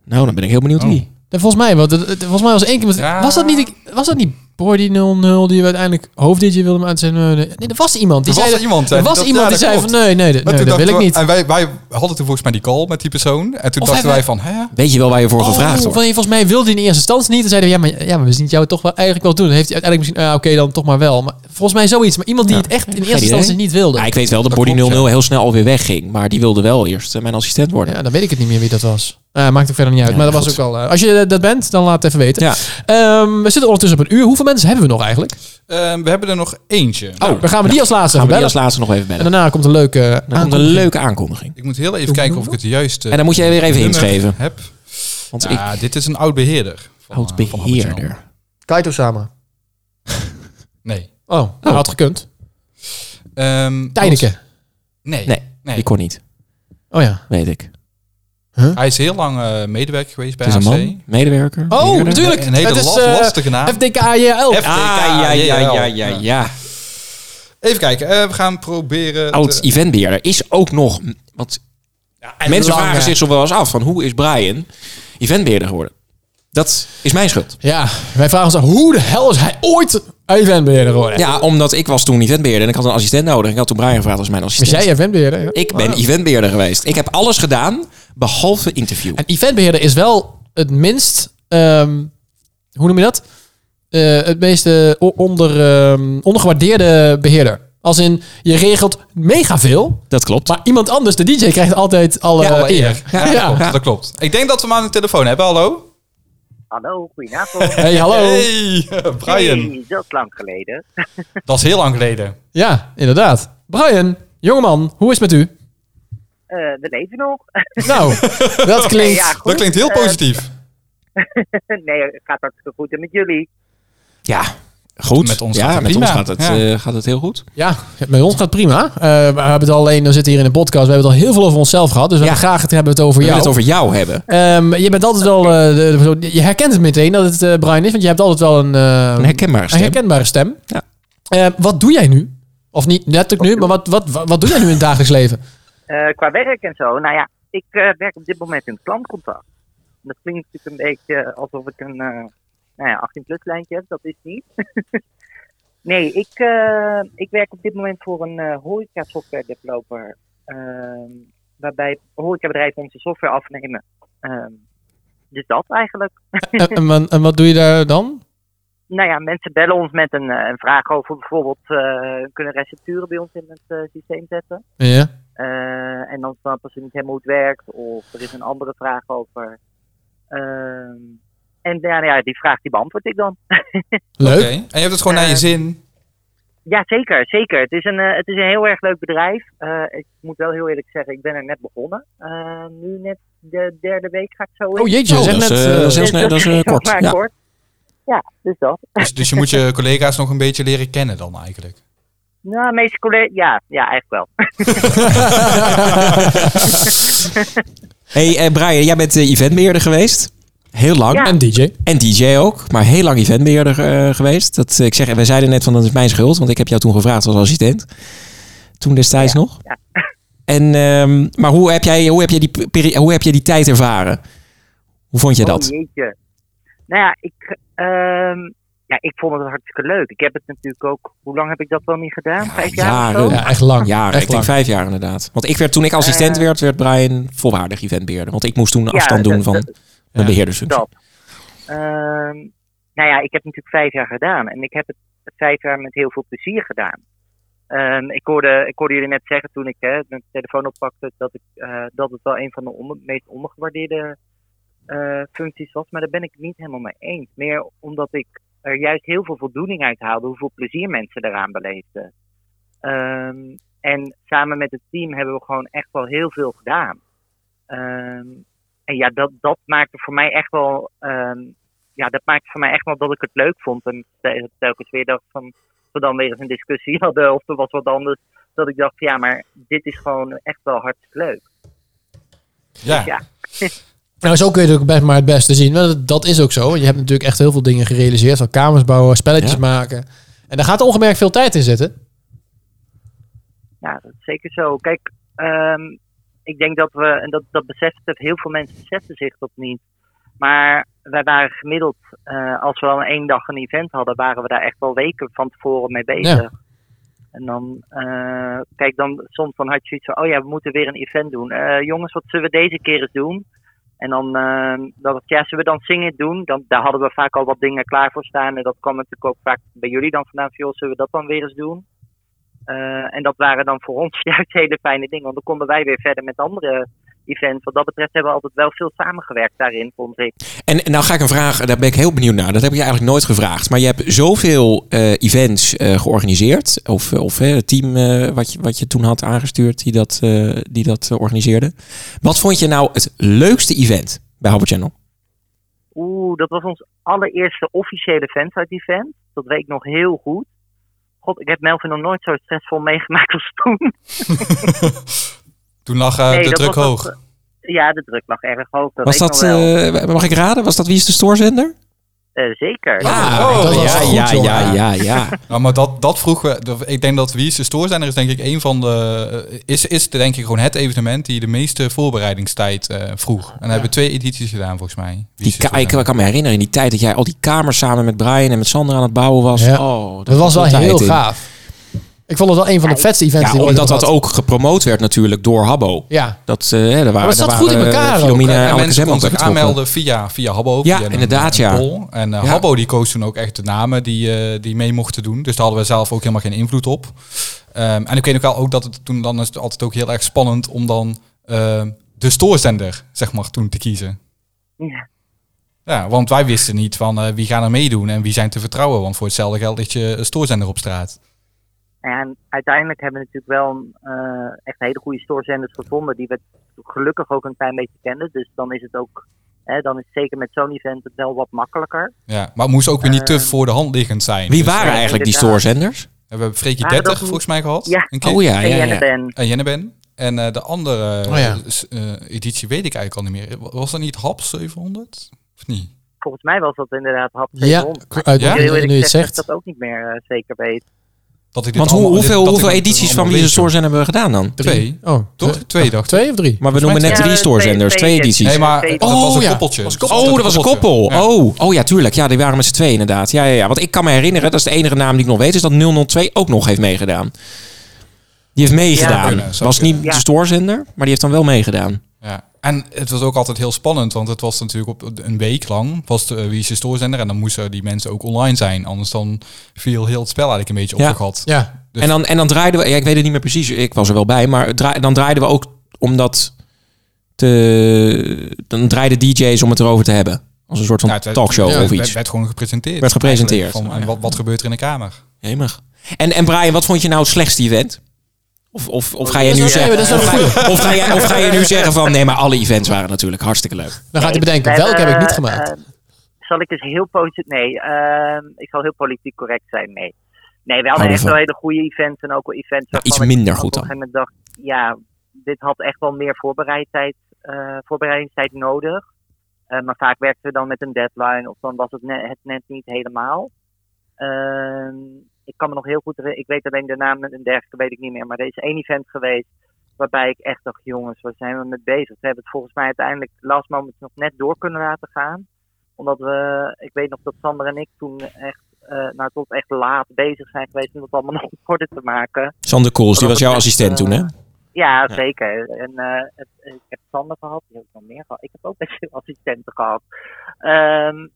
S7: Nou, dan ben ik heel
S8: Oh.
S7: benieuwd wie.
S6: En volgens mij, want het- het- volgens mij was één keer... iemand-
S8: Ja.
S6: Was dat niet... ik- Was dat niet Bordy 00 die we uiteindelijk hoofd-DJ wilde hem uitzenden? Nee, nee, er was iemand. Die
S8: Er was
S6: zei,
S8: iemand, hè,
S6: Er was
S8: dat-
S6: iemand
S8: ja,
S6: die
S8: dat
S6: zei van...
S8: klopt.
S6: Nee, nee, nee,
S8: Maar
S6: dat
S8: toen
S6: wil ik
S8: dachten we-
S6: niet.
S8: En wij, wij hadden toen volgens mij die call met die persoon. En toen
S6: Of
S8: dachten wij
S6: hebben-
S8: van, hè?
S7: Weet je wel waar je voor gevraagd
S6: Oh,
S7: wordt?
S6: van, volgens mij wilde hij in eerste instantie niet. En zeiden we, ja, maar, ja, maar we zien het jou toch wel eigenlijk wel doen. Dan heeft hij uiteindelijk misschien, ah, oké, dan toch maar wel. Maar volgens mij zoiets. Maar iemand die het echt in eerste
S7: idee.
S6: instantie niet wilde.
S7: Ja, ik weet wel dat Body 00 heel snel alweer wegging. Maar die wilde wel eerst eh, mijn assistent worden.
S6: Ja, dan weet ik het niet meer wie dat was. Eh, maakt ook verder niet uit.
S7: Ja,
S6: maar dat
S7: goed.
S6: was ook al. eh, als je eh, dat bent, dan laat het even weten.
S7: Ja.
S6: Ehm, we zitten ondertussen op een uur. Hoeveel mensen hebben we nog eigenlijk?
S8: Ehm, we hebben er nog eentje.
S6: Oh, we gaan we die als laatste
S7: Gaan we die
S6: bellen.
S7: als laatste nog even
S6: En
S7: bellen.
S6: daarna komt een leuke.
S7: Dan komt een
S6: aankondiging.
S7: leuke aankondiging.
S8: Ik moet heel even kijken of ik het juiste
S7: En dan moet jij weer even
S8: nummer
S7: inschrijven.
S8: Heb.
S7: Want
S8: Ja,
S7: ik...
S8: dit is een oud beheerder. van, eh,
S7: Oud
S8: van Albert Jan.
S7: beheerder.
S6: Kaito Sama.
S8: Nee.
S6: Oh, dat had gekund.
S8: Ehm,
S6: Tijneke.
S8: Nee.
S7: Nee, die kon niet.
S6: Oh ja.
S7: Weet ik.
S8: Hij is heel lang eh, medewerker geweest bij
S7: Het is een
S8: HC.
S7: man, medewerker.
S6: Oh,
S7: beheerder.
S6: natuurlijk.
S8: Een hele
S6: het is,
S8: last-
S6: eh,
S8: lastige naam.
S6: FDKJL.
S8: FDK,
S7: Ah, ja, ja, ja, ja, ja.
S8: Even kijken, eh, we gaan proberen...
S7: Oud
S6: eh,
S8: te-
S7: eventbeheerder is ook nog... Want mensen
S6: lang,
S7: vragen
S6: hè?
S7: zich zo wel eens af van hoe is Brian eventbeheerder geworden? Dat is mijn schuld.
S6: Ja, wij vragen ons af, hoe de hel is hij ooit eventbeheerder geworden?
S7: Ja, omdat ik was toen eventbeheerder en ik had een assistent nodig. Ik had toen Brian gevraagd als mijn
S6: Was
S7: assistent.
S6: jij eventbeheerder? Ja.
S7: Ik ben eventbeheerder geweest. Ik heb alles gedaan behalve interview.
S6: En eventbeheerder is wel het minst ehm, hoe noem je dat? Eh, het meeste o- onder, ehm, ondergewaardeerde beheerder. Als in, je regelt mega veel.
S7: Dat klopt.
S6: Maar iemand anders, de DJ, krijgt altijd alle
S8: alle
S6: eer.
S8: Ja, dat klopt, dat klopt. Ik denk dat we hem aan de telefoon hebben. Hallo?
S10: Hallo, goedenavond.
S6: Hey, hallo.
S8: Hey, eh, Brian.
S10: Hey, dat is lang geleden.
S8: Dat is heel lang geleden.
S6: Ja, inderdaad. Brian, jongeman, hoe is het met u?
S10: Eh, we leven nog.
S6: Nou, dat klinkt-
S10: Ja, goed.
S6: dat klinkt heel
S10: Eh,
S6: positief.
S10: nee, het gaat hartstikke goed. En met jullie?
S7: Ja, goed.
S6: Met ons
S7: ja,
S6: gaat het
S7: met
S6: prima.
S7: ons gaat het,
S6: Ja.
S7: eh, gaat het heel goed.
S6: Ja, met ons gaat het prima. Eh, we hebben het alleen, we zitten hier in een podcast, we hebben het al heel veel over onszelf gehad. Dus we willen graag het hebben we het over
S7: We
S6: jou.
S7: willen het over jou hebben.
S6: Ehm, je bent altijd wel, eh, de- de persoon- je herkent het meteen dat het eh, Brian is, want je hebt altijd wel een, eh,
S7: Een herkenbare stem.
S6: een herkenbare stem. Eh, wat doe jij nu? Of niet natuurlijk nu, maar wat, wat, wat, wat doe jij nu in het dagelijks leven?
S10: Eh, qua werk en zo. Nou ja, ik eh, werk op dit moment in het klantcontact. En Dat klinkt natuurlijk een beetje eh, alsof ik een eh, nou ja, 18-plus lijntje heb. Dat is niet. nee, ik, eh, ik werk op dit moment voor een eh horeca software developer. ehm, waarbij horecabedrijven onze software afnemen. Ehm, dus dat eigenlijk.
S6: en, en, wat- en wat doe je daar dan?
S10: Nou ja, mensen bellen ons met een, eh, een vraag over bijvoorbeeld, eh, kunnen recepturen bij ons in het eh, systeem zetten?
S6: Ja.
S10: Eh, en dan snappen ze niet helemaal hoe het werkt, of er is een andere vraag over. Ehm, en ja, nou ja, die vraag die beantwoord ik dan.
S8: Leuk. En je hebt het gewoon naar
S10: Eh.
S8: je zin.
S10: ja, zeker, zeker. Het is een, eh, het is een heel erg leuk bedrijf. Eh, ik moet wel heel eerlijk zeggen, ik ben er net begonnen. Eh, nu net de derde week ga ik zo in.
S6: Oh, jeetje, Oh, zeg dat is, net, eh, eh, dat is heel
S10: Dus
S6: snel- dat is, eh,
S10: nog
S8: kort.
S10: maar
S8: Ja.
S10: kort. Ja, dus dat.
S8: Dus, dus je moet je collega's nog een beetje leren kennen dan eigenlijk.
S10: Nou, de meeste collega's... Ja, ja, eigenlijk wel.
S7: hey, eh, Brian, jij bent eh, eventbeheerder geweest. Heel lang.
S10: Ja.
S6: En DJ.
S7: En DJ ook, maar heel lang eventbeheerder eh, geweest. Dat, eh, ik zeg, we zeiden net van dat is mijn schuld, want ik heb jou toen gevraagd als assistent. Toen destijds nog. En, ehm, maar hoe heb, jij, hoe, heb jij die peri- hoe heb jij die tijd ervaren? Hoe vond je dat?
S10: Oh, jeetje. Nou ja ik, ehm, ja, ik vond het hartstikke leuk. Ik heb het natuurlijk ook... Hoe lang heb ik dat wel niet gedaan? Vijf jaar? of zo?
S6: echt lang.
S7: Jaren,
S6: Echt
S7: ik denk
S6: lang.
S7: vijf jaar inderdaad. Want ik werd, toen ik assistent werd, werd Brian volwaardig eventbeheerder. Want ik moest toen
S10: Eh. Ja,
S7: afstand doen
S10: dat-
S7: van
S10: dat-
S7: mijn beheerdersfunctie.
S10: Dat. Ehm, nou ja, ik heb natuurlijk vijf jaar gedaan. En ik heb het vijf jaar met heel veel plezier gedaan. Ehm, ik, hoorde, ik hoorde jullie net zeggen toen ik hè, mijn telefoon oppakte... dat, ik, eh, dat het wel een van de onder- meest ondergewaardeerde eh, functies was. Maar daar ben ik het niet helemaal mee eens. Meer omdat ik er juist heel veel voldoening uit haalde... hoeveel plezier mensen eraan beleefden. Ehm, en samen met het team hebben we gewoon echt wel heel veel gedaan. Ehm, en ja, dat, dat maakte voor mij echt wel. ehm, ja, dat maakte voor mij echt wel dat ik het leuk vond. En te- telkens weer dacht van. als We dan weer eens een discussie hadden of er was wat anders. Dat ik dacht, ja, maar dit is gewoon echt wel hartstikke leuk.
S8: Ja.
S6: Nou, zo kun je het ook best maar het beste zien. Want dat- dat is ook zo. Je hebt natuurlijk echt heel veel dingen gerealiseerd. Van kamers bouwen, spelletjes
S10: Ja.
S6: maken. En daar gaat ongemerkt veel tijd in zitten.
S10: Ja, dat is zeker zo. Kijk, ehm, ik denk dat we, en dat, dat beseft het, heel veel mensen beseffen zich dat niet. Maar wij waren gemiddeld, eh, als we al één dag een event hadden, waren we daar echt wel weken van tevoren mee bezig.
S6: Ja.
S10: En dan, eh, kijk, dan soms dan had je zoiets van, oh ja, we moeten weer een event doen. Eh, jongens, wat zullen we deze keer eens doen? En dan, eh, dat het, ja, zullen we dan zingen doen? Dan, daar hadden we vaak al wat dingen klaar voor staan. En dat kwam natuurlijk ook vaak bij jullie dan vandaan. van, Joh, zullen we dat dan weer eens doen? Eh, en dat waren dan voor ons juist hele fijne dingen. Want dan konden wij weer verder met andere events. Wat dat betreft hebben we altijd wel veel samengewerkt daarin, vond ik.
S7: En nou ga ik een vraag, daar ben ik heel benieuwd naar. Dat heb ik je eigenlijk nooit gevraagd. Maar je hebt zoveel eh, events eh, georganiseerd. Of, of eh, het team eh, wat, je, wat je toen had aangestuurd die dat, eh, die dat eh, organiseerde. Wat vond je nou het leukste event bij Hubble Channel?
S10: Oeh, dat was ons allereerste officiële fansite-event. Dat weet ik nog heel goed. God, ik heb Melvin nog nooit zo stressvol meegemaakt als
S7: Eh,
S10: toen.
S8: Toen lag eh,
S10: Nee,
S8: de
S10: dat
S8: druk
S10: was
S8: hoog.
S10: dat- ja, de druk lag erg hoog. Dat
S7: Was
S10: weet ik
S7: dat,
S10: nog wel.
S7: eh, mag ik raden, was dat Wie is de Stoorzender?
S10: Eh, zeker.
S6: Oh,
S8: ja, ja, ja,
S7: ja, ja.
S8: Nou, maar dat, dat vroegen we. dat- Ik denk dat Wie is de Stoorzender is denk ik een van de... eh, Is, is denk ik gewoon het evenement die de meeste voorbereidingstijd eh, vroeg. En we hebben twee edities gedaan volgens mij.
S7: Die ka- ik, ik kan me herinneren in die tijd dat jij al die kamers samen met Brian en met Sander aan het bouwen was.
S6: Ja.
S7: Oh,
S6: Dat was wel
S7: zat tijd
S6: heel
S7: in.
S6: gaaf. Ik vond het wel een van de vetste events
S7: Ja,
S6: die we ooit
S7: omdat dat
S6: hebben
S7: ook gepromoot werd natuurlijk door Habbo.
S6: Ja.
S7: Dat, eh, daar waren,
S6: Maar het zat
S7: daar
S6: goed in
S7: waren, eh,
S6: elkaar ook.
S7: Philomena
S6: En
S7: en Anneke
S8: mensen
S7: Zemland
S8: konden
S7: bij
S8: zich
S7: betrokken.
S8: aanmelden via, via Habbo.
S7: Ja,
S8: via een-
S7: inderdaad,
S8: een
S7: ja.
S8: poll. En eh,
S7: Ja.
S8: Habbo die koos toen ook echt de namen die, eh, die mee mochten doen. Dus daar hadden we zelf ook helemaal geen invloed op. Ehm, en ik weet ook wel ook dat het toen dan is het altijd ook heel erg spannend om dan ehm, de stoorzender, zeg maar, toen te kiezen.
S9: Ja.
S8: Ja, want wij wisten niet van eh, wie gaan er meedoen en wie zijn te vertrouwen. Want voor hetzelfde geld ligt je een stoorzender op straat.
S9: En uiteindelijk hebben we natuurlijk wel eh, echt hele goede stoorzenders gevonden. Die we gelukkig ook een klein beetje kenden. Dus dan is het ook, hè, dan is zeker met zo'n event het wel wat makkelijker.
S8: Ja, maar het moest ook weer niet te
S9: Ehm.
S8: voor de hand liggend zijn.
S7: Wie waren eigenlijk die
S8: stoorzenders?
S7: stoorzenders?
S8: We hebben Freekie
S9: Waren
S8: 30
S9: dat-
S8: volgens mij gehad.
S9: Ja.
S8: een keer.
S7: Oh ja, En ja, ja.
S9: Jenneben.
S8: En Jenneben. En eh, de andere
S6: Oh ja.
S8: s- eh, editie weet ik eigenlijk al niet meer. Was dat niet HAP 700? Of niet?
S9: Volgens mij was dat inderdaad hap
S8: Ja,
S9: 700.
S8: k- uit-
S9: Maar ik
S8: ja,
S9: wil eerlijk
S8: nu je het
S9: zeggen dat
S8: zegt.
S9: ik dat ook niet meer eh, zeker weet.
S8: Dat ik dit
S7: Want hoe,
S8: allemaal- dit-
S7: hoeveel,
S8: dat ik
S7: hoeveel
S8: dit
S7: edities van
S8: allemaal
S7: wie de
S8: weet.
S7: stoorzender hebben we gedaan dan?
S8: Twee.
S6: Oh,
S8: toch? Twee, dacht
S6: Twee of drie?
S7: Maar we noemen net drie stoorzenders, twee edities.
S8: Nee, maar dat was een
S7: ja.
S8: koppeltje.
S7: Oh, dat was een koppel. Oh, oh ja, tuurlijk. Ja, die waren met z'n twee inderdaad. Ja, ja, ja. Want ik kan me herinneren, dat is de enige naam die ik nog weet, is dat 002 ook nog heeft meegedaan. Die heeft meegedaan.
S8: Ja.
S7: was niet de stoorzender, maar die heeft dan wel meegedaan.
S8: Ja. En het was ook altijd heel spannend, want het was natuurlijk op een week lang was de, eh, wie is de stoorzender en dan moesten die mensen ook online zijn. Anders dan viel heel het spel eigenlijk een beetje op de gat.
S6: Ja.
S8: Dus-
S7: en, dan, en dan draaiden we, ja, ik weet het niet meer precies, ik was er wel bij, maar draa- dan draaiden we ook omdat te, dan draaiden DJ's om het erover te hebben. Als een soort van
S8: Ja, het werd-
S7: talkshow
S8: ja,
S7: of
S8: het
S7: iets.
S8: Werd, werd gewoon gepresenteerd.
S7: Werd gepresenteerd.
S8: Eigenlijk, Van, en wat, wat gebeurt er in de kamer?
S7: Jemig. En, en Brian, wat vond je nou het slechtste event? Of, of, of ga je
S6: Dat is
S7: nu
S6: wel-
S7: zeggen...
S6: dat is wel
S7: of,
S6: een
S7: ga,
S6: goeie.
S7: of, ga je, of ga je nu zeggen van... Nee, maar alle events waren natuurlijk hartstikke leuk.
S6: Dan gaat hij
S9: Nee,
S6: bedenken,
S9: we
S6: welke heb ik
S9: hebben,
S6: niet gemaakt?
S9: eh, zal ik eens heel positief... Nee, ehm, ik zal heel politiek correct zijn. Nee, nee we hadden
S7: Hou
S9: echt
S7: ervan.
S9: wel hele goede events. En ook wel events waarvan
S7: Oh, iets
S9: ik
S7: minder
S9: op
S7: goed
S9: een
S7: dan.
S9: gegeven moment dacht... Ja, dit had echt wel meer voorbereidtijd, eh, voorbereidingstijd nodig. Eh, maar vaak werkten we dan met een deadline. Of dan was het net, het net niet helemaal. Ehm, ik kan me nog heel goed... herinneren- Ik weet alleen de naam en dergelijke weet ik niet meer. Maar er is één event geweest waarbij ik echt dacht... Jongens, waar zijn we mee bezig? We hebben het volgens mij uiteindelijk last moment nog net door kunnen laten gaan omdat we, ik weet nog dat Sander en ik toen echt, eh nou tot echt laat bezig zijn geweest om dat allemaal nog op orde te maken.
S7: Sander Kools, die was jouw assistent toen, hè?
S9: Ja, zeker. En eh, het- ik heb Sander gehad, die heb ik nog meer gehad. Ik heb ook best veel assistenten gehad. Ehm,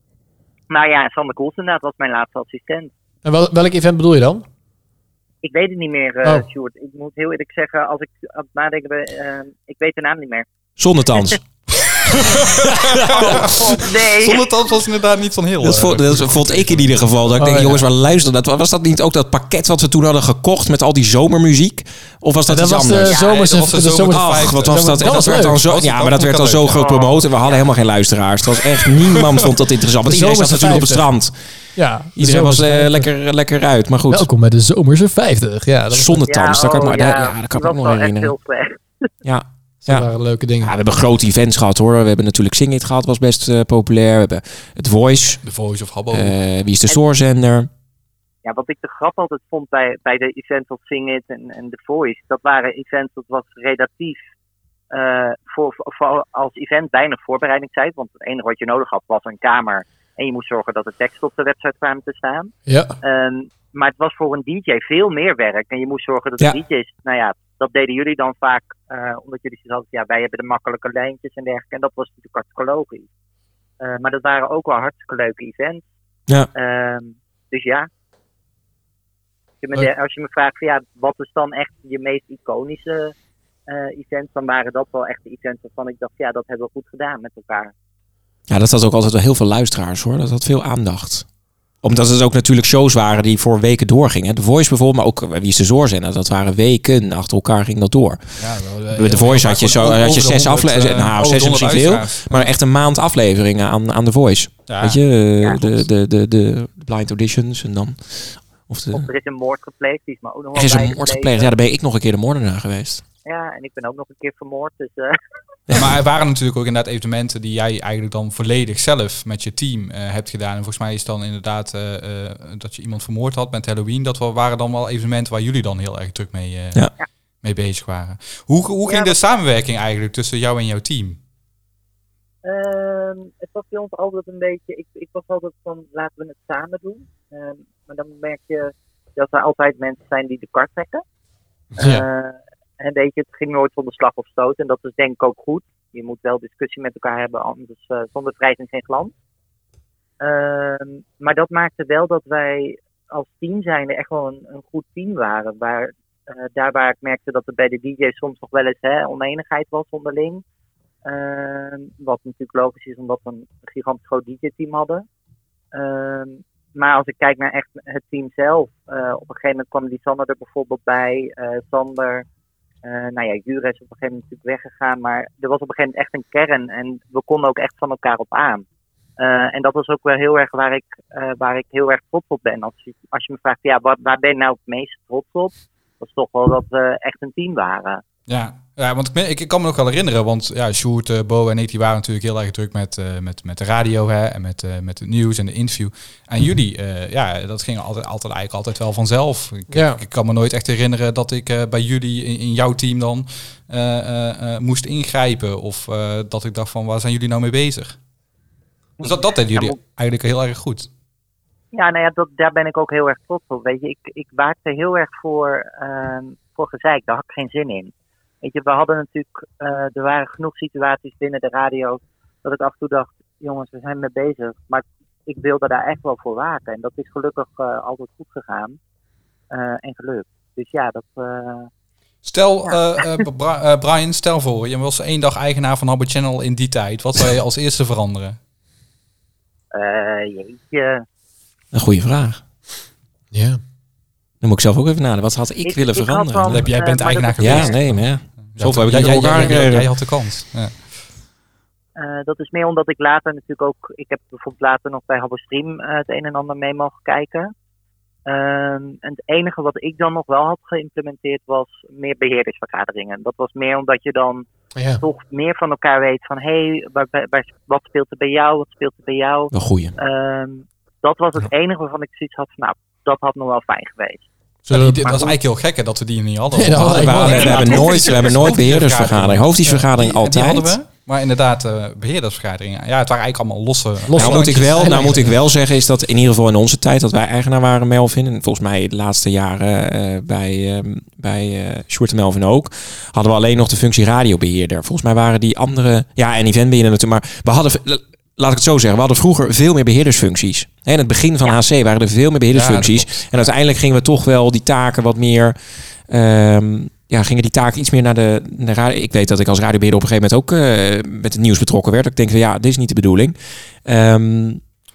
S9: maar ja, Sander Koels inderdaad was mijn laatste assistent.
S6: En wel, welk event bedoel je dan?
S9: Ik weet het niet meer, eh
S6: Oh.
S9: Sjoerd. Ik moet heel eerlijk zeggen, als ik aan het nadenken ben, ehm, ik weet de naam niet meer.
S7: Zonnetans.
S9: nee.
S8: Zonder tand was inderdaad niet van heel. eh,
S7: Dat vond, dat vond ik in ieder geval. Dat ik
S6: Oh,
S7: denk, jongens, maar luister. Dat, was dat niet ook dat pakket wat we toen hadden gekocht met al die zomermuziek? Of was dat,
S6: Ja, dat
S7: iets
S6: was de
S7: anders?
S6: zomers- Ja, dat was de de zomers- zomers-
S7: Ach, wat was dat?
S6: dat was
S7: En dat werd
S6: leuk.
S7: dan zo,
S6: Was
S7: ja,
S6: het
S7: maar dat
S6: ook
S7: werd dan
S6: wel
S7: zo
S6: leuk.
S7: groot promoot. En we hadden helemaal geen luisteraars. Het was echt, niemand vond dat interessant. Want
S6: De
S7: iedereen zat
S6: zomerse
S7: natuurlijk op het strand.
S6: Ja. de
S7: Iedereen was
S6: zomerse
S7: eh,
S6: vijftig.
S7: lekker, lekker uit. Maar goed.
S6: Welkom bij de Zomerse 50. Ja, dat was-
S7: Zonnetans, dat kan ik me-
S9: ja,
S7: ja, dat kan ik me
S9: die
S7: ook
S9: was
S7: nog
S9: wel echt
S7: herinneren.
S9: heel slecht.
S7: Ja.
S6: Dat waren leuke dingen.
S7: Ja, we hebben grote events gehad hoor. We hebben natuurlijk Sing It gehad, was best eh, populair. We hebben het Voice.
S8: De Voice of Habbo.
S7: Eh, wie is de stoorzender?
S9: Ja, wat ik de grap altijd vond bij, bij de events als Sing It en, en The Voice, dat waren events dat was relatief eh, voor, voor- als event weinig voorbereidingstijd. Want het enige wat je nodig had was een kamer. En je moest zorgen dat de tekst op de website kwam te staan.
S6: Ja.
S9: Ehm, maar het was voor een DJ veel meer werk. En je moest zorgen dat de DJ's, nou ja, dat deden jullie dan vaak. eh, omdat jullie zoiets hadden, ja, wij hebben de makkelijke lijntjes en dergelijke. En dat was natuurlijk hartstikke logisch. Eh, maar dat waren ook wel hartstikke leuke events.
S7: Ja.
S9: Ehm, dus ja. Als je me, de- als je me vraagt, van, ja, wat is dan echt je meest iconische eh events, dan waren dat wel echt de events waarvan ik dacht, ja, dat hebben we goed gedaan met elkaar.
S7: Ja, dat had ook altijd wel heel veel luisteraars hoor. Dat had veel aandacht. Omdat het ook natuurlijk shows waren die voor weken doorgingen. De Voice bijvoorbeeld, maar ook eh, Wie is de Zoorzender. Dat waren weken achter elkaar ging dat door.
S8: Ja, wel,
S7: Bij
S8: eh,
S7: de
S8: heel
S7: Voice
S8: vaak
S7: had je, zo,
S8: gewoon over
S7: had je
S8: de
S7: zes
S8: 100,
S7: afleveringen.
S8: eh,
S7: Nou,
S8: over
S7: zes
S8: de
S7: is misschien
S8: 100
S7: veel.
S8: luisteraars.
S7: Maar echt een maand afleveringen aan, aan de Voice.
S8: Ja.
S7: Weet je, eh, de, de, de, de blind auditions en dan... Of de,
S9: Of er is een moord gepleegd, die is me ook nog wel
S7: er is een
S9: bijgebleven.
S7: moord gepleegd. Ja, daar ben ik nog een keer de moordenaar geweest.
S9: Ja, en ik ben ook nog een keer vermoord, dus... eh,
S8: Ja, maar er waren natuurlijk ook inderdaad evenementen die jij eigenlijk dan volledig zelf met je team eh, hebt gedaan. En volgens mij is dan inderdaad eh, eh, dat je iemand vermoord had met Halloween. Dat wa- waren dan wel evenementen waar jullie dan heel erg druk mee, eh,
S7: Ja.
S8: mee bezig waren. Hoe, hoe ging de samenwerking eigenlijk tussen jou en jouw team?
S9: Ehm, het was bij ons altijd een beetje. Ik, ik was altijd van laten we het samen doen. Ehm, maar dan merk je dat er altijd mensen zijn die de kar trekken.
S6: Ja.
S9: Eh, en weet je, het ging nooit zonder slag of stoot. En dat is denk ik ook goed. Je moet wel discussie met elkaar hebben, anders eh, zonder strijd en geen glans. Ehm, maar dat maakte wel dat wij als team zijnde echt wel een, een goed team waren. Waar, eh, daar waar ik merkte dat er bij de DJ soms nog wel eens hè, oneenigheid was onderling. Ehm, wat natuurlijk logisch is, omdat we een gigantisch groot DJ-team hadden. Ehm, maar als ik kijk naar echt het team zelf, eh, op een gegeven moment kwam die Sander er bijvoorbeeld bij, eh, Sander. eh, nou ja, Jure is op een gegeven moment natuurlijk weggegaan, maar er was op een gegeven moment echt een kern en we konden ook echt van elkaar op aan. Eh, en dat was ook wel heel erg waar ik, eh, waar ik heel erg trots op ben. Als je, als je me vraagt, ja, waar, waar ben je nou het meest trots op? Dat is toch wel dat we echt een team waren.
S8: Ja, ja want ik, me- ik, ik kan me nog wel herinneren, want ja, Sjoerd, eh, Bo en ik die waren natuurlijk heel erg druk met, eh, met, met de radio hè, en met, eh, met het nieuws en de interview. En jullie, eh, ja, dat ging altijd, altijd eigenlijk altijd wel vanzelf. Ik,
S6: Ja.
S8: ik, ik kan me nooit echt herinneren dat ik eh, bij jullie in, in jouw team dan eh, eh, eh, moest ingrijpen of eh, dat ik dacht van waar zijn jullie nou mee bezig? Dus dat, dat deden jullie eigenlijk heel erg goed.
S9: Ja, nou ja, dat, daar ben ik ook heel erg trots op. Weet je, ik, ik waakte heel erg voor, ehm, voor gezeik. Daar had ik geen zin in. Weet je, we hadden natuurlijk, eh, er waren genoeg situaties binnen de radio dat ik af en toe dacht, jongens, we zijn mee bezig. Maar ik wilde daar echt wel voor waken. En dat is gelukkig eh, altijd goed gegaan eh, en gelukt. Dus ja, dat, eh,
S8: Stel, eh, eh, Bra- eh, Brian, stel voor, je was één dag eigenaar van Habbo Channel in die tijd. Wat zou je als eerste veranderen?
S9: eh, jeetje.
S7: Een goede vraag.
S6: Ja.
S7: Dan moet ik zelf ook even nadenken. Wat had ik,
S9: Ik-
S7: willen
S9: ik had
S7: veranderen?
S9: dan, Jij bent eh, maar eigenaar dat-
S7: Ja,
S9: geweest.
S7: nee, maar ja. Zoveel heb ik
S8: jij,
S7: niet voor elkaar
S8: jij, jij- jij,
S7: gekregen.
S8: jij had de kans. Ja.
S9: Eh, dat is meer omdat ik later natuurlijk ook. Ik heb bijvoorbeeld later nog bij Habbo Stream eh, het een en ander mee mogen kijken. Ehm, en het enige wat ik dan nog wel had geïmplementeerd was meer beheerdersvergaderingen. Dat was meer omdat je dan
S6: Ja.
S9: toch meer van elkaar weet van hé, hey, waar- waar- waar- wat speelt er bij jou, wat speelt er bij jou.
S7: Een goeie.
S9: Ehm, dat was het enige waarvan ik zoiets had van nou, dat had nog wel fijn geweest.
S8: Zullen die- dat is eigenlijk heel gek hè, dat we die niet hadden.
S7: Nee, dat hadden we-
S8: Want-
S7: we hebben
S8: inderdaad,
S7: nooit- we hebben nooit beheerdersvergadering. Hoofdvergadering
S8: Ja, die- die
S7: altijd.
S8: hadden we, maar inderdaad, eh, beheerdersvergaderingen. Ja, het waren eigenlijk allemaal losse...
S7: nou, moet ik wel, nou moet ik wel zeggen, is dat in ieder geval in onze tijd dat wij eigenaar waren, Melvin. En volgens mij de laatste jaren eh, bij, ehm bij eh Sjoerd en Melvin ook. Hadden we alleen nog de functie radiobeheerder. Volgens mij waren die andere. Ja, en eventbeheerder natuurlijk. Maar we hadden. Laat ik het zo zeggen, we hadden vroeger veel meer beheerdersfuncties. Hè, In het begin van HC waren er veel meer beheerdersfuncties.
S8: Ja, dat
S7: en uiteindelijk gingen we toch wel die taken wat meer. ehm, ja, gingen die taken iets meer naar de, naar de radio. Ik weet dat ik als radiobeheerder op een gegeven moment ook eh, met het nieuws betrokken werd. Ik denk, ja, dit is niet de bedoeling. Ehm,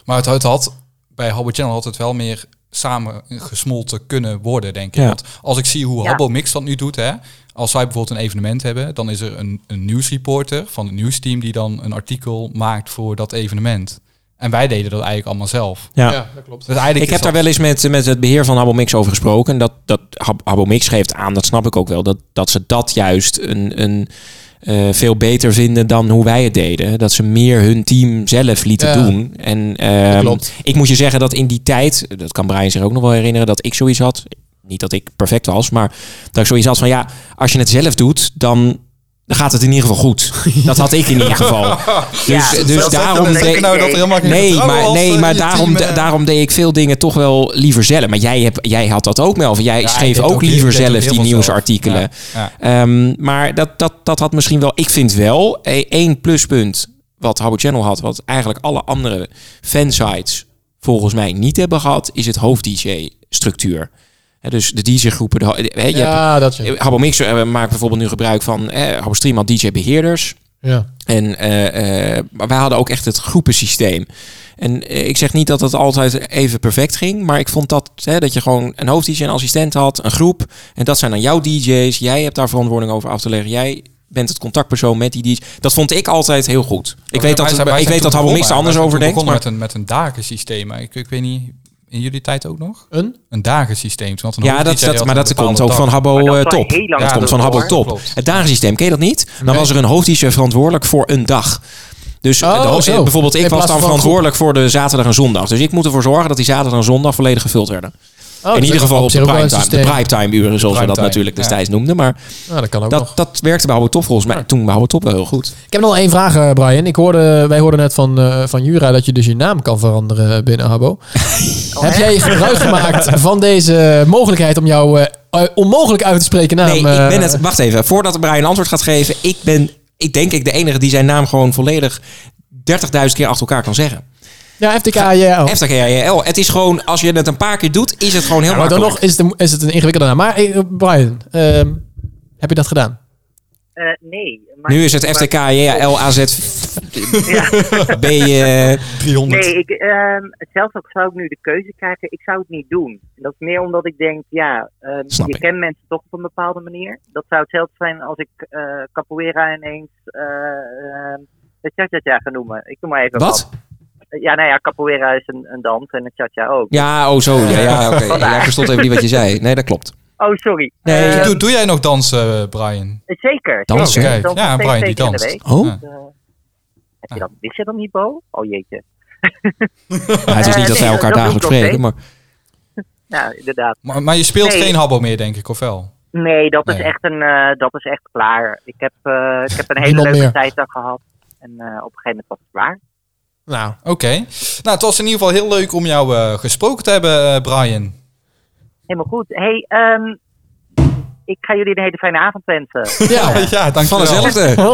S8: Maar het, het had bij Habbo Channel altijd wel meer samen gesmolten kunnen worden, denk ik.
S7: Ja.
S8: Want als ik zie hoe
S9: Ja.
S8: Habbo Mix dat nu doet, hè, als zij bijvoorbeeld een evenement hebben, dan is er een, een nieuwsreporter van het nieuwsteam die dan een artikel maakt voor dat evenement. En wij deden dat eigenlijk allemaal zelf.
S7: Ja. Ja,
S8: dat klopt. Dus eigenlijk
S7: ik
S8: is
S7: heb daar
S8: dat-
S7: wel eens met, met het beheer van Habomix over gesproken. En Dat, dat Hab- Habomix geeft aan, dat snap ik ook wel, dat, dat ze dat juist een, een, eh, veel beter vinden dan hoe wij het deden. Dat ze meer hun team zelf lieten
S6: Ja.
S7: doen. En ehm,
S6: klopt.
S7: ik moet je zeggen dat in die tijd, dat kan Brian zich ook nog wel herinneren, dat ik zoiets had. Niet dat ik perfect was, maar dat ik zoiets had van ja, als je het zelf doet, dan gaat het in ieder geval goed. Dat had ik in ieder geval. Dus,
S9: Ja,
S7: dus
S9: dat-
S7: daarom
S9: dat denk ik nou dat er helemaal geen
S7: nee,
S9: vertrouwen
S7: maar,
S9: was,
S7: nee,
S9: eh,
S7: maar
S9: je
S7: daarom,
S9: team, eh.
S7: daarom deed ik veel dingen toch wel liever zelf. Maar jij, hebt, jij had dat ook, Melvin. Jij
S8: Ja, ik
S7: schreef
S8: deed
S7: ook,
S8: ook heel-
S7: liever
S8: ik deed ook
S7: zelf die
S8: heel veel zelf.
S7: nieuwsartikelen.
S8: Ja,
S7: Ehm, maar dat, dat, dat had misschien wel... Ik vind wel eh, één pluspunt wat Habbo Channel had... wat eigenlijk alle andere fansites volgens mij niet hebben gehad... is het hoofd-DJ-structuur. Hè, Dus de DJ-groepen... de ho- hè, je hebt-
S6: Ja, dat is
S7: Habbo Mix eh, maakt bijvoorbeeld nu gebruik van... eh, Habbo Stream had DJ-beheerders...
S6: Ja.
S7: En eh, eh, maar wij hadden ook echt het groepensysteem. En eh, ik zeg niet dat dat altijd even perfect ging. Maar ik vond dat, hè, dat je gewoon een hoofd-DJ, een assistent had, een groep. En dat zijn dan jouw DJ's. Jij hebt daar verantwoording over af te leggen. Jij bent het contactpersoon met die DJ's. Dat vond ik altijd heel goed. Ik weet dat,
S8: Oh Wij zijn- wij
S7: ik
S8: zijn
S7: weet dat
S8: toen
S7: Habbo Mix er
S8: begonnen.
S7: anders
S8: Wij zijn
S7: over
S8: toen
S7: denkt.
S8: begonnen
S7: Maar
S8: Met een, met een dagensysteem. maar Ik, ik weet niet, in jullie tijd ook nog?
S6: Een? Oh,
S8: Een dagensysteem. Toen had een
S7: ja, dat,
S8: hoofddienst,
S7: dat,
S8: had
S7: maar
S8: een
S7: dat
S8: bepaalde
S7: komt ook
S8: dag.
S7: van Habbo eh, Top.
S9: heel lang
S7: Dat komt van
S9: door,
S7: Habbo
S9: hoor.
S7: Top.
S8: Klopt.
S7: Het dagensysteem, ken je dat niet? Dan was er een hoofd-DJ verantwoordelijk voor een dag. Dus
S6: Oh,
S7: de ho-
S6: zo.
S7: bijvoorbeeld,
S6: In
S7: ik was
S6: plaats
S7: dan
S6: van
S7: verantwoordelijk voor de zaterdag en zondag. Dus ik moet ervoor zorgen dat die zaterdag en zondag volledig gevuld werden. in
S6: Oh, is
S7: ieder
S6: ook
S7: geval
S6: op
S7: op
S6: zich
S7: de
S6: ook wel een
S7: primetime, de
S6: systeem.
S7: primetime uren, zoals we dat
S6: Primetime,
S7: natuurlijk
S6: ja.
S7: destijds noemden. Maar
S6: Nou, dat kan ook nog.
S7: dat, dat werkte bij Houwe Top volgens mij. Toen bij Houwe Top wel heel goed.
S6: Ik heb nog één vraag, eh, Brian. Ik hoorde, wij hoorden net van, eh, van Jura dat je dus je naam kan veranderen binnen Habbo. Oh, heb jij gebruik gemaakt van deze mogelijkheid om jouw eh, eh, onmogelijk uit te spreken naam?
S7: Nee, ik ben
S6: eh,
S7: het. Wacht even. Voordat Brian antwoord gaat geven. Ik ben, ik denk ik, de enige die zijn naam gewoon volledig 30.000 keer achter elkaar kan zeggen.
S6: Ja, oh. FTKJL.
S7: FTKRJL. Het is gewoon, als je het een paar keer doet, is het gewoon heel
S6: maar Oh, dan
S7: makkelijk.
S6: nog is het, een- is het een ingewikkelde naam. Maar eh, Brian, ehm, heb je dat gedaan?
S12: Eh, nee. maar-
S7: Nu is het FTK, JAL, AZ, B, eh, 300.
S12: Nee, ik, ehm, zelfs ook zou ik nu de keuze krijgen, ik zou het niet doen. En dat is meer omdat ik denk, ja, ehm,
S7: Snap
S12: je
S7: ik.
S12: kent mensen toch op een bepaalde manier. Dat zou hetzelfde zijn als ik eh, capoeira ineens eh ehm, de cha-cha-cha ga noemen. Ik noem maar even
S7: Wat?
S12: Ja, nou ja, capoeira is een, een dans en een cha-cha ook.
S7: Ja, oh zo. Ja, ja oké.
S12: Vandaar.
S7: Ja, ik verstond even niet wat je zei. Nee, dat klopt.
S12: Oh, sorry.
S7: Nee,
S12: Eh,
S8: doe, doe jij nog dansen, eh, Brian?
S12: Zeker.
S7: Dansen?
S12: zeker. Ik
S8: Kijk,
S12: dans
S8: ja,
S12: nog steeds
S8: Brian
S12: twee
S8: die
S12: keer in de
S8: danst.
S12: week.
S8: Oh.
S12: Dus, eh, heb je dat, wist je dat niet, Bo? Oh jeetje.
S7: Ja, het is
S12: Eh,
S7: niet dat wij
S12: nee, dat doe
S7: elkaar dagelijks
S12: ik nog
S7: spreken,
S12: steeds.
S7: maar
S12: Ja, Nou, inderdaad.
S8: Maar, maar je speelt
S12: Nee.
S8: geen habbo meer, denk ik, of wel?
S12: Nee, dat,
S8: Nee.
S12: Is echt een, eh, dat is echt klaar. Ik heb, eh, ik heb een hele
S8: Niemand
S12: leuke
S8: meer.
S12: tijd daar gehad. En eh, op een gegeven moment was het klaar.
S6: Nou,
S8: oké. Nou, het was in ieder geval heel leuk om jou eh, gesproken te hebben, eh, Brian.
S12: Helemaal goed. hey, ehm, ik ga jullie een hele fijne avond wensen.
S8: ja dankjewel.
S7: van hetzelfde.
S12: Van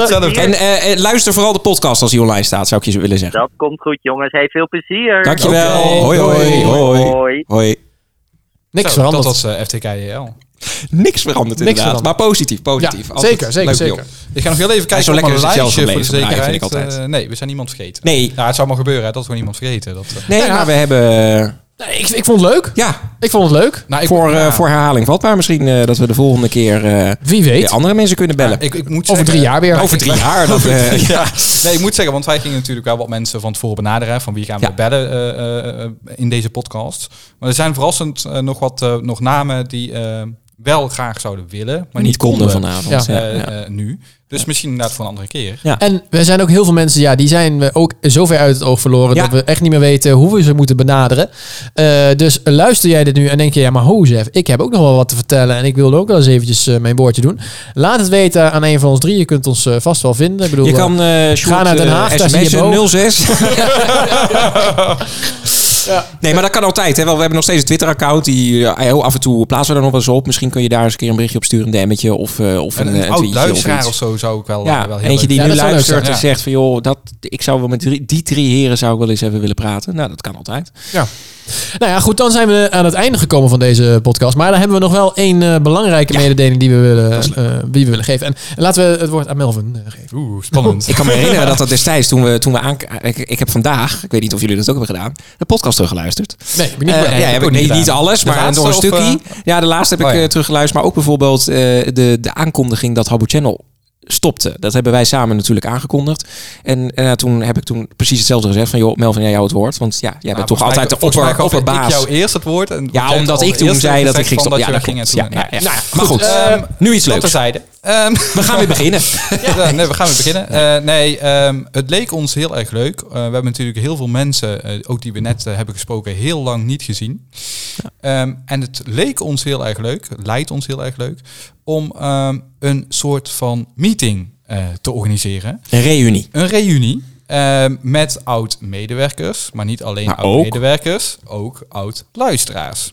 S12: hetzelfde.
S7: En eh, eh, luister vooral de podcast als die online staat, zou ik je willen zeggen.
S12: Dat komt goed, jongens. Hey, veel plezier.
S7: Dankjewel. Hoi, hoi, hoi. Hoi.
S6: Niks
S8: Zo,
S6: veranderd.
S8: Dat was eh, FTKJL.
S7: Niks veranderd
S8: Niks
S7: inderdaad,
S8: veranderd.
S7: maar positief, positief.
S8: Ja,
S7: Altijd
S8: zeker, zeker,
S7: leuk,
S8: zeker.
S7: joh.
S8: Ik ga nog heel even
S7: Hij
S8: kijken
S7: is zo
S8: op
S7: lekker
S8: mijn
S7: zelf
S8: lijstje voor de
S7: gebleven, Brian,
S8: zekerheid.
S7: vind ik altijd.
S8: Eh, nee, we zijn niemand vergeten.
S7: Nee.
S8: Nou, het zou maar gebeuren hè, dat we niemand vergeten. Dat, eh.
S7: Nee, maar we hebben... eh,
S6: Nee, ik, ik vond het leuk.
S7: Ja.
S6: Ik vond het leuk.
S8: Nou, ik-
S7: voor, eh,
S8: ja.
S7: voor herhaling vatbaar misschien eh, dat we de volgende keer eh,
S6: Wie weet.
S7: weer andere mensen kunnen bellen.
S8: Ik, ik moet
S6: Over
S8: zeggen-
S6: drie jaar weer.
S7: Over drie jaar, dat, eh,
S8: ja. Nee, ik moet zeggen, want wij gingen natuurlijk wel wat mensen van tevoren benaderen. hè, Van wie gaan we bellen eh, eh, eh, in deze podcast. Maar er zijn verrassend eh, nog wat eh, nog namen die eh, wel graag zouden willen. Maar,
S7: niet konden vanavond,
S8: eh,
S7: ja. Ja.
S8: eh, nu. Dus misschien inderdaad voor een andere keer.
S6: En er zijn ook heel veel mensen, ja, die zijn we ook zover uit het oog verloren dat we echt niet meer weten hoe we ze moeten benaderen. Eh, dus luister jij dit nu en denk je, ja, maar Hozef, ik heb ook nog wel wat te vertellen en ik wilde ook wel eens eventjes eh, mijn boordje doen. Laat het weten aan een van ons drie. Je kunt ons eh, vast wel vinden. Ik bedoel,
S7: je
S6: eh,
S7: kan eh
S6: ga naar Den Haag, daar zie je hem ook.
S7: 06. Nee, maar dat kan altijd. Hè? Wel, we hebben nog steeds een Twitter-account. Die eh, heel af en toe plaatsen we er nog wel eens op. Misschien kun je daar eens een keer een berichtje op sturen. Een demmetje of, eh, of een,
S8: Een,
S7: eh,
S8: een
S7: een
S8: oud
S7: tweetje
S8: luisteraar of,
S7: iets.
S8: zo zou ik wel, eh,
S7: Ja,
S8: wel
S7: eentje
S8: heel leuk
S7: die
S8: vinden.
S7: nu luistert en
S8: Ja.
S7: zegt van... joh, dat, ik zou wel met drie- die drie heren zou ik wel eens even willen praten. Nou, dat kan altijd.
S6: Ja. Nou ja, goed, dan zijn we aan het einde gekomen van deze podcast. Maar dan hebben we nog wel één eh, belangrijke mededeling die we, willen, eh, die we willen geven. En laten we het woord aan Melvin eh, geven.
S8: Oeh, spannend.
S7: Ik kan me herinneren dat dat destijds toen we, toen we aan... Ik, ik heb vandaag, ik weet niet of jullie dat ook hebben gedaan... de podcast teruggeluisterd.
S6: Nee, ik ben niet
S7: Eh,
S6: bereid.
S7: ja, heb ik
S6: ook
S7: niet, niet
S6: gedaan.
S7: alles,
S6: De
S7: maar
S6: laatste
S7: nog een
S6: of, eh,
S7: stukje. ja, de laatste heb
S6: oh
S7: ik
S6: ja.
S7: eh, teruggeluisterd. Maar ook bijvoorbeeld eh, de, de aankondiging dat Habbo Channel stopte. Dat hebben wij samen natuurlijk aangekondigd. En eh, toen heb ik toen precies hetzelfde gezegd van... joh, Melvin, jij jou het woord. Want ja, jij bent
S8: Nou,
S7: toch
S8: volgens mij-
S7: altijd de
S8: volgens
S7: opper,
S8: mij gaf
S7: opperbaas.
S8: Ik jou eerst het woord. En
S7: Ja,
S8: jij
S7: omdat
S8: had
S7: ik
S8: al
S7: toen
S8: eerst
S7: zei dat
S8: gezegd
S7: ik ging
S8: van
S7: stoppen. Ja,
S8: je
S7: dat
S8: daar ging
S7: klopt. Ja, ja,
S8: naartoe.
S7: ja.
S8: Nou
S7: Maar goed,
S8: ehm,
S7: nu iets
S8: dat
S7: leuks.
S8: terzijde. Ehm,
S7: We gaan weer beginnen.
S8: ja, nee, we gaan weer beginnen. Eh, nee, ehm, het leek ons heel erg leuk. Eh, we hebben natuurlijk heel veel mensen, eh, ook die we net eh, hebben gesproken, heel lang niet gezien. Ehm, en het leek ons heel erg leuk, lijkt ons heel erg leuk, om ehm, een soort van meeting eh, te organiseren.
S7: Een reunie.
S8: Een reunie. ehm, met oud-medewerkers, maar niet alleen
S7: Maar ook-
S8: oud-medewerkers, ook oud-luisteraars.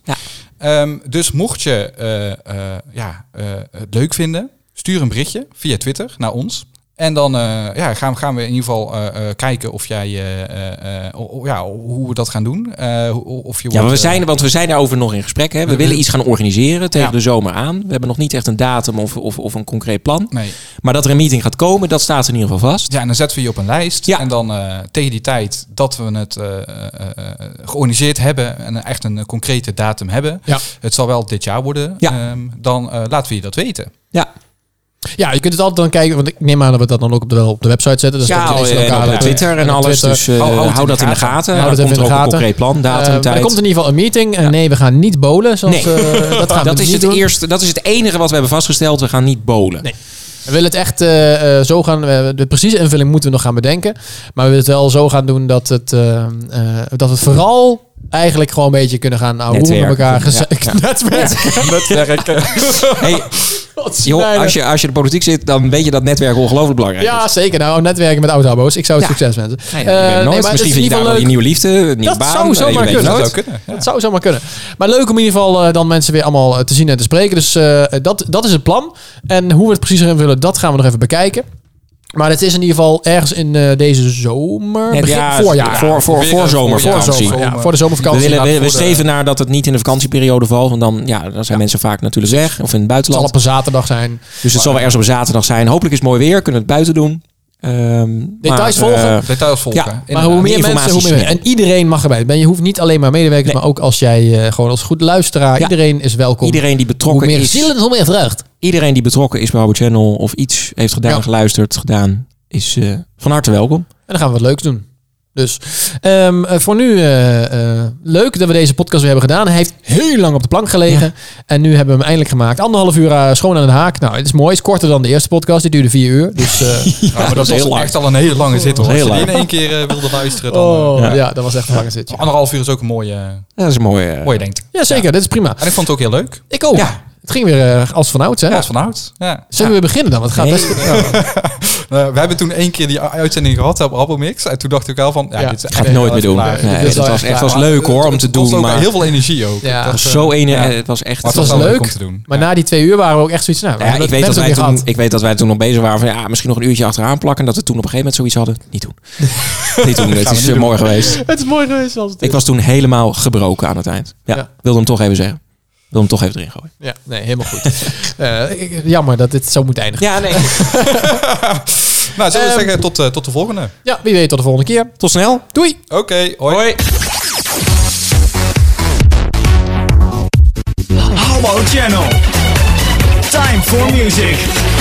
S8: Ehm, dus mocht je eh, eh, ja, eh, het leuk vinden, stuur een berichtje via Twitter naar ons. En dan eh, ja, gaan, gaan we in ieder geval eh, eh, kijken of jij, eh, eh, eh, o- o- ja, hoe we dat gaan doen. Eh, hoe- of je
S7: Ja, maar we
S8: wordt, eh,
S7: zijn, want we zijn daarover nog in gesprek. Hè. We willen
S6: Mm-hmm.
S7: iets gaan organiseren tegen de zomer aan. We hebben nog niet echt een datum of, of, of een concreet plan.
S8: Nee.
S7: Maar dat er een meeting gaat komen, dat staat in ieder geval vast.
S8: Ja, en dan zetten we je op een lijst. En dan eh, tegen die tijd dat we het eh, eh, eh, georganiseerd hebben en echt een eh, concrete datum hebben.
S6: Ja.
S8: Het zal wel dit jaar worden. Ehm, dan eh, laten we je dat weten.
S7: Ja.
S6: Ja, je kunt het altijd dan kijken, want ik neem aan dat we dat dan ook op de, wel op de website zetten. Dus
S7: Ja,
S6: dat ineens
S7: en
S6: elkaar-
S7: op de Twitter en
S6: op
S7: alles, dus, eh,
S6: het
S7: hou dat in de gaten.
S6: Hou dat
S7: Dan
S6: even in
S7: komt
S6: de
S7: er ook een
S6: gaten.
S7: concreet plan, datum,
S6: Eh, maar
S7: tijd.
S6: Er komt in ieder geval een meeting. En nee, we gaan niet bolen. Zoals,
S7: Nee.
S6: eh, dat gaan we
S7: dat,
S6: dus
S7: is
S6: niet
S7: het
S6: doen.
S7: eerste, dat is het enige wat we hebben vastgesteld. We gaan niet bolen.
S6: We willen het echt eh, eh, zo gaan. we- de precieze invulling moeten we nog gaan bedenken. Maar we willen het wel zo gaan doen dat, het, eh, eh, dat we het vooral eigenlijk gewoon een beetje kunnen gaan ouwe hoeren met
S7: Netwerken.
S6: elkaar. Geze-
S7: Ja, ja.
S6: Netwerken.
S7: Netwerken. hey,
S6: Wat
S7: joh,
S6: snijden.
S7: als je, als je in de politiek zit, dan weet je dat netwerken ongelooflijk belangrijk is.
S6: Ja, zeker. Nou, netwerken met oud-abo's. Ik zou het succes wensen.
S7: Nee,
S6: Eh,
S7: ik weet
S6: nee,
S7: nooit.
S6: maar het is
S7: Misschien
S6: in
S7: vind je
S6: ieder
S7: daar
S6: geval
S7: wel je
S6: leuk.
S7: nieuwe liefde, een nieuwe
S6: dat
S7: baan.
S6: zou
S7: eh, je
S6: zomaar
S7: weet
S6: kunnen.
S7: het
S6: Dat,
S7: nooit.
S6: zou zomaar kunnen. Maar leuk om in ieder geval eh, dan mensen weer allemaal eh, te zien en te spreken. Dus eh, dat, dat is het plan. En hoe we het precies erin willen, dat gaan we nog even bekijken. Maar het is in ieder geval ergens in eh, deze zomer.
S7: Net-
S6: begin,
S7: ja,
S6: voorjaar.
S7: Voor, voor, voor zomer,
S6: Voor,
S7: vakantie.
S6: zomer, ja, voor de zomervakantie.
S7: We, willen, we,
S6: inderdaad,
S7: we
S6: voor de-
S7: streven naar dat het niet in de vakantieperiode valt. Want dan, ja, dan zijn mensen vaak natuurlijk weg. Of in het
S6: Het zal
S7: buitenland.
S6: op een zaterdag zijn.
S7: Dus het zal wel ergens op een zaterdag zijn. Hopelijk is het mooi weer. Kunnen we het buiten doen. Ehm,
S6: Details
S7: maar, eh,
S6: volgen.
S8: Details volgen.
S7: Ja,
S6: Maar hoe meer
S7: Informatie
S6: mensen, hoe meer.
S7: snel.
S6: En iedereen mag erbij. Ben, je hoeft niet alleen maar medewerkers, maar ook als jij eh, gewoon als goed luisteraar. Iedereen is welkom.
S7: Iedereen die betrokken
S6: Hoe meer
S7: is.
S6: zielen, hoe meer vreugd.
S7: Iedereen die betrokken is bij Habo Channel of iets heeft gedaan, geluisterd, gedaan, is eh, van harte welkom.
S6: En dan gaan we wat leuks doen. Dus ehm, eh, voor nu eh, eh, leuk dat we deze podcast weer hebben gedaan. Hij heeft heel lang op de plank gelegen. En nu hebben we hem eindelijk gemaakt. Anderhalf uur eh, schoon aan de haak. Nou, het is mooi. Het is korter dan de eerste podcast. Die duurde vier uur. Dus, eh,
S8: Ja, maar dat was echt al een hele lange zit. Hoor.
S6: Dat was
S8: Als
S6: heel
S8: je die in
S6: lang.
S8: één keer eh, wilde luisteren, dan...
S6: Oh,
S8: eh,
S6: ja. dat was echt een lange zitje.
S8: Anderhalf uur is ook een mooie... eh,
S7: Dat is een mooie, eh,
S8: mooie denkt.
S6: Ja, zeker. Dit is prima.
S8: En ik vond het ook heel leuk.
S6: Ik ook. Het ging weer eh, als vanouds, hè?
S8: Ja, als vanouds. Ja.
S6: Zullen we beginnen dan? Want het gaat
S8: Nee.
S6: best...
S8: Nou, we hebben toen één keer die uitzending gehad op Applemix. En toen dacht ik al van... Ja, dit is
S7: Ga ik
S8: echt
S7: nooit meer doen.
S8: klaar.
S7: Nee,
S8: Dit is
S7: het was
S8: klaar.
S7: echt was
S8: Maar
S7: leuk hoor om te
S8: Het was
S7: doen.
S8: ook
S7: Maar
S8: heel veel energie ook.
S6: Ja.
S7: Het
S8: Dat,
S7: was
S8: eh,
S7: zo ene,
S8: ja.
S7: eh, het was echt.
S6: het was leuk. Maar na die twee uur waren we ook echt zoiets. Nou, we
S7: Nou ja,
S6: hebben
S7: ik, weet dat
S6: mensen
S7: wij
S6: weer
S7: toen,
S6: gehad.
S7: ik weet dat wij toen nog bezig waren van ja, misschien nog een uurtje achteraan plakken. En dat we toen op een gegeven moment zoiets hadden. Niet doen. niet doen, het
S6: Gaan we
S7: is
S6: niet
S7: eh, mooi
S6: doen.
S7: geweest.
S6: Het is mooi geweest als het
S7: Ik
S6: is.
S7: was toen helemaal gebroken aan het eind. Ja, wilde hem toch even zeggen. Wilde hem toch even erin gooien.
S6: Ja, nee, helemaal goed. Eh, ik- jammer dat dit zo moet eindigen.
S7: Ja, nee.
S8: Nou, zullen we
S6: Ehm,
S8: zeggen tot, eh, tot de volgende.
S6: Ja, wie weet tot de volgende keer.
S7: Tot snel.
S6: Doei.
S8: Oké, hoi.
S1: Habbo Channel. Time for music.